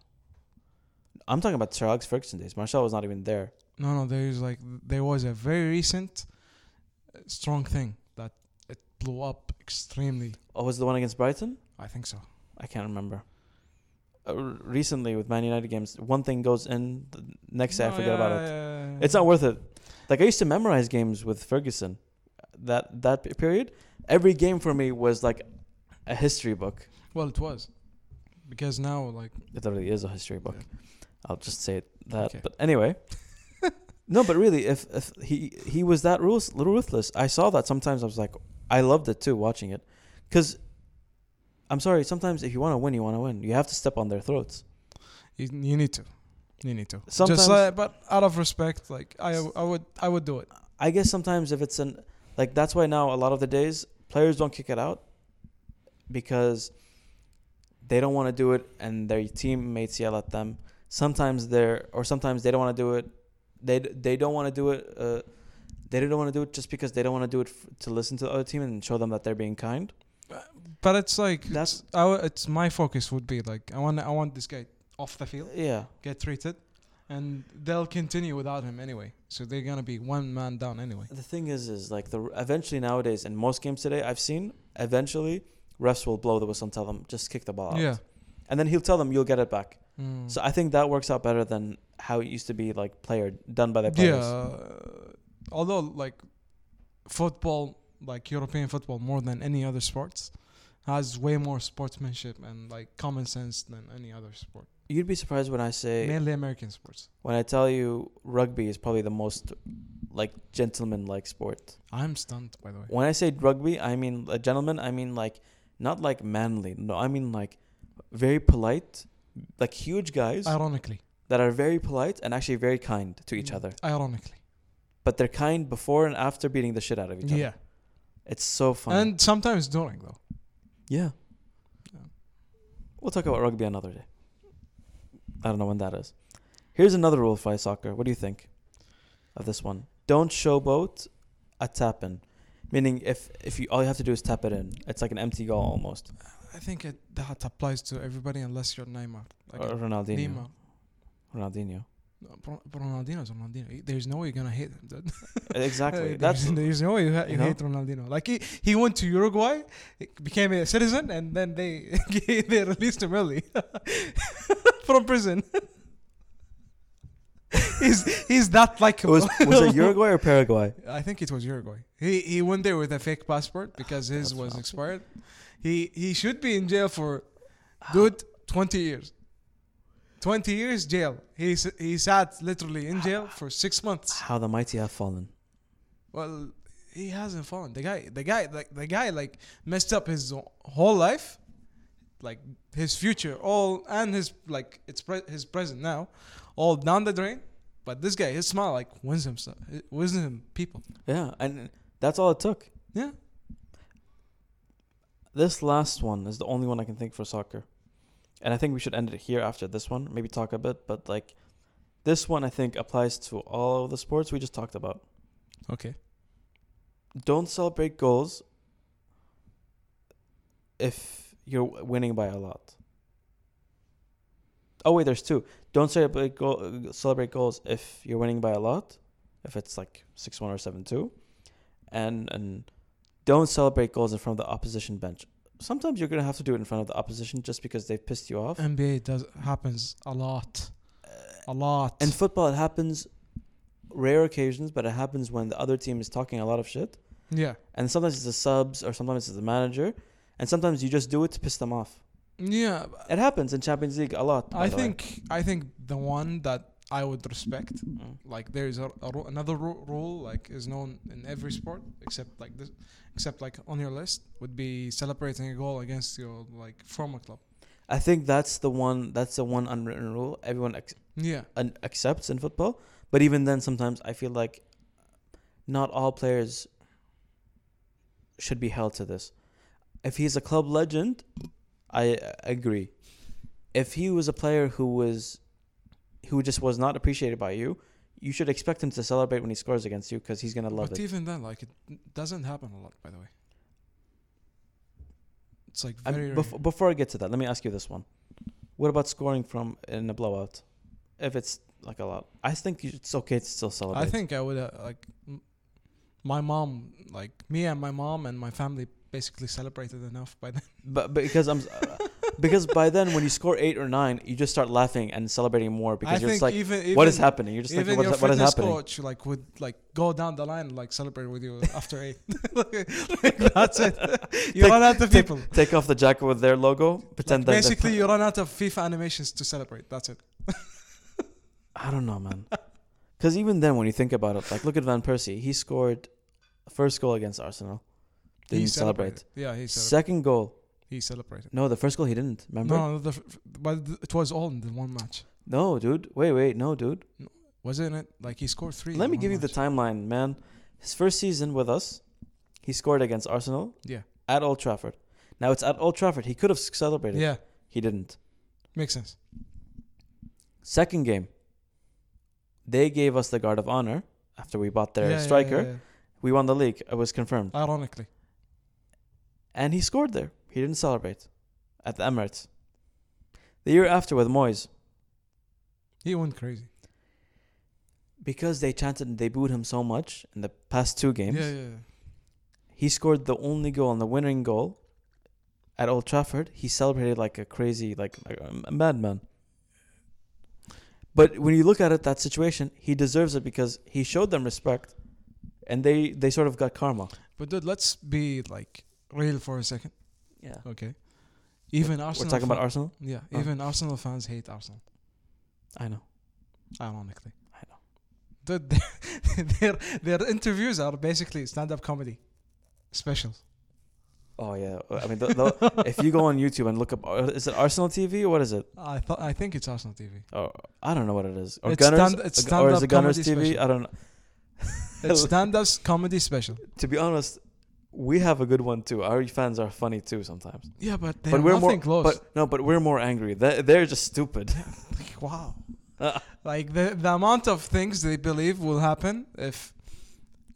[SPEAKER 1] I'm talking about Sir Alex Ferguson days. Marshall was not even there.
[SPEAKER 2] No, no. There is like there was a very recent uh, strong thing that it blew up extremely.
[SPEAKER 1] Oh, was it the one against Brighton?
[SPEAKER 2] I think so.
[SPEAKER 1] I can't remember. Uh, r- recently, with Man United games, one thing goes in, the next day I
[SPEAKER 2] No,
[SPEAKER 1] forget about
[SPEAKER 2] yeah,
[SPEAKER 1] it.
[SPEAKER 2] yeah, Oh, yeah,
[SPEAKER 1] It's
[SPEAKER 2] yeah.
[SPEAKER 1] not worth it. Like I used to memorize games with Ferguson. That that pe- period, every game for me was like a history book.
[SPEAKER 2] Well, it was because now like
[SPEAKER 1] It really is a history book.
[SPEAKER 2] Yeah.
[SPEAKER 1] I'll just say it that.
[SPEAKER 2] Okay.
[SPEAKER 1] But anyway, no, but really, if if he he was that rules ruthless, I saw that sometimes. I was like, I loved it too, watching it, because I'm sorry. Sometimes if you want to win, you want to win. You have to step on their throats.
[SPEAKER 2] you, you need to, you need to.
[SPEAKER 1] Sometimes-
[SPEAKER 2] Just uh, but out of respect, like I I would I would do it.
[SPEAKER 1] I guess sometimes if it's an like that's why now a lot of the days players don't kick it out because they don't want to do it and their teammates yell at them. Sometimes they're or sometimes they don't want to do it. They they don't want to do it. Uh, they don't want to do it just because they don't want to do it f- to listen to the other team and show them that they're being kind.
[SPEAKER 2] But it's like
[SPEAKER 1] That's-
[SPEAKER 2] that's I w- it's my focus would be like I want I want this guy off the field.
[SPEAKER 1] Yeah,
[SPEAKER 2] get treated, and they'll continue without him anyway. So they're gonna be one man down anyway.
[SPEAKER 1] the thing is, is like the eventually nowadays in most games today I've seen eventually refs will blow the whistle and tell them just kick the ball out.
[SPEAKER 2] Yeah.
[SPEAKER 1] and then he'll tell them you'll get it back.
[SPEAKER 2] Mm.
[SPEAKER 1] So I think that works out better than how it used to be like player done by the
[SPEAKER 2] yeah.
[SPEAKER 1] players.
[SPEAKER 2] uh, although like football, like European football, more than any other sports, has way more sportsmanship and like common sense than any other sport.
[SPEAKER 1] You'd be surprised when I say
[SPEAKER 2] Mainly American sports.
[SPEAKER 1] when I tell you rugby is probably the most like gentleman like sport.
[SPEAKER 2] I'm stunned by the way.
[SPEAKER 1] When I say rugby, I mean a gentleman, I mean like not like manly. No, I mean like very polite, like huge guys
[SPEAKER 2] Ironically.
[SPEAKER 1] that are very polite and actually very kind to
[SPEAKER 2] Mm.
[SPEAKER 1] each other.
[SPEAKER 2] Ironically.
[SPEAKER 1] But they're kind before and after beating the shit out of each other.
[SPEAKER 2] Yeah.
[SPEAKER 1] It's so fun.
[SPEAKER 2] And sometimes during though.
[SPEAKER 1] Yeah.
[SPEAKER 2] Yeah.
[SPEAKER 1] We'll talk about rugby another day. I don't know when that is. Here's another rule for ice soccer. What do you think of this one? Don't showboat a tap in. Meaning if if you all you have to do is tap it in. It's like an empty goal almost.
[SPEAKER 2] I think it, that applies to everybody unless you're Neymar. Like
[SPEAKER 1] or Ronaldinho.
[SPEAKER 2] Neymar.
[SPEAKER 1] Ronaldinho.
[SPEAKER 2] No, Bro- Bro- Ronaldinho's Ronaldinho. There's no way you're gonna hate him. dude.
[SPEAKER 1] Exactly.
[SPEAKER 2] There's-
[SPEAKER 1] That's
[SPEAKER 2] there's no way you, ha-
[SPEAKER 1] you
[SPEAKER 2] you
[SPEAKER 1] know?
[SPEAKER 2] hate Ronaldinho. Like he, he went to Uruguay, became a citizen, and then they they released him early from prison. he's he's that
[SPEAKER 1] it
[SPEAKER 2] likable.
[SPEAKER 1] was was it Uruguay or Paraguay?
[SPEAKER 2] I think it was Uruguay. He he went there with a fake passport because his
[SPEAKER 1] That's
[SPEAKER 2] was
[SPEAKER 1] awful.
[SPEAKER 2] expired. He he should be in jail for, dude, twenty years. Twenty years jail. He s- he sat literally in jail for six months.
[SPEAKER 1] How the mighty have fallen.
[SPEAKER 2] Well, he hasn't fallen. The guy, the guy, like the guy, like messed up his whole life, like his future, all and his like it's pre- his present now, all down the drain. But this guy, his smile like wins him, stuff, wins him people.
[SPEAKER 1] Yeah, and that's all it took.
[SPEAKER 2] Yeah.
[SPEAKER 1] This last one is the only one I can think for soccer. And I think we should end it here after this one. Maybe talk a bit, but like this one I think applies to all of the sports we just talked about.
[SPEAKER 2] Okay.
[SPEAKER 1] Don't celebrate goals if you're winning by a lot. Oh wait, there's two. Don't celebrate goal, celebrate goals if you're winning by a lot, if it's like six one or seven two, and and don't celebrate goals in front of the opposition bench. Sometimes you're gonna have to do it in front of the opposition just because they've pissed you off.
[SPEAKER 2] NBA does happens a lot, a lot.
[SPEAKER 1] In football, it happens rare occasions, but it happens when the other team is talking a lot of shit.
[SPEAKER 2] yeah,
[SPEAKER 1] And sometimes it's the subs, or sometimes it's the manager, and sometimes you just do it to piss them off.
[SPEAKER 2] yeah. but
[SPEAKER 1] It happens in Champions League a lot. by the
[SPEAKER 2] I
[SPEAKER 1] way.
[SPEAKER 2] think I think the one that I would respect,
[SPEAKER 1] Mm.
[SPEAKER 2] like there is a, a ru- another ru- rule like is known in every sport except like this, except like on your list would be celebrating a goal against your like former club.
[SPEAKER 1] I think that's the one. That's the one unwritten rule everyone ex-
[SPEAKER 2] Yeah,
[SPEAKER 1] un- accepts in football. But even then, sometimes I feel like not all players should be held to this. If he's a club legend, I uh, agree. If he was a player who was, who just was not appreciated by you, you should expect him to celebrate when he scores against you because he's gonna love
[SPEAKER 2] but
[SPEAKER 1] it.
[SPEAKER 2] even then, like it doesn't happen a lot. By the way, it's like
[SPEAKER 1] I'm-
[SPEAKER 2] very. rare.
[SPEAKER 1] bef- before I get to that, let me ask you this one: What about scoring from in a blowout? If it's like a lot, I think you- it's okay to still celebrate.
[SPEAKER 2] I think I would uh, like m- my mom, like me and my mom and my family basically celebrated enough by then.
[SPEAKER 1] but but because I'm, uh, because by then when you score eight or nine, you just start laughing and celebrating more because
[SPEAKER 2] I
[SPEAKER 1] you're just
[SPEAKER 2] think
[SPEAKER 1] like,
[SPEAKER 2] even, even
[SPEAKER 1] what is happening? You're just like,
[SPEAKER 2] even
[SPEAKER 1] what
[SPEAKER 2] your
[SPEAKER 1] is, what is
[SPEAKER 2] fitness
[SPEAKER 1] happening?
[SPEAKER 2] coach like would like go down the line and, like celebrate with you after eight. like, that's it. You
[SPEAKER 1] Take-
[SPEAKER 2] run out of people.
[SPEAKER 1] Take off the jacket with their logo, pretend
[SPEAKER 2] Like,
[SPEAKER 1] that
[SPEAKER 2] basically, you run out of FIFA animations to celebrate. That's it.
[SPEAKER 1] I don't know, man. Because even then, when you think about it, like look at Van Persie, he scored first goal against Arsenal, didn't
[SPEAKER 2] he
[SPEAKER 1] celebrate.
[SPEAKER 2] celebrated. Yeah, he celebrated.
[SPEAKER 1] Second goal,
[SPEAKER 2] he celebrated.
[SPEAKER 1] no, the first goal he didn't. Remember?
[SPEAKER 2] No, the, f- but th- it was all in the one match,
[SPEAKER 1] No, dude. Wait, wait. No, dude.
[SPEAKER 2] wasn't it? Like he scored three.
[SPEAKER 1] Let me give you the timeline, man. His first season with us, he scored against Arsenal
[SPEAKER 2] Yeah,
[SPEAKER 1] at Old Trafford. Now it's at Old Trafford. He could have celebrated.
[SPEAKER 2] yeah,
[SPEAKER 1] He didn't.
[SPEAKER 2] makes sense.
[SPEAKER 1] Second game, they gave us the guard of honor after we bought their
[SPEAKER 2] Yeah, yeah,
[SPEAKER 1] striker.
[SPEAKER 2] yeah, Uh, yeah.
[SPEAKER 1] We won the league. It was confirmed.
[SPEAKER 2] Ironically,
[SPEAKER 1] And he scored there. He didn't celebrate at the Emirates. The year after with Moyes,
[SPEAKER 2] he went crazy.
[SPEAKER 1] because they chanted and they booed him so much in the past two games.
[SPEAKER 2] Yeah, yeah, yeah.
[SPEAKER 1] he scored the only goal and the winning goal at Old Trafford. He celebrated like a crazy, like, like a madman. But when you look at it, that situation, he deserves it because he showed them respect, and they they sort of got karma.
[SPEAKER 2] But dude, let's be like real for a second,
[SPEAKER 1] Yeah,
[SPEAKER 2] okay? Even Arsenal.
[SPEAKER 1] we're talking about
[SPEAKER 2] fan-
[SPEAKER 1] Arsenal.
[SPEAKER 2] Yeah,
[SPEAKER 1] Oh.
[SPEAKER 2] even Arsenal fans hate Arsenal.
[SPEAKER 1] I know.
[SPEAKER 2] Ironically,
[SPEAKER 1] I know.
[SPEAKER 2] Dude, their their interviews are basically stand-up comedy specials.
[SPEAKER 1] Oh yeah, I mean, the, the, if you go on YouTube and look up, uh, is it Arsenal TV or what is it?
[SPEAKER 2] I thought I think it's Arsenal TV.
[SPEAKER 1] Oh, I don't know what it is. Or
[SPEAKER 2] It's
[SPEAKER 1] Gunners,
[SPEAKER 2] stand- it's
[SPEAKER 1] or is
[SPEAKER 2] stand-up
[SPEAKER 1] it Gunners
[SPEAKER 2] comedy
[SPEAKER 1] TV? I don't know.
[SPEAKER 2] It's stand-up comedy special.
[SPEAKER 1] To be honest, we have a good one too. Our fans are funny too sometimes.
[SPEAKER 2] Yeah, but they're
[SPEAKER 1] but we're
[SPEAKER 2] nothing
[SPEAKER 1] more
[SPEAKER 2] close.
[SPEAKER 1] but no but we're more angry they, they're just stupid
[SPEAKER 2] Like, wow.
[SPEAKER 1] Uh.
[SPEAKER 2] like the the amount of things they believe will happen if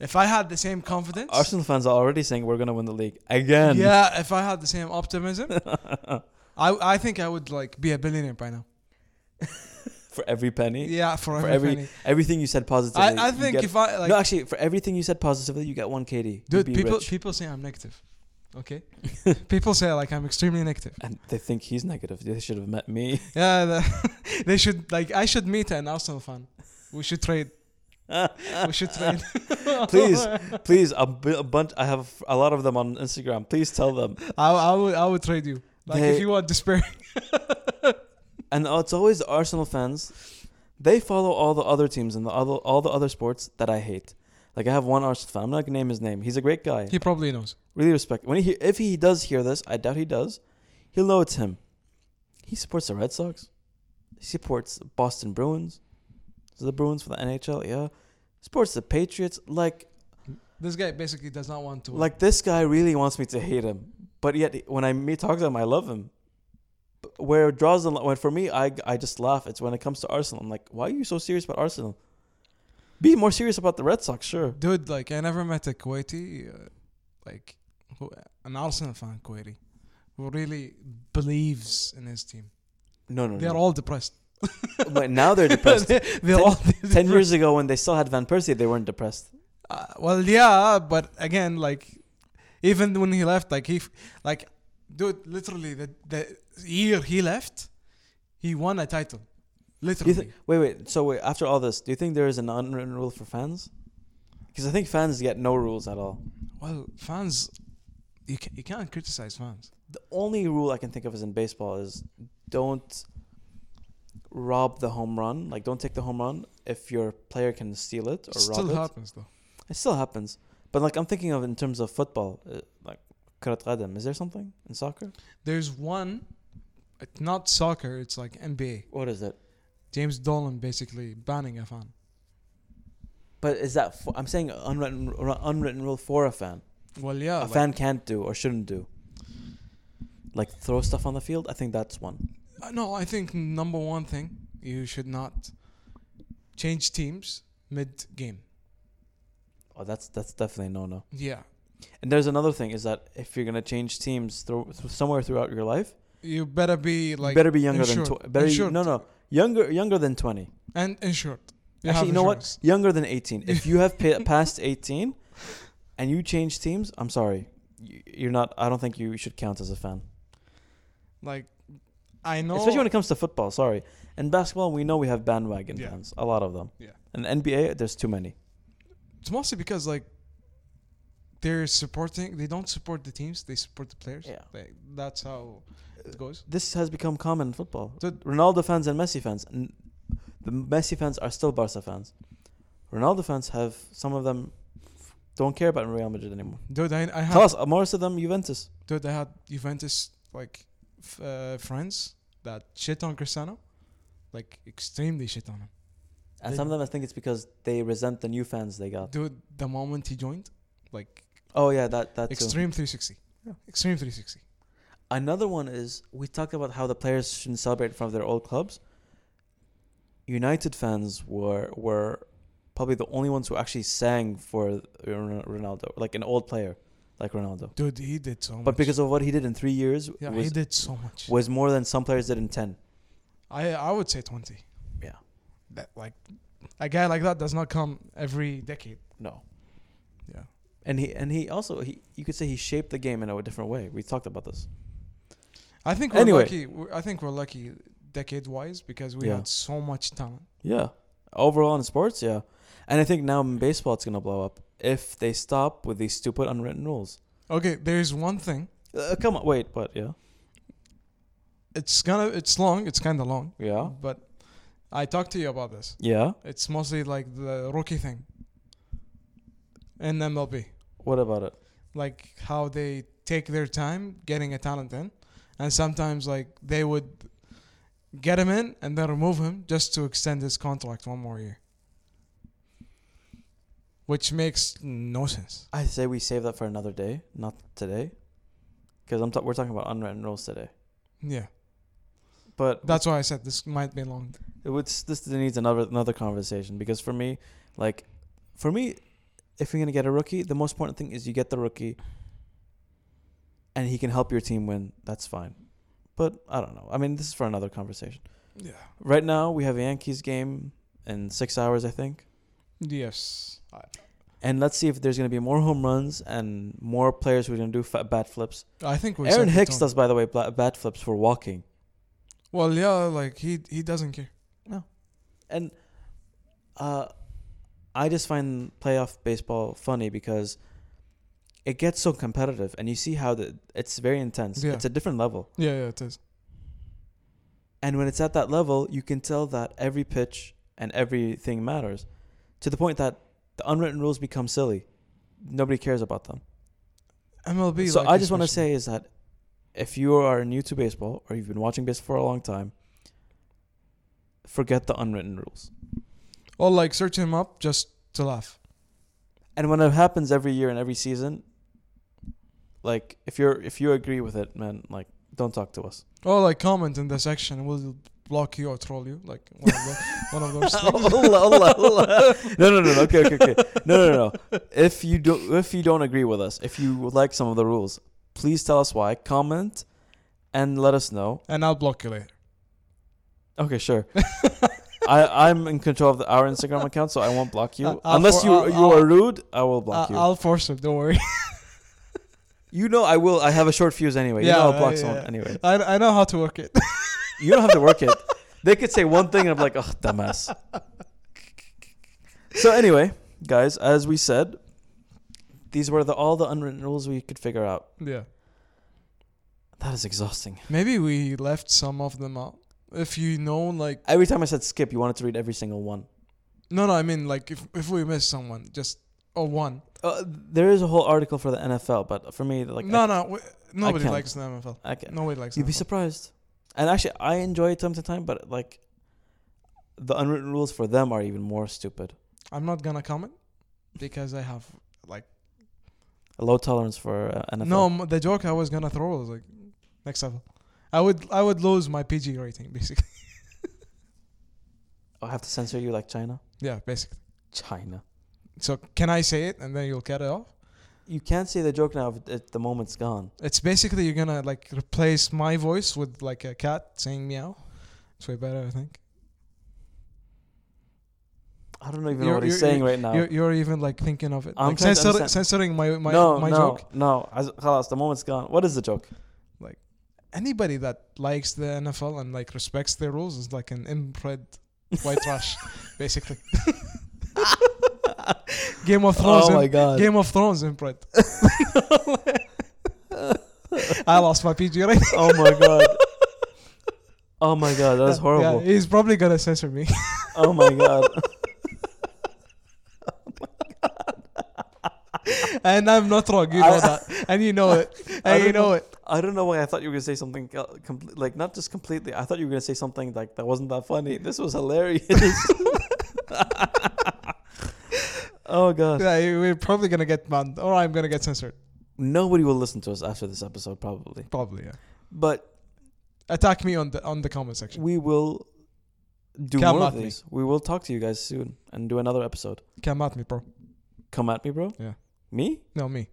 [SPEAKER 2] if I had the same confidence.
[SPEAKER 1] arsenal fans are already saying we're gonna win the league again
[SPEAKER 2] Yeah, if I had the same optimism, I I think I would like be a billionaire by now.
[SPEAKER 1] for every penny
[SPEAKER 2] Yeah, for,
[SPEAKER 1] for
[SPEAKER 2] every,
[SPEAKER 1] every
[SPEAKER 2] penny.
[SPEAKER 1] everything you said positively
[SPEAKER 2] I, I
[SPEAKER 1] you
[SPEAKER 2] think
[SPEAKER 1] get-
[SPEAKER 2] if I like,
[SPEAKER 1] no actually for everything you said positively you get one kd
[SPEAKER 2] dude,
[SPEAKER 1] You'd be
[SPEAKER 2] people
[SPEAKER 1] rich.
[SPEAKER 2] people say I'm negative. Okay, people say like I'm extremely negative.
[SPEAKER 1] and they think he's negative they should have met me
[SPEAKER 2] Yeah, the, they should like I should meet an Arsenal fan. We should trade. We should trade.
[SPEAKER 1] please please a, bu- a bunch i have a lot of them on instagram please tell them
[SPEAKER 2] I, I would I would trade you. Like if
[SPEAKER 1] They-
[SPEAKER 2] you want despair.
[SPEAKER 1] and it's always the Arsenal fans. They follow all the other teams and the other all the other sports that I hate. Like I have one Arsenal fan. I'm not gonna name his name. He's a great guy.
[SPEAKER 2] He probably knows.
[SPEAKER 1] really respect. When he if he does hear this, I doubt he does. He'll know it's him. He supports the Red Sox. He supports Boston Bruins. So the Bruins for the NHL, yeah. Supports the Patriots. Like
[SPEAKER 2] This guy basically does not want to. win.
[SPEAKER 1] like this guy really wants me to hate him, but yet when I meet talk to him, I love him. But Where it draws the line, when for me, I I just laugh. It's when it comes to Arsenal. I'm like, why are you so serious about Arsenal? Be more serious about the Red Sox, sure.
[SPEAKER 2] dude, like I never met a Kuwaiti, uh, like who, an Arsenal fan Kuwaiti. who really believes in his team.
[SPEAKER 1] No, no,
[SPEAKER 2] They're
[SPEAKER 1] no.
[SPEAKER 2] all depressed.
[SPEAKER 1] But now they're depressed.
[SPEAKER 2] They're all depressed.
[SPEAKER 1] Ten years ago, when they still had Van Persie, they weren't depressed.
[SPEAKER 2] Uh, well, yeah, but again, like, even when he left, like he, f- like, dude, literally the the year he left, he won a title,
[SPEAKER 1] Do you
[SPEAKER 2] literally.
[SPEAKER 1] think? Wait, wait. So wait. After all this, do you think there is an unwritten rule for fans? Because I think fans get no rules at all.
[SPEAKER 2] well, fans, you can, you can't criticize fans.
[SPEAKER 1] The only rule I can think of is in baseball is don't rob the home run. Like don't take the home run if your player can steal it or
[SPEAKER 2] Still
[SPEAKER 1] rob it.
[SPEAKER 2] happens though.
[SPEAKER 1] It still happens. But like I'm thinking of in terms of football, uh, like كرة قدم. Is there something in soccer?
[SPEAKER 2] There's one, it's not soccer. It's like NBA.
[SPEAKER 1] What is it?
[SPEAKER 2] James Dolan basically banning a fan.
[SPEAKER 1] But is that for, I'm saying unwritten ru- unwritten rule for a fan.
[SPEAKER 2] Well, yeah,
[SPEAKER 1] a
[SPEAKER 2] Oh, like,
[SPEAKER 1] fan can't do or shouldn't do. Like throw stuff on the field. I think that's one.
[SPEAKER 2] Uh, No, I think number one thing you should not change teams mid game.
[SPEAKER 1] Oh, that's that's definitely no no.
[SPEAKER 2] Yeah,
[SPEAKER 1] And there's another thing is that if you're gonna change teams through, somewhere throughout your life,
[SPEAKER 2] you better be like
[SPEAKER 1] better be younger
[SPEAKER 2] insured.
[SPEAKER 1] than tw- better
[SPEAKER 2] Insured.
[SPEAKER 1] no no younger younger than twenty.
[SPEAKER 2] and insured. You have
[SPEAKER 1] Actually, you know
[SPEAKER 2] insurance.
[SPEAKER 1] what? Younger than eighteen. If you have pa- passed eighteen, and you change teams, I'm sorry, You- you're not. I don't think you should count as a fan,
[SPEAKER 2] Like, I know.
[SPEAKER 1] especially when it comes to football. Sorry, and basketball, we know we have bandwagon
[SPEAKER 2] Yeah.
[SPEAKER 1] fans, a lot of them.
[SPEAKER 2] Yeah.
[SPEAKER 1] And NBA, there's too many.
[SPEAKER 2] it's mostly because like they're supporting. They don't support the teams. They support the players.
[SPEAKER 1] Yeah.
[SPEAKER 2] Like, that's how it goes.
[SPEAKER 1] This has become common in football.
[SPEAKER 2] Dude.
[SPEAKER 1] Ronaldo fans and Messi fans. N- The Messi fans are still Barca fans. Ronaldo fans have some of them don't care about Real Madrid anymore.
[SPEAKER 2] Dude, I, I
[SPEAKER 1] Tell
[SPEAKER 2] had
[SPEAKER 1] us, uh, most of them Juventus.
[SPEAKER 2] dude, I had Juventus like f- uh, friends that shit on Cristiano, like extremely shit on him.
[SPEAKER 1] And
[SPEAKER 2] They-
[SPEAKER 1] some of them, I think it's because they resent the new fans they got.
[SPEAKER 2] Dude, the moment he joined, like
[SPEAKER 1] Oh yeah, that that too.
[SPEAKER 2] Extreme 360.
[SPEAKER 1] Yeah.
[SPEAKER 2] Extreme 360.
[SPEAKER 1] Another one is we talked about how the players shouldn't celebrate in front of their old clubs. United fans were were probably the only ones who actually sang for Ron- Ronaldo, like an old player, like Ronaldo.
[SPEAKER 2] Dude, he did so much.
[SPEAKER 1] But because of what he did in three years,
[SPEAKER 2] yeah, he
[SPEAKER 1] was,
[SPEAKER 2] did so much.
[SPEAKER 1] was more than some players did in ten.
[SPEAKER 2] I I would say 20.
[SPEAKER 1] Yeah.
[SPEAKER 2] That like a guy like that does not come every decade.
[SPEAKER 1] No,
[SPEAKER 2] Yeah.
[SPEAKER 1] and he and he also he you could say he shaped the game in a different way. We talked about this.
[SPEAKER 2] I think we're
[SPEAKER 1] Anyway.
[SPEAKER 2] lucky. We're, I think we're lucky decade wise because we
[SPEAKER 1] Yeah.
[SPEAKER 2] had so much talent.
[SPEAKER 1] Yeah. Overall in sports, yeah. And I think now in baseball it's gonna blow up if they stop with these stupid unwritten rules.
[SPEAKER 2] Okay, there's one thing.
[SPEAKER 1] Uh, come on, wait, but yeah,
[SPEAKER 2] It's gonna it's long, it's kind of long.
[SPEAKER 1] yeah,
[SPEAKER 2] But I talked to you about this.
[SPEAKER 1] yeah.
[SPEAKER 2] It's mostly like the rookie thing. In MLB.
[SPEAKER 1] What about it?
[SPEAKER 2] like how they take their time getting a talent in, and sometimes like they would get him in and then remove him just to extend his contract one more year, which makes no sense.
[SPEAKER 1] I say we save that for another day, not today, because I'm ta- we're talking about unwritten rules today.
[SPEAKER 2] Yeah,
[SPEAKER 1] But
[SPEAKER 2] that's why I said this might be long.
[SPEAKER 1] it would this needs another another conversation because for me, like, for me, if you're gonna get a rookie, the most important thing is you get the rookie, and he can help your team win. That's fine. But I don't know. I mean, this is for another conversation.
[SPEAKER 2] Yeah.
[SPEAKER 1] Right now, we have a Yankees game in six hours, I think.
[SPEAKER 2] Yes. I,
[SPEAKER 1] And let's see if there's going to be more home runs and more players who are going to do fa- bat flips.
[SPEAKER 2] I think we.
[SPEAKER 1] Aaron
[SPEAKER 2] set the
[SPEAKER 1] Hicks
[SPEAKER 2] tone.
[SPEAKER 1] does, by the way, bla- bat flips for walking.
[SPEAKER 2] Well, yeah, like he he doesn't care.
[SPEAKER 1] And uh, I just find playoff baseball funny because it gets so competitive, and you see how the it's very intense.
[SPEAKER 2] Yeah.
[SPEAKER 1] It's a different level,
[SPEAKER 2] Yeah, yeah, it is.
[SPEAKER 1] and when it's at that level, you can tell that every pitch and everything matters, to the point that the unwritten rules become silly. Nobody cares about them.
[SPEAKER 2] MLB.
[SPEAKER 1] so
[SPEAKER 2] like,
[SPEAKER 1] I
[SPEAKER 2] is
[SPEAKER 1] just want to
[SPEAKER 2] special.
[SPEAKER 1] say is that if you are new to baseball or you've been watching baseball for a long time, forget the unwritten rules.
[SPEAKER 2] or like search him up just to laugh.
[SPEAKER 1] And when it happens every year and every season, like if you're if you agree with it, man, like don't talk to us.
[SPEAKER 2] Or like comment in the section. We'll block you or troll you. Like one of, the, one of those things.
[SPEAKER 1] Allah, Allah, Allah. No, no, no, no. Okay, okay, okay. No, no, no. If you do, if you don't agree with us, if you would like some of the rules, please tell us why. Comment, and let us know.
[SPEAKER 2] and I'll block you later.
[SPEAKER 1] Okay, sure. I I'm in control of the, our Instagram account, so I won't block you
[SPEAKER 2] I- I'll
[SPEAKER 1] unless
[SPEAKER 2] Uh, for-
[SPEAKER 1] you
[SPEAKER 2] I'll-
[SPEAKER 1] you
[SPEAKER 2] I'll-
[SPEAKER 1] are rude. I will block
[SPEAKER 2] I-
[SPEAKER 1] you.
[SPEAKER 2] I'll force him. Don't worry.
[SPEAKER 1] You know I will. I have a short fuse anyway. you
[SPEAKER 2] Yeah,
[SPEAKER 1] know I'll block
[SPEAKER 2] yeah,
[SPEAKER 1] someone
[SPEAKER 2] yeah.
[SPEAKER 1] anyway.
[SPEAKER 2] I, I know how to work it.
[SPEAKER 1] You don't have to work it. They could say one thing and I'm like, oh, dumbass. So anyway, guys, as we said, these were the all the unwritten rules we could figure out.
[SPEAKER 2] yeah.
[SPEAKER 1] That is exhausting.
[SPEAKER 2] Maybe we left some of them out. If you know, like,
[SPEAKER 1] Every time I said skip, you wanted to read every single one.
[SPEAKER 2] no, no, I mean, like, if if we miss someone, just or one.
[SPEAKER 1] Uh, there is a whole article for the NFL, but for me, like,
[SPEAKER 2] no, no, we, nobody
[SPEAKER 1] can't.
[SPEAKER 2] likes the NFL.
[SPEAKER 1] I, I can't.
[SPEAKER 2] Nobody likes.
[SPEAKER 1] You'd be
[SPEAKER 2] NFL.
[SPEAKER 1] surprised. And actually, I enjoy it time to time, but like, the unwritten rules for them are even more stupid.
[SPEAKER 2] I'm not gonna comment because I have like
[SPEAKER 1] A low tolerance for uh, NFL.
[SPEAKER 2] no. m- The joke I was gonna throw was like next level. I would I would lose my PG rating basically.
[SPEAKER 1] I Oh, have to censor you like China.
[SPEAKER 2] yeah, basically.
[SPEAKER 1] China.
[SPEAKER 2] So can I say it and then you'll cut it off?
[SPEAKER 1] You can't say the joke now. if it- The moment's gone.
[SPEAKER 2] It's basically you're gonna like replace my voice with like a cat saying meow. It's way better, I think.
[SPEAKER 1] I don't even know
[SPEAKER 2] You're-
[SPEAKER 1] what he's
[SPEAKER 2] you're-
[SPEAKER 1] saying right now.
[SPEAKER 2] You're, you're even like thinking of it,
[SPEAKER 1] Oh. I'm
[SPEAKER 2] like
[SPEAKER 1] trying to
[SPEAKER 2] censor,
[SPEAKER 1] understand.
[SPEAKER 2] censoring my my,
[SPEAKER 1] no,
[SPEAKER 2] my
[SPEAKER 1] no,
[SPEAKER 2] joke.
[SPEAKER 1] no. As- خلاص, the moment's gone. What is the joke?
[SPEAKER 2] Anybody that likes the NFL and like respects their rules is like an inbred white trash, basically. Game of Thrones.
[SPEAKER 1] oh
[SPEAKER 2] in-
[SPEAKER 1] my god.
[SPEAKER 2] Game of Thrones inbred. I lost my PG rating.
[SPEAKER 1] oh my god. Oh my god, that was horrible.
[SPEAKER 2] Yeah, he's probably gonna censor me.
[SPEAKER 1] Oh my god.
[SPEAKER 2] and I'm not wrong. You know that, and you know it,
[SPEAKER 1] I
[SPEAKER 2] and you
[SPEAKER 1] don't
[SPEAKER 2] know
[SPEAKER 1] know.
[SPEAKER 2] it.
[SPEAKER 1] I don't know why I thought you were gonna say something el- comple- like not just completely. I thought you were gonna say something like that wasn't that funny. This was hilarious. oh god.
[SPEAKER 2] Yeah, you- we're probably gonna get banned, or I'm gonna get censored.
[SPEAKER 1] Nobody will listen to us after this episode probably.
[SPEAKER 2] Probably. Yeah.
[SPEAKER 1] But
[SPEAKER 2] Attack me on the on the comment section.
[SPEAKER 1] we will do
[SPEAKER 2] Come
[SPEAKER 1] more
[SPEAKER 2] at
[SPEAKER 1] of
[SPEAKER 2] me.
[SPEAKER 1] these. We will talk to you guys soon and do another episode.
[SPEAKER 2] Come at me, bro.
[SPEAKER 1] Come at me, bro.
[SPEAKER 2] Yeah.
[SPEAKER 1] Me?
[SPEAKER 2] No, me.
[SPEAKER 1] You're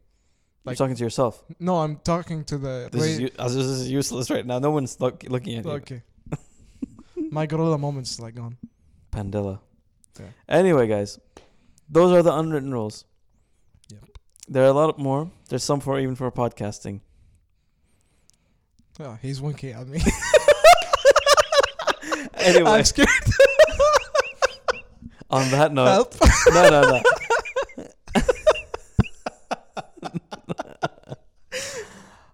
[SPEAKER 2] Like-
[SPEAKER 1] talking to yourself.
[SPEAKER 2] No, I'm talking to the.
[SPEAKER 1] This is,
[SPEAKER 2] ra-
[SPEAKER 1] u- uh, this is useless right now. No one's look, looking at you.
[SPEAKER 2] okay. My gorilla moment's like gone.
[SPEAKER 1] Pandilla.
[SPEAKER 2] Yeah.
[SPEAKER 1] Anyway, guys, those are the unwritten rules.
[SPEAKER 2] Yep.
[SPEAKER 1] There are a lot more. There's some for even for podcasting.
[SPEAKER 2] Oh, he's winking at me.
[SPEAKER 1] Anyway.
[SPEAKER 2] I'm scared.
[SPEAKER 1] On that note,
[SPEAKER 2] Help.
[SPEAKER 1] no, no, no.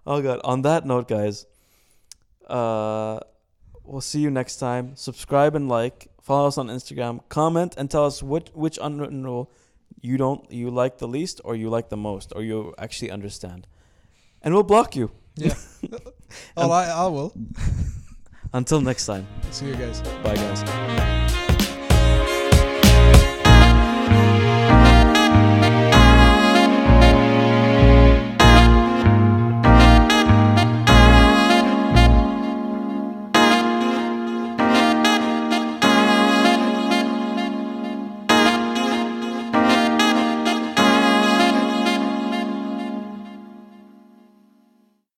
[SPEAKER 1] oh god. On that note, guys, uh, we'll see you next time. Subscribe and like. Follow us on Instagram. Comment and tell us which which unwritten rule you don't you like the least, or you like the most, or you actually understand. And we'll block you.
[SPEAKER 2] Yeah. oh, I, I will.
[SPEAKER 1] Until next time.
[SPEAKER 2] See you guys.
[SPEAKER 1] Bye, guys.